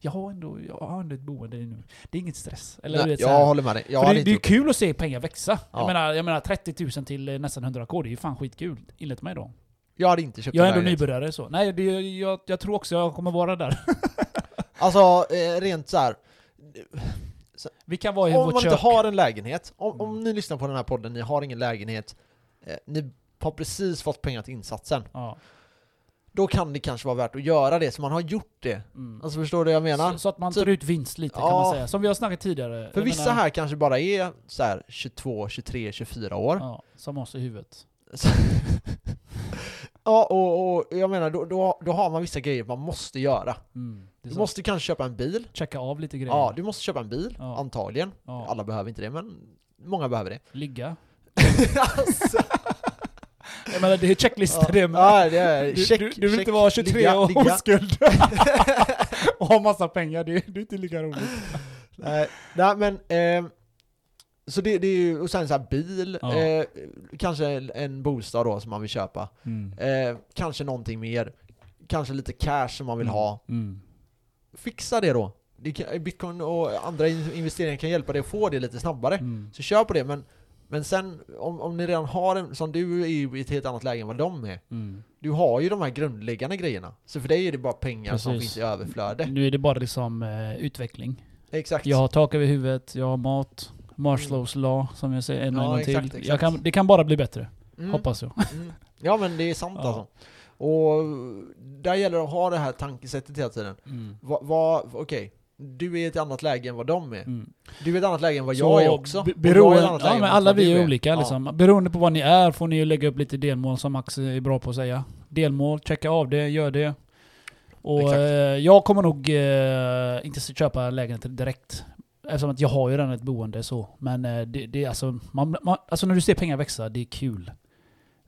Speaker 2: jag har ändå, jag har ändå ett boende nu. Det är inget stress. Eller du
Speaker 1: Nej,
Speaker 2: vet, så
Speaker 1: jag
Speaker 2: här.
Speaker 1: håller med dig. Jag
Speaker 2: För
Speaker 1: hade
Speaker 2: det,
Speaker 1: inte
Speaker 2: det är ju
Speaker 1: gjort det.
Speaker 2: kul att se pengar växa.
Speaker 1: Ja.
Speaker 2: Jag, menar, jag menar 30 000 till eh, nästan 100k, det är ju fan skitkul. Enligt mig då.
Speaker 1: Jag hade inte köpt
Speaker 2: Jag är
Speaker 1: en
Speaker 2: ändå
Speaker 1: lägenhet.
Speaker 2: nybörjare så. Nej, det, jag, jag tror också jag kommer vara där.
Speaker 1: Alltså, eh, rent så här.
Speaker 2: Vi kan vara i
Speaker 1: Om
Speaker 2: vårt
Speaker 1: man
Speaker 2: kök.
Speaker 1: inte har en lägenhet, om, om
Speaker 2: Mm.
Speaker 1: ni lyssnar på den här podden, ni har ingen lägenhet, eh, ni har precis fått pengar till insatsen,
Speaker 2: Ja.
Speaker 1: då kan det kanske vara värt att göra det, så man har gjort det.
Speaker 2: Mm.
Speaker 1: Alltså förstår du vad jag menar?
Speaker 2: Så, så att man
Speaker 1: Typ-
Speaker 2: tar ut vinst lite kan
Speaker 1: Ja.
Speaker 2: man säga. Som vi har snackat tidigare.
Speaker 1: För
Speaker 2: Jag
Speaker 1: vissa
Speaker 2: menar-
Speaker 1: här kanske bara är så här 22, 23, 24 år.
Speaker 2: Ja, som oss i huvudet.
Speaker 1: Så- ja, och, och jag menar, då, då, då har man vissa grejer man måste göra.
Speaker 2: Mm. Det är
Speaker 1: Du
Speaker 2: så-
Speaker 1: måste kanske köpa en bil.
Speaker 2: checka av lite grejer.
Speaker 1: Ja, du måste köpa en bil,
Speaker 2: Ja.
Speaker 1: antagligen.
Speaker 2: Ja.
Speaker 1: Alla behöver inte det, men många behöver det.
Speaker 2: Ligga.
Speaker 1: alltså,
Speaker 2: Jag menar, det är checklistor det med.
Speaker 1: ja, det är,
Speaker 2: Du,
Speaker 1: check,
Speaker 2: du, du vill
Speaker 1: check,
Speaker 2: inte vara 23
Speaker 1: ligga,
Speaker 2: och
Speaker 1: ligga.
Speaker 2: oskuld. och ha massa pengar, det, det är inte lika roligt.
Speaker 1: Nej, nej men... ehm, så det, det är ju, och sen så här bil,
Speaker 2: Ja.
Speaker 1: eh, kanske en- en bostad då som man vill köpa. Eh, kanske någonting mer, kanske lite cash som
Speaker 2: Mm.
Speaker 1: man vill ha. Fixa det då! Det kan, Bitcoin och andra in- investeringar kan hjälpa dig att få det lite snabbare.
Speaker 2: Mm.
Speaker 1: Så kör på det, men, men sen om, om ni redan har en, som du är ju i ett helt annat läge än vad de är.
Speaker 2: Mm.
Speaker 1: Du har ju de här grundläggande grejerna. Så för dig är det bara pengar som
Speaker 2: Precis.
Speaker 1: finns i överflöde.
Speaker 2: Nu är det bara liksom eh, utveckling.
Speaker 1: Exakt.
Speaker 2: Jag har tak över huvudet, jag har mat. Marslows law, som jag säger en
Speaker 1: Ja,
Speaker 2: och en gång
Speaker 1: exakt,
Speaker 2: till. Jag
Speaker 1: exakt.
Speaker 2: kan, det kan bara bli bättre,
Speaker 1: Mm.
Speaker 2: hoppas jag.
Speaker 1: Mm. Ja men det är sant
Speaker 2: Ja.
Speaker 1: alltså. Och där gäller det att ha det här tankesättet hela tiden. Va, va, Okej, du är i ett annat läge än vad de är.
Speaker 2: Mm.
Speaker 1: Du är i ett annat läge än vad
Speaker 2: Så
Speaker 1: jag är också.
Speaker 2: be-
Speaker 1: Och jag är i ett
Speaker 2: Beroende,
Speaker 1: annat läge
Speaker 2: ja,
Speaker 1: än
Speaker 2: men
Speaker 1: vad
Speaker 2: alla vi
Speaker 1: du
Speaker 2: är olika liksom. Beroende på vad ni är får ni ju lägga upp lite delmål som Max är bra på att säga. Delmål, checka av det, gör det. Och
Speaker 1: Exakt.
Speaker 2: eh, jag kommer nog eh, inte s- köpa lägenheter direkt. Eftersom att jag har ju redan ett boende så. Men eh, det, det är alltså, man, man, alltså när du ser pengar växa, det är kul.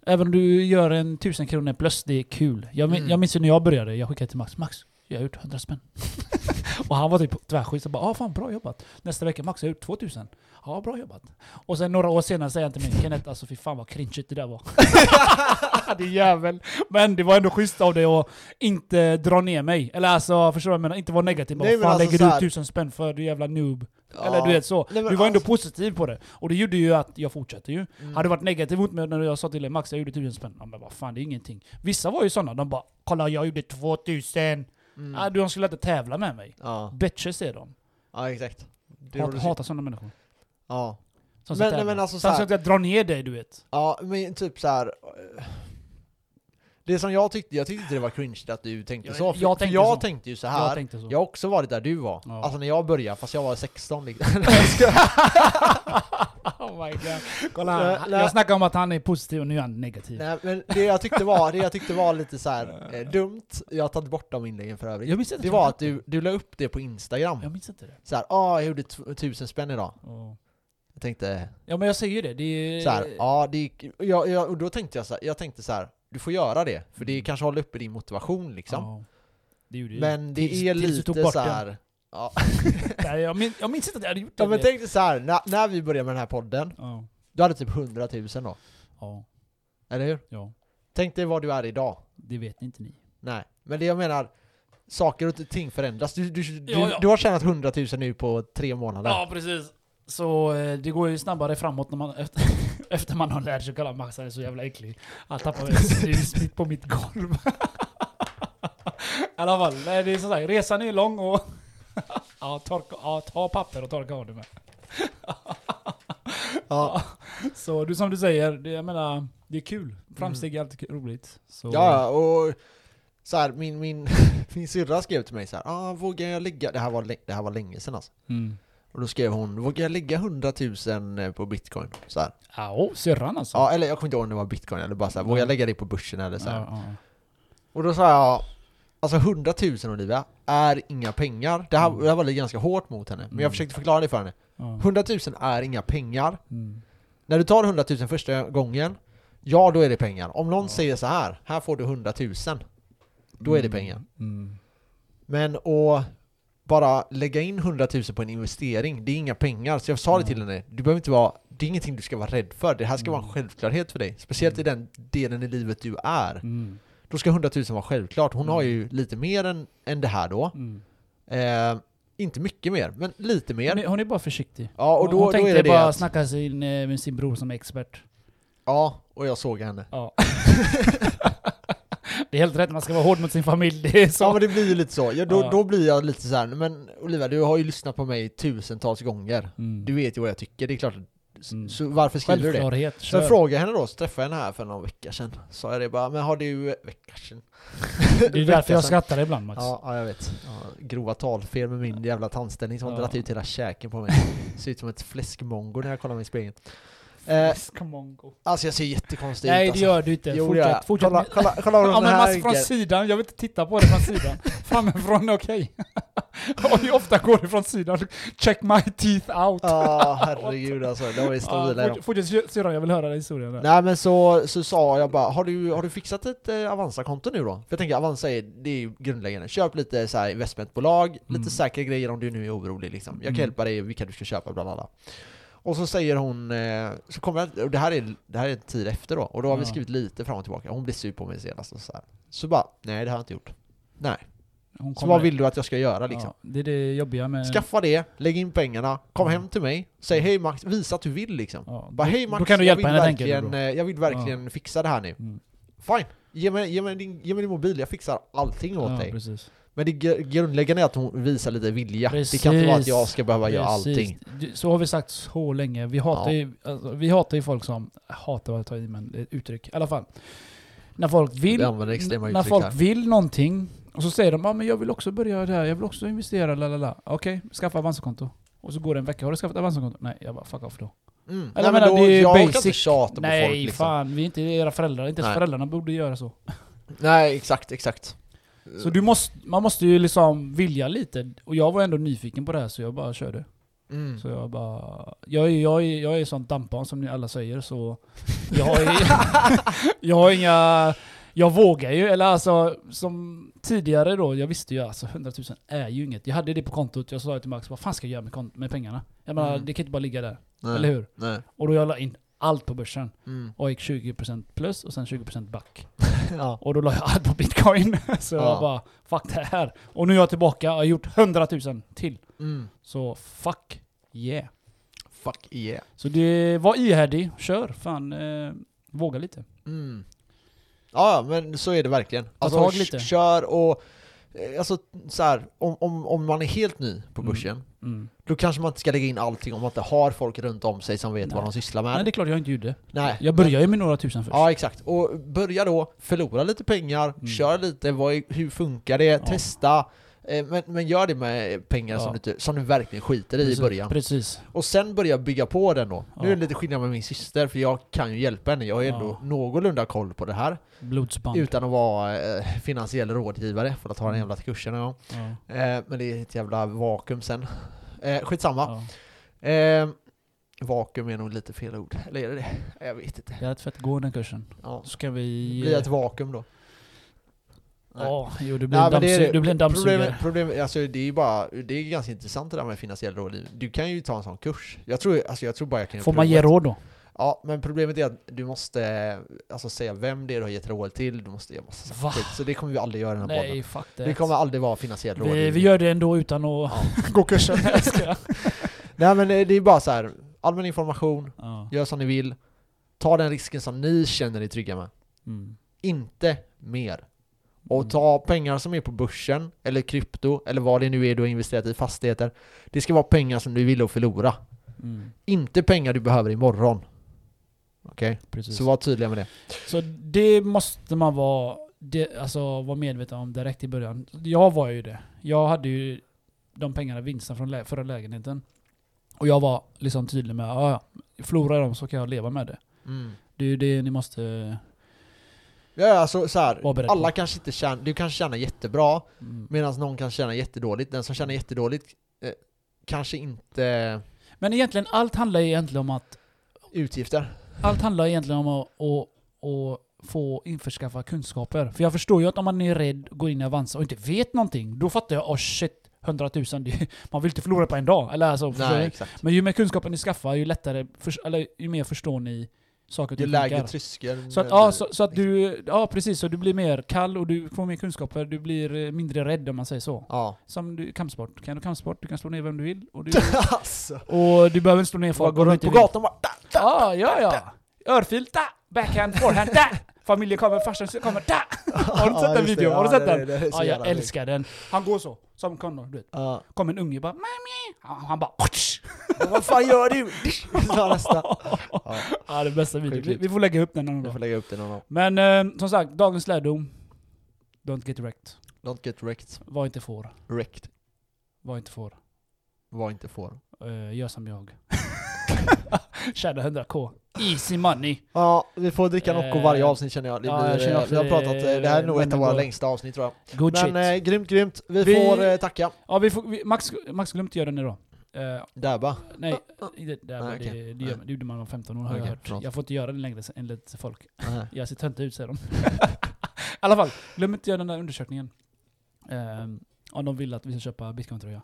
Speaker 2: Även om du gör en tusen kronor plus, det är kul. Jag, min,
Speaker 1: Mm.
Speaker 2: jag minns ju när jag började, jag skickade till Max. Max, jag har gjort 100 spänn. och han var typ tvärsjuk, så bara ah, fan bra jobbat. Nästa vecka max, jag har gjort 2000. Ja, ah, bra jobbat. Och sen några år senare säger han till mig, Kenneth alltså fy fan vad cringeigt det där var. det är jävel. Men det var ändå schysst av dig att inte dra ner mig. Eller alltså, förstår du vad jag menar? Inte vara negativ. Bara,
Speaker 1: Nej,
Speaker 2: vad
Speaker 1: men
Speaker 2: fan
Speaker 1: alltså
Speaker 2: lägger du
Speaker 1: såhär-
Speaker 2: 1000 spänn för du jävla noob?
Speaker 1: Ja.
Speaker 2: Eller du vet så.
Speaker 1: Nej, men
Speaker 2: du var ändå
Speaker 1: alltså-
Speaker 2: positiv på det. Och det gjorde ju att jag fortsatte ju.
Speaker 1: Mm.
Speaker 2: Hade du varit negativ mot mig när jag sa till dig Max jag gjorde 1000 spänn. Ja, men vad fan det är ingenting. Vissa var ju sådana, de bara 'Kolla jag gjorde 2000'
Speaker 1: Mm.
Speaker 2: ah, du, De skulle inte tävla med mig.
Speaker 1: Ja.
Speaker 2: Bitches är de.
Speaker 1: ja, exakt. Det
Speaker 2: Hat,
Speaker 1: gjorde
Speaker 2: hatar sådana människor.
Speaker 1: Ja.
Speaker 2: Som
Speaker 1: Men-
Speaker 2: ska tävla.
Speaker 1: men alltså
Speaker 2: De
Speaker 1: så här-
Speaker 2: ska inte dra ner dig du vet.
Speaker 1: ja, men typ så här. eh, Det som jag tyckte, jag tyckte inte det var cringe att du tänkte
Speaker 2: Jag-
Speaker 1: så. För,
Speaker 2: jag
Speaker 1: för
Speaker 2: tänkte
Speaker 1: jag
Speaker 2: så.
Speaker 1: tänkte ju så
Speaker 2: Jag
Speaker 1: här.
Speaker 2: tänkte så.
Speaker 1: Jag har också varit där du var.
Speaker 2: Ja.
Speaker 1: Alltså när jag började, fast jag var 16 liksom.
Speaker 2: oh my god. Kolla,
Speaker 1: Lä-
Speaker 2: han,
Speaker 1: lä-
Speaker 2: jag snackar om att han är positiv och nu är han negativ.
Speaker 1: Nej men det jag tyckte var, det jag tyckte var lite så här eh, dumt, jag har tagit bort de inläggen för övrigt.
Speaker 2: Jag minns inte
Speaker 1: Det
Speaker 2: att
Speaker 1: var
Speaker 2: jag-
Speaker 1: att du, du la upp det på Instagram.
Speaker 2: Jag minns inte det.
Speaker 1: Så här, ah jag gjorde t- tusen spänn idag.
Speaker 2: Ja.
Speaker 1: Jag tänkte
Speaker 2: Ja men jag säger ju det, det är...
Speaker 1: så här, ja det är- ja, ja, och då tänkte jag så här, jag tänkte så här, du får göra det, för det kanske håller uppe din motivation liksom.
Speaker 2: Mm. Ja. Det gjorde ju
Speaker 1: Men det
Speaker 2: Tills-
Speaker 1: är
Speaker 2: tills du tog
Speaker 1: lite
Speaker 2: bort
Speaker 1: så
Speaker 2: den.
Speaker 1: här. Ja.
Speaker 2: Nej, jag, min, jag minns inte att jag hade gjort det.
Speaker 1: ja men tänk dig så här, när, när vi började med den här podden,
Speaker 2: ja.
Speaker 1: du hade typ 100 000 då,
Speaker 2: ja,
Speaker 1: eller hur?
Speaker 2: ja.
Speaker 1: Tänk dig vad du är idag.
Speaker 2: Det vet inte ni.
Speaker 1: Nej, men det jag menar, saker och ting förändras. Du, du, du,
Speaker 2: Ja, ja.
Speaker 1: du har tjänat 100 000 nu på tre månader.
Speaker 2: Ja, precis. Så eh, det går ju snabbare framåt när man, efter, efter man har lärt sig kalla Max, han är så jävla äcklig. Han tappar snus mitt på mitt golv. I alla fall, nej, det är sådär, resan är lång och... ja, torka, ja, ta papper och torka av det med.
Speaker 1: Ja.
Speaker 2: Så du som du säger, det, jag menar, det är kul. Framsteg är alltid kul- roligt. Så,
Speaker 1: Mm. Ja, och så här, min, min, min syrra skrev till mig så här, ah, vågar jag lägga, det här var, lä- det här var länge sedan alltså.
Speaker 2: Mm.
Speaker 1: Och då skrev hon, vågar jag lägga 100 000 på bitcoin? Så här.
Speaker 2: Ja, åh, syrran alltså.
Speaker 1: Ja, eller jag kommer inte ihåg om det var bitcoin, eller bara så här, vågar jag lägga det på börsen eller så här.
Speaker 2: Ja, ja, ja.
Speaker 1: Och då sa jag, alltså 100 000 Olivia är inga pengar. Det här,
Speaker 2: Mm.
Speaker 1: det här var lite ganska hårt mot henne, men jag
Speaker 2: Mm.
Speaker 1: försökte förklara det för henne.
Speaker 2: Ja.
Speaker 1: 100 000 är inga pengar.
Speaker 2: Mm.
Speaker 1: När du tar 100 000 första gången, ja då är det pengar. Om någon
Speaker 2: Ja.
Speaker 1: säger så här, här får du 100 000, då är det pengar.
Speaker 2: Mm.
Speaker 1: Men att bara lägga in 100 000 på en investering, det är inga pengar. Så jag sa det
Speaker 2: Mm.
Speaker 1: till henne, du behöver inte vara, det är ingenting du ska vara rädd för. Det här ska vara en
Speaker 2: Mm.
Speaker 1: självklarhet för dig. Speciellt i den delen i livet du är.
Speaker 2: Mm.
Speaker 1: Då ska 100 000 vara självklart. Hon har
Speaker 2: Mm.
Speaker 1: ju lite mer än, än det här då.
Speaker 2: Mm.
Speaker 1: Eh, inte mycket mer, men lite mer.
Speaker 2: Hon, är, hon är bara försiktig.
Speaker 1: Ja, och då,
Speaker 2: hon
Speaker 1: då
Speaker 2: tänkte
Speaker 1: är det det
Speaker 2: bara
Speaker 1: att-
Speaker 2: snacka sin, eh, med sin bror som är expert.
Speaker 1: Ja, och jag såg henne.
Speaker 2: Ja. det är helt rätt, man ska vara hård mot sin familj. Det är så.
Speaker 1: Ja men det blir ju lite så. Ja, då,
Speaker 2: Ja.
Speaker 1: då blir jag lite så här, men Olivia du har ju lyssnat på mig tusentals gånger.
Speaker 2: Mm.
Speaker 1: Du vet ju vad jag tycker, det är klart. S-
Speaker 2: Mm.
Speaker 1: Så varför skriver du det?
Speaker 2: Självklarhet,
Speaker 1: Sen
Speaker 2: kör.
Speaker 1: frågade jag henne då, så träffade jag henne här för någon vecka sedan. Sa jag det bara, men har du... Vecka sedan?
Speaker 2: Det är därför jag skrattar ibland Max.
Speaker 1: Ja, ja jag vet. Ja, grova talfel med min jävla tandställning som har
Speaker 2: Ja.
Speaker 1: dragit ut hela käken på mig. Ser ut som ett fläskmongo när jag kollar mig i spegeln. Eh,
Speaker 2: Skamongo.
Speaker 1: alltså jag ser jättekonstig
Speaker 2: Nej
Speaker 1: ut
Speaker 2: det
Speaker 1: alltså.
Speaker 2: gör du inte.
Speaker 1: Jo, det gör
Speaker 2: fortsätt.
Speaker 1: jag.
Speaker 2: fortsätt.
Speaker 1: Kolla, kolla, kolla
Speaker 2: Ja
Speaker 1: vad den
Speaker 2: men
Speaker 1: här
Speaker 2: Max från
Speaker 1: grejen-
Speaker 2: sidan, jag vill inte titta på det från sidan. Framifrån är okej. Och hur ofta går det från sidan? Check my teeth out.
Speaker 1: Ja, herregud alltså. De var ju stabila i
Speaker 2: Ja,
Speaker 1: dem.
Speaker 2: fort- Fortsätt syrran, jag vill höra den historien. där.
Speaker 1: Nej men så, så sa jag bara, har du, har du fixat ett eh, Avanza-konto nu då? För jag tänker Avanza är, det är ju grundläggande. Köp lite så här investmentbolag, lite
Speaker 2: Mm.
Speaker 1: säkra grejer om du nu är orolig liksom. Jag kan
Speaker 2: Mm.
Speaker 1: hjälpa dig vilka du ska köpa bland annat. Och så säger hon, eh, så kommer jag, och det här är, det här är en tid efter då, och då har vi
Speaker 2: Ja.
Speaker 1: skrivit lite fram och tillbaka. Hon blir sur på mig senast och så här. Så bara, nej det har jag inte gjort. Nej.
Speaker 2: Hon
Speaker 1: Så
Speaker 2: kommer-
Speaker 1: vad vill du att jag ska göra liksom?
Speaker 2: Ja, det är det jobbiga med...
Speaker 1: Skaffa det, lägg in pengarna, kom
Speaker 2: Mm.
Speaker 1: hem till mig, säg hej Max, visa att du vill liksom.
Speaker 2: Ja,
Speaker 1: Bara hej Max,
Speaker 2: då kan du
Speaker 1: jag,
Speaker 2: hjälpa
Speaker 1: vill
Speaker 2: henne tänker du
Speaker 1: verkligen,
Speaker 2: då.
Speaker 1: eh, jag vill verkligen fixa det här nu.
Speaker 2: Mm.
Speaker 1: Fine, ge mig, ge, mig din, ge mig din mobil, jag fixar allting åt
Speaker 2: Ja,
Speaker 1: dig.
Speaker 2: precis.
Speaker 1: Men det gr- grundläggande är att hon visar lite vilja. Det kan inte vara att
Speaker 2: Precis.
Speaker 1: jag ska behöva göra
Speaker 2: Precis.
Speaker 1: allting.
Speaker 2: Du- Så har vi sagt så länge. Vi hatar,
Speaker 1: Ja.
Speaker 2: ju, alltså, vi hatar ju folk som... Hatar vad jag tar i, men det är ett uttryck. I alla fall. När folk vill,
Speaker 1: Vi använder extrema
Speaker 2: n- när
Speaker 1: uttryck
Speaker 2: folk
Speaker 1: här.
Speaker 2: vill någonting och så säger de ah, men jag vill också börja det här, jag vill också investera, la la la. Okej, skaffa Avanza-konto. Och så går det en vecka, har du skaffat Avanza-konto? Nej, jag bara fuck off då.
Speaker 1: Mm. Nej, men
Speaker 2: Eller menar,
Speaker 1: då,
Speaker 2: det är ju
Speaker 1: jag orkar inte
Speaker 2: basic.
Speaker 1: tjata på
Speaker 2: Nej
Speaker 1: folk liksom.
Speaker 2: fan, vi är inte era föräldrar. Inte ens
Speaker 1: Nej.
Speaker 2: föräldrarna borde göra så.
Speaker 1: liksom. Nej, exakt, exakt. Eh.
Speaker 2: Så du måste, man måste ju liksom vilja lite. Och jag var ändå nyfiken på det här så jag bara körde.
Speaker 1: Mm.
Speaker 2: Så jag bara... Jag är, jag är, jag är sånt dampbarn som ni alla säger så... Jag, är, jag har inga... Jag vågar ju, eller alltså som tidigare då, jag visste ju alltså 100 000 är ju inget. Jag hade det på kontot, jag sa ju till Max vad fan ska jag göra med, kont- med pengarna? Jag menar,
Speaker 1: Mm.
Speaker 2: det kan inte bara ligga där,
Speaker 1: Nej.
Speaker 2: eller hur?
Speaker 1: Nej.
Speaker 2: Och då jag la in allt på börsen
Speaker 1: Mm.
Speaker 2: och gick 20% plus och sen 20% back.
Speaker 1: ja.
Speaker 2: Och då la jag allt på bitcoin. Så jag
Speaker 1: Ja.
Speaker 2: bara, fuck det här. Och nu är jag tillbaka, jag har gjort 100 000 till.
Speaker 1: Mm.
Speaker 2: Så fuck yeah.
Speaker 1: Fuck yeah.
Speaker 2: Så det var ihärdig, kör, fan eh, våga lite.
Speaker 1: Mm. Ja, men så är det verkligen. Alltså,
Speaker 2: tag
Speaker 1: k-
Speaker 2: lite.
Speaker 1: kör och... eh, Alltså så här, om, om, om man är helt ny på
Speaker 2: Mm.
Speaker 1: börsen,
Speaker 2: Mm.
Speaker 1: då kanske man inte ska lägga in allting om man inte har folk runt om sig som vet
Speaker 2: Nej.
Speaker 1: vad de sysslar med.
Speaker 2: Nej det är klart jag inte gjorde.
Speaker 1: Nej.
Speaker 2: Jag började ju med några tusen först.
Speaker 1: Ja, exakt. Och börja då, förlora lite pengar,
Speaker 2: Mm.
Speaker 1: kör lite, vad, är- hur funkar det, testa. Eh, Men, men gör det med pengar
Speaker 2: Ja.
Speaker 1: som, du, inte- som du verkligen skiter i
Speaker 2: precis,
Speaker 1: i början.
Speaker 2: Precis.
Speaker 1: Och sen börja bygga på den då.
Speaker 2: Ja.
Speaker 1: Nu är det lite skillnad med min syster, för jag kan ju hjälpa henne. Jag har ju
Speaker 2: Ja.
Speaker 1: ändå någorlunda koll på det här.
Speaker 2: Blodsband.
Speaker 1: Utan att vara eh, finansiell rådgivare, för att ta den jävla kursen någon gång.
Speaker 2: Ja.
Speaker 1: Eh, men det är ett jävla vakuum sen. Eh, skitsamma.
Speaker 2: Ja.
Speaker 1: Eh, vakuum är nog lite fel ord. Eller är det det? Jag vet inte.
Speaker 2: Det är rätt fett, gå den kursen.
Speaker 1: Ja.
Speaker 2: Så ska vi...
Speaker 1: Blir det ett vakuum då?
Speaker 2: Ja, jo du blir, en,
Speaker 1: men det är
Speaker 2: dammsug-
Speaker 1: det.
Speaker 2: du blir en dammsugare.
Speaker 1: Problemet, problemet, alltså det är ju bara, det är ganska intressant det där med finansiell rådgivning. Du kan ju ta en sån kurs. Jag tror, alltså jag tror bara jag kan göra
Speaker 2: Får man ge
Speaker 1: provet.
Speaker 2: råd då?
Speaker 1: Ja, men problemet är att du måste eh, alltså, säga vem det är du har gett råd till, du måste ge massa
Speaker 2: Va?
Speaker 1: skit. Så det kommer vi aldrig göra i den här
Speaker 2: Nej,
Speaker 1: podden.
Speaker 2: fuck
Speaker 1: Det kommer aldrig vara finansiell
Speaker 2: vi,
Speaker 1: rådgivning.
Speaker 2: vi gör det ändå utan att
Speaker 1: Ja.
Speaker 2: gå kursen. Jag ska-
Speaker 1: Nej men eh, det är bara så här. allmän information,
Speaker 2: ja.
Speaker 1: gör som ni vill, ta den risken som ni känner er trygga med.
Speaker 2: mm.
Speaker 1: Inte mer.
Speaker 2: Mm.
Speaker 1: Och ta pengar som är på börsen, eller krypto, eller vad det nu är du har investerat i, fastigheter. Det ska vara pengar som du vill att förlora.
Speaker 2: Mm.
Speaker 1: Inte pengar du behöver imorgon. Okej?
Speaker 2: Precis.
Speaker 1: Så
Speaker 2: Så,
Speaker 1: var tydliga med det.
Speaker 2: det måste man vara, det, alltså, vara medveten om direkt i början. Jag var ju det. Jag hade ju de pengarna, vinsten från lä- förra lägenheten. Och jag var liksom tydlig med att förlorar jag dem så kan jag leva med det.
Speaker 1: Mm.
Speaker 2: Det är ju det ni måste...
Speaker 1: Ja, ja, alltså så här,
Speaker 2: Var beredd på.
Speaker 1: alla kanske inte tjänar, du kanske tjänar jättebra,
Speaker 2: Mm.
Speaker 1: medan någon kan tjäna jättedåligt. Den som tjänar jättedåligt eh, kanske inte
Speaker 2: Men egentligen, allt handlar ju egentligen om att
Speaker 1: utgifter.
Speaker 2: Allt handlar egentligen om att, att, att få införskaffa kunskaper. För jag förstår ju att om man är rädd, går in i Avanza och inte vet någonting, då fattar jag oh shit, 100 000, det, man vill inte förlora på en dag. Eller alltså, förstår
Speaker 1: Nej,
Speaker 2: du?
Speaker 1: exakt.
Speaker 2: Men ju mer kunskaper ni skaffar, ju lättare, förs- eller ju mer förstår ni saker och
Speaker 1: Ju
Speaker 2: ting
Speaker 1: lägre
Speaker 2: funkar.
Speaker 1: tröskeln...
Speaker 2: Så att, ja, så, så att du, ja precis, så du blir mer kall och du får mer kunskaper, du blir eh, mindre rädd om man säger så.
Speaker 1: Ja.
Speaker 2: Som du, kampsport. Kan du kampsport, du kan slå ner vem du vill. Och du,
Speaker 1: alltså.
Speaker 2: och du behöver inte slå ner
Speaker 1: Bara
Speaker 2: folk
Speaker 1: går
Speaker 2: om du
Speaker 1: runt
Speaker 2: inte
Speaker 1: på
Speaker 2: vill.
Speaker 1: gatan och bara...
Speaker 2: Ja, ja, ja. Örfil, da! Backhand, forehand, da! Familjen kommer, farsan kommer, da! Har du inte
Speaker 1: Ja,
Speaker 2: sett
Speaker 1: just
Speaker 2: den
Speaker 1: det.
Speaker 2: videon? Har du
Speaker 1: Ja,
Speaker 2: sett
Speaker 1: det-
Speaker 2: den?
Speaker 1: det- det är så
Speaker 2: Ja, jag
Speaker 1: jävla likt.
Speaker 2: älskar den. Han går så, som Connor, du vet.
Speaker 1: Ja.
Speaker 2: Kom en unge bara, mami! Han han bara, Otsch!
Speaker 1: Men vad fan gör du? Sa nästa. Ja,
Speaker 2: Ja, det är bästa videon.
Speaker 1: Sjukt
Speaker 2: Vi,
Speaker 1: likt.
Speaker 2: vi får lägga upp den någon
Speaker 1: jag får
Speaker 2: dag.
Speaker 1: lägga upp det någon gång.
Speaker 2: Men eh, som sagt, dagens lärdom. Don't get wrecked.
Speaker 1: Don't get wrecked.
Speaker 2: Var inte får.
Speaker 1: Wrecked.
Speaker 2: Var inte får.
Speaker 1: Var inte får.
Speaker 2: Eh, gör som jag. Tjäna 100k. Easy money.
Speaker 1: Ja, vi får dricka Nocco
Speaker 2: Eh,
Speaker 1: varje avsnitt känner jag. Det
Speaker 2: ja,
Speaker 1: blir,
Speaker 2: jag känner
Speaker 1: eh,
Speaker 2: också
Speaker 1: vi har
Speaker 2: det-
Speaker 1: pratat, eh, det här är nog ett av våra
Speaker 2: men-
Speaker 1: längsta avsnitt tror jag.
Speaker 2: Good
Speaker 1: Men
Speaker 2: shit.
Speaker 1: eh, grymt, grymt. Vi,
Speaker 2: Vi-
Speaker 1: får eh, tacka.
Speaker 2: ja, vi får, vi, Max, Max glömde göra den idag. Eh,
Speaker 1: Dabba.
Speaker 2: Nej, det, det,
Speaker 1: Ah, Nej,
Speaker 2: det,
Speaker 1: okej.
Speaker 2: det, gör, det gjorde man när man var 15 år har jag
Speaker 1: Okej,
Speaker 2: hört.
Speaker 1: förlåt.
Speaker 2: Jag får inte göra det längre enligt folk.
Speaker 1: Nej.
Speaker 2: Jag ser töntig ut säger de. I alla fall, glöm inte att göra den där undersökningen. Ehm, om de vill att vi ska köpa bitcointröja.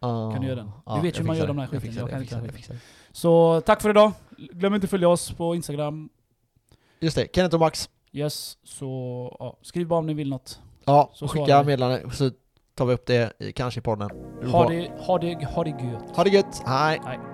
Speaker 2: Kan
Speaker 1: Ah,
Speaker 2: du göra den? Du vet ju hur man gör de här skiten, jag kan inte den
Speaker 1: skiten.
Speaker 2: Så tack för idag. Glöm inte att följa oss på Instagram.
Speaker 1: Just det, Kenneth och Max.
Speaker 2: Yes, så ja, skriv bara om ni vill något.
Speaker 1: Ja,
Speaker 2: Så svarar
Speaker 1: skicka
Speaker 2: vi.
Speaker 1: meddelande så tar vi upp det i, kanske i podden.
Speaker 2: Ha det, ha det, ha det gött.
Speaker 1: ha det gött, hej!
Speaker 2: Nej.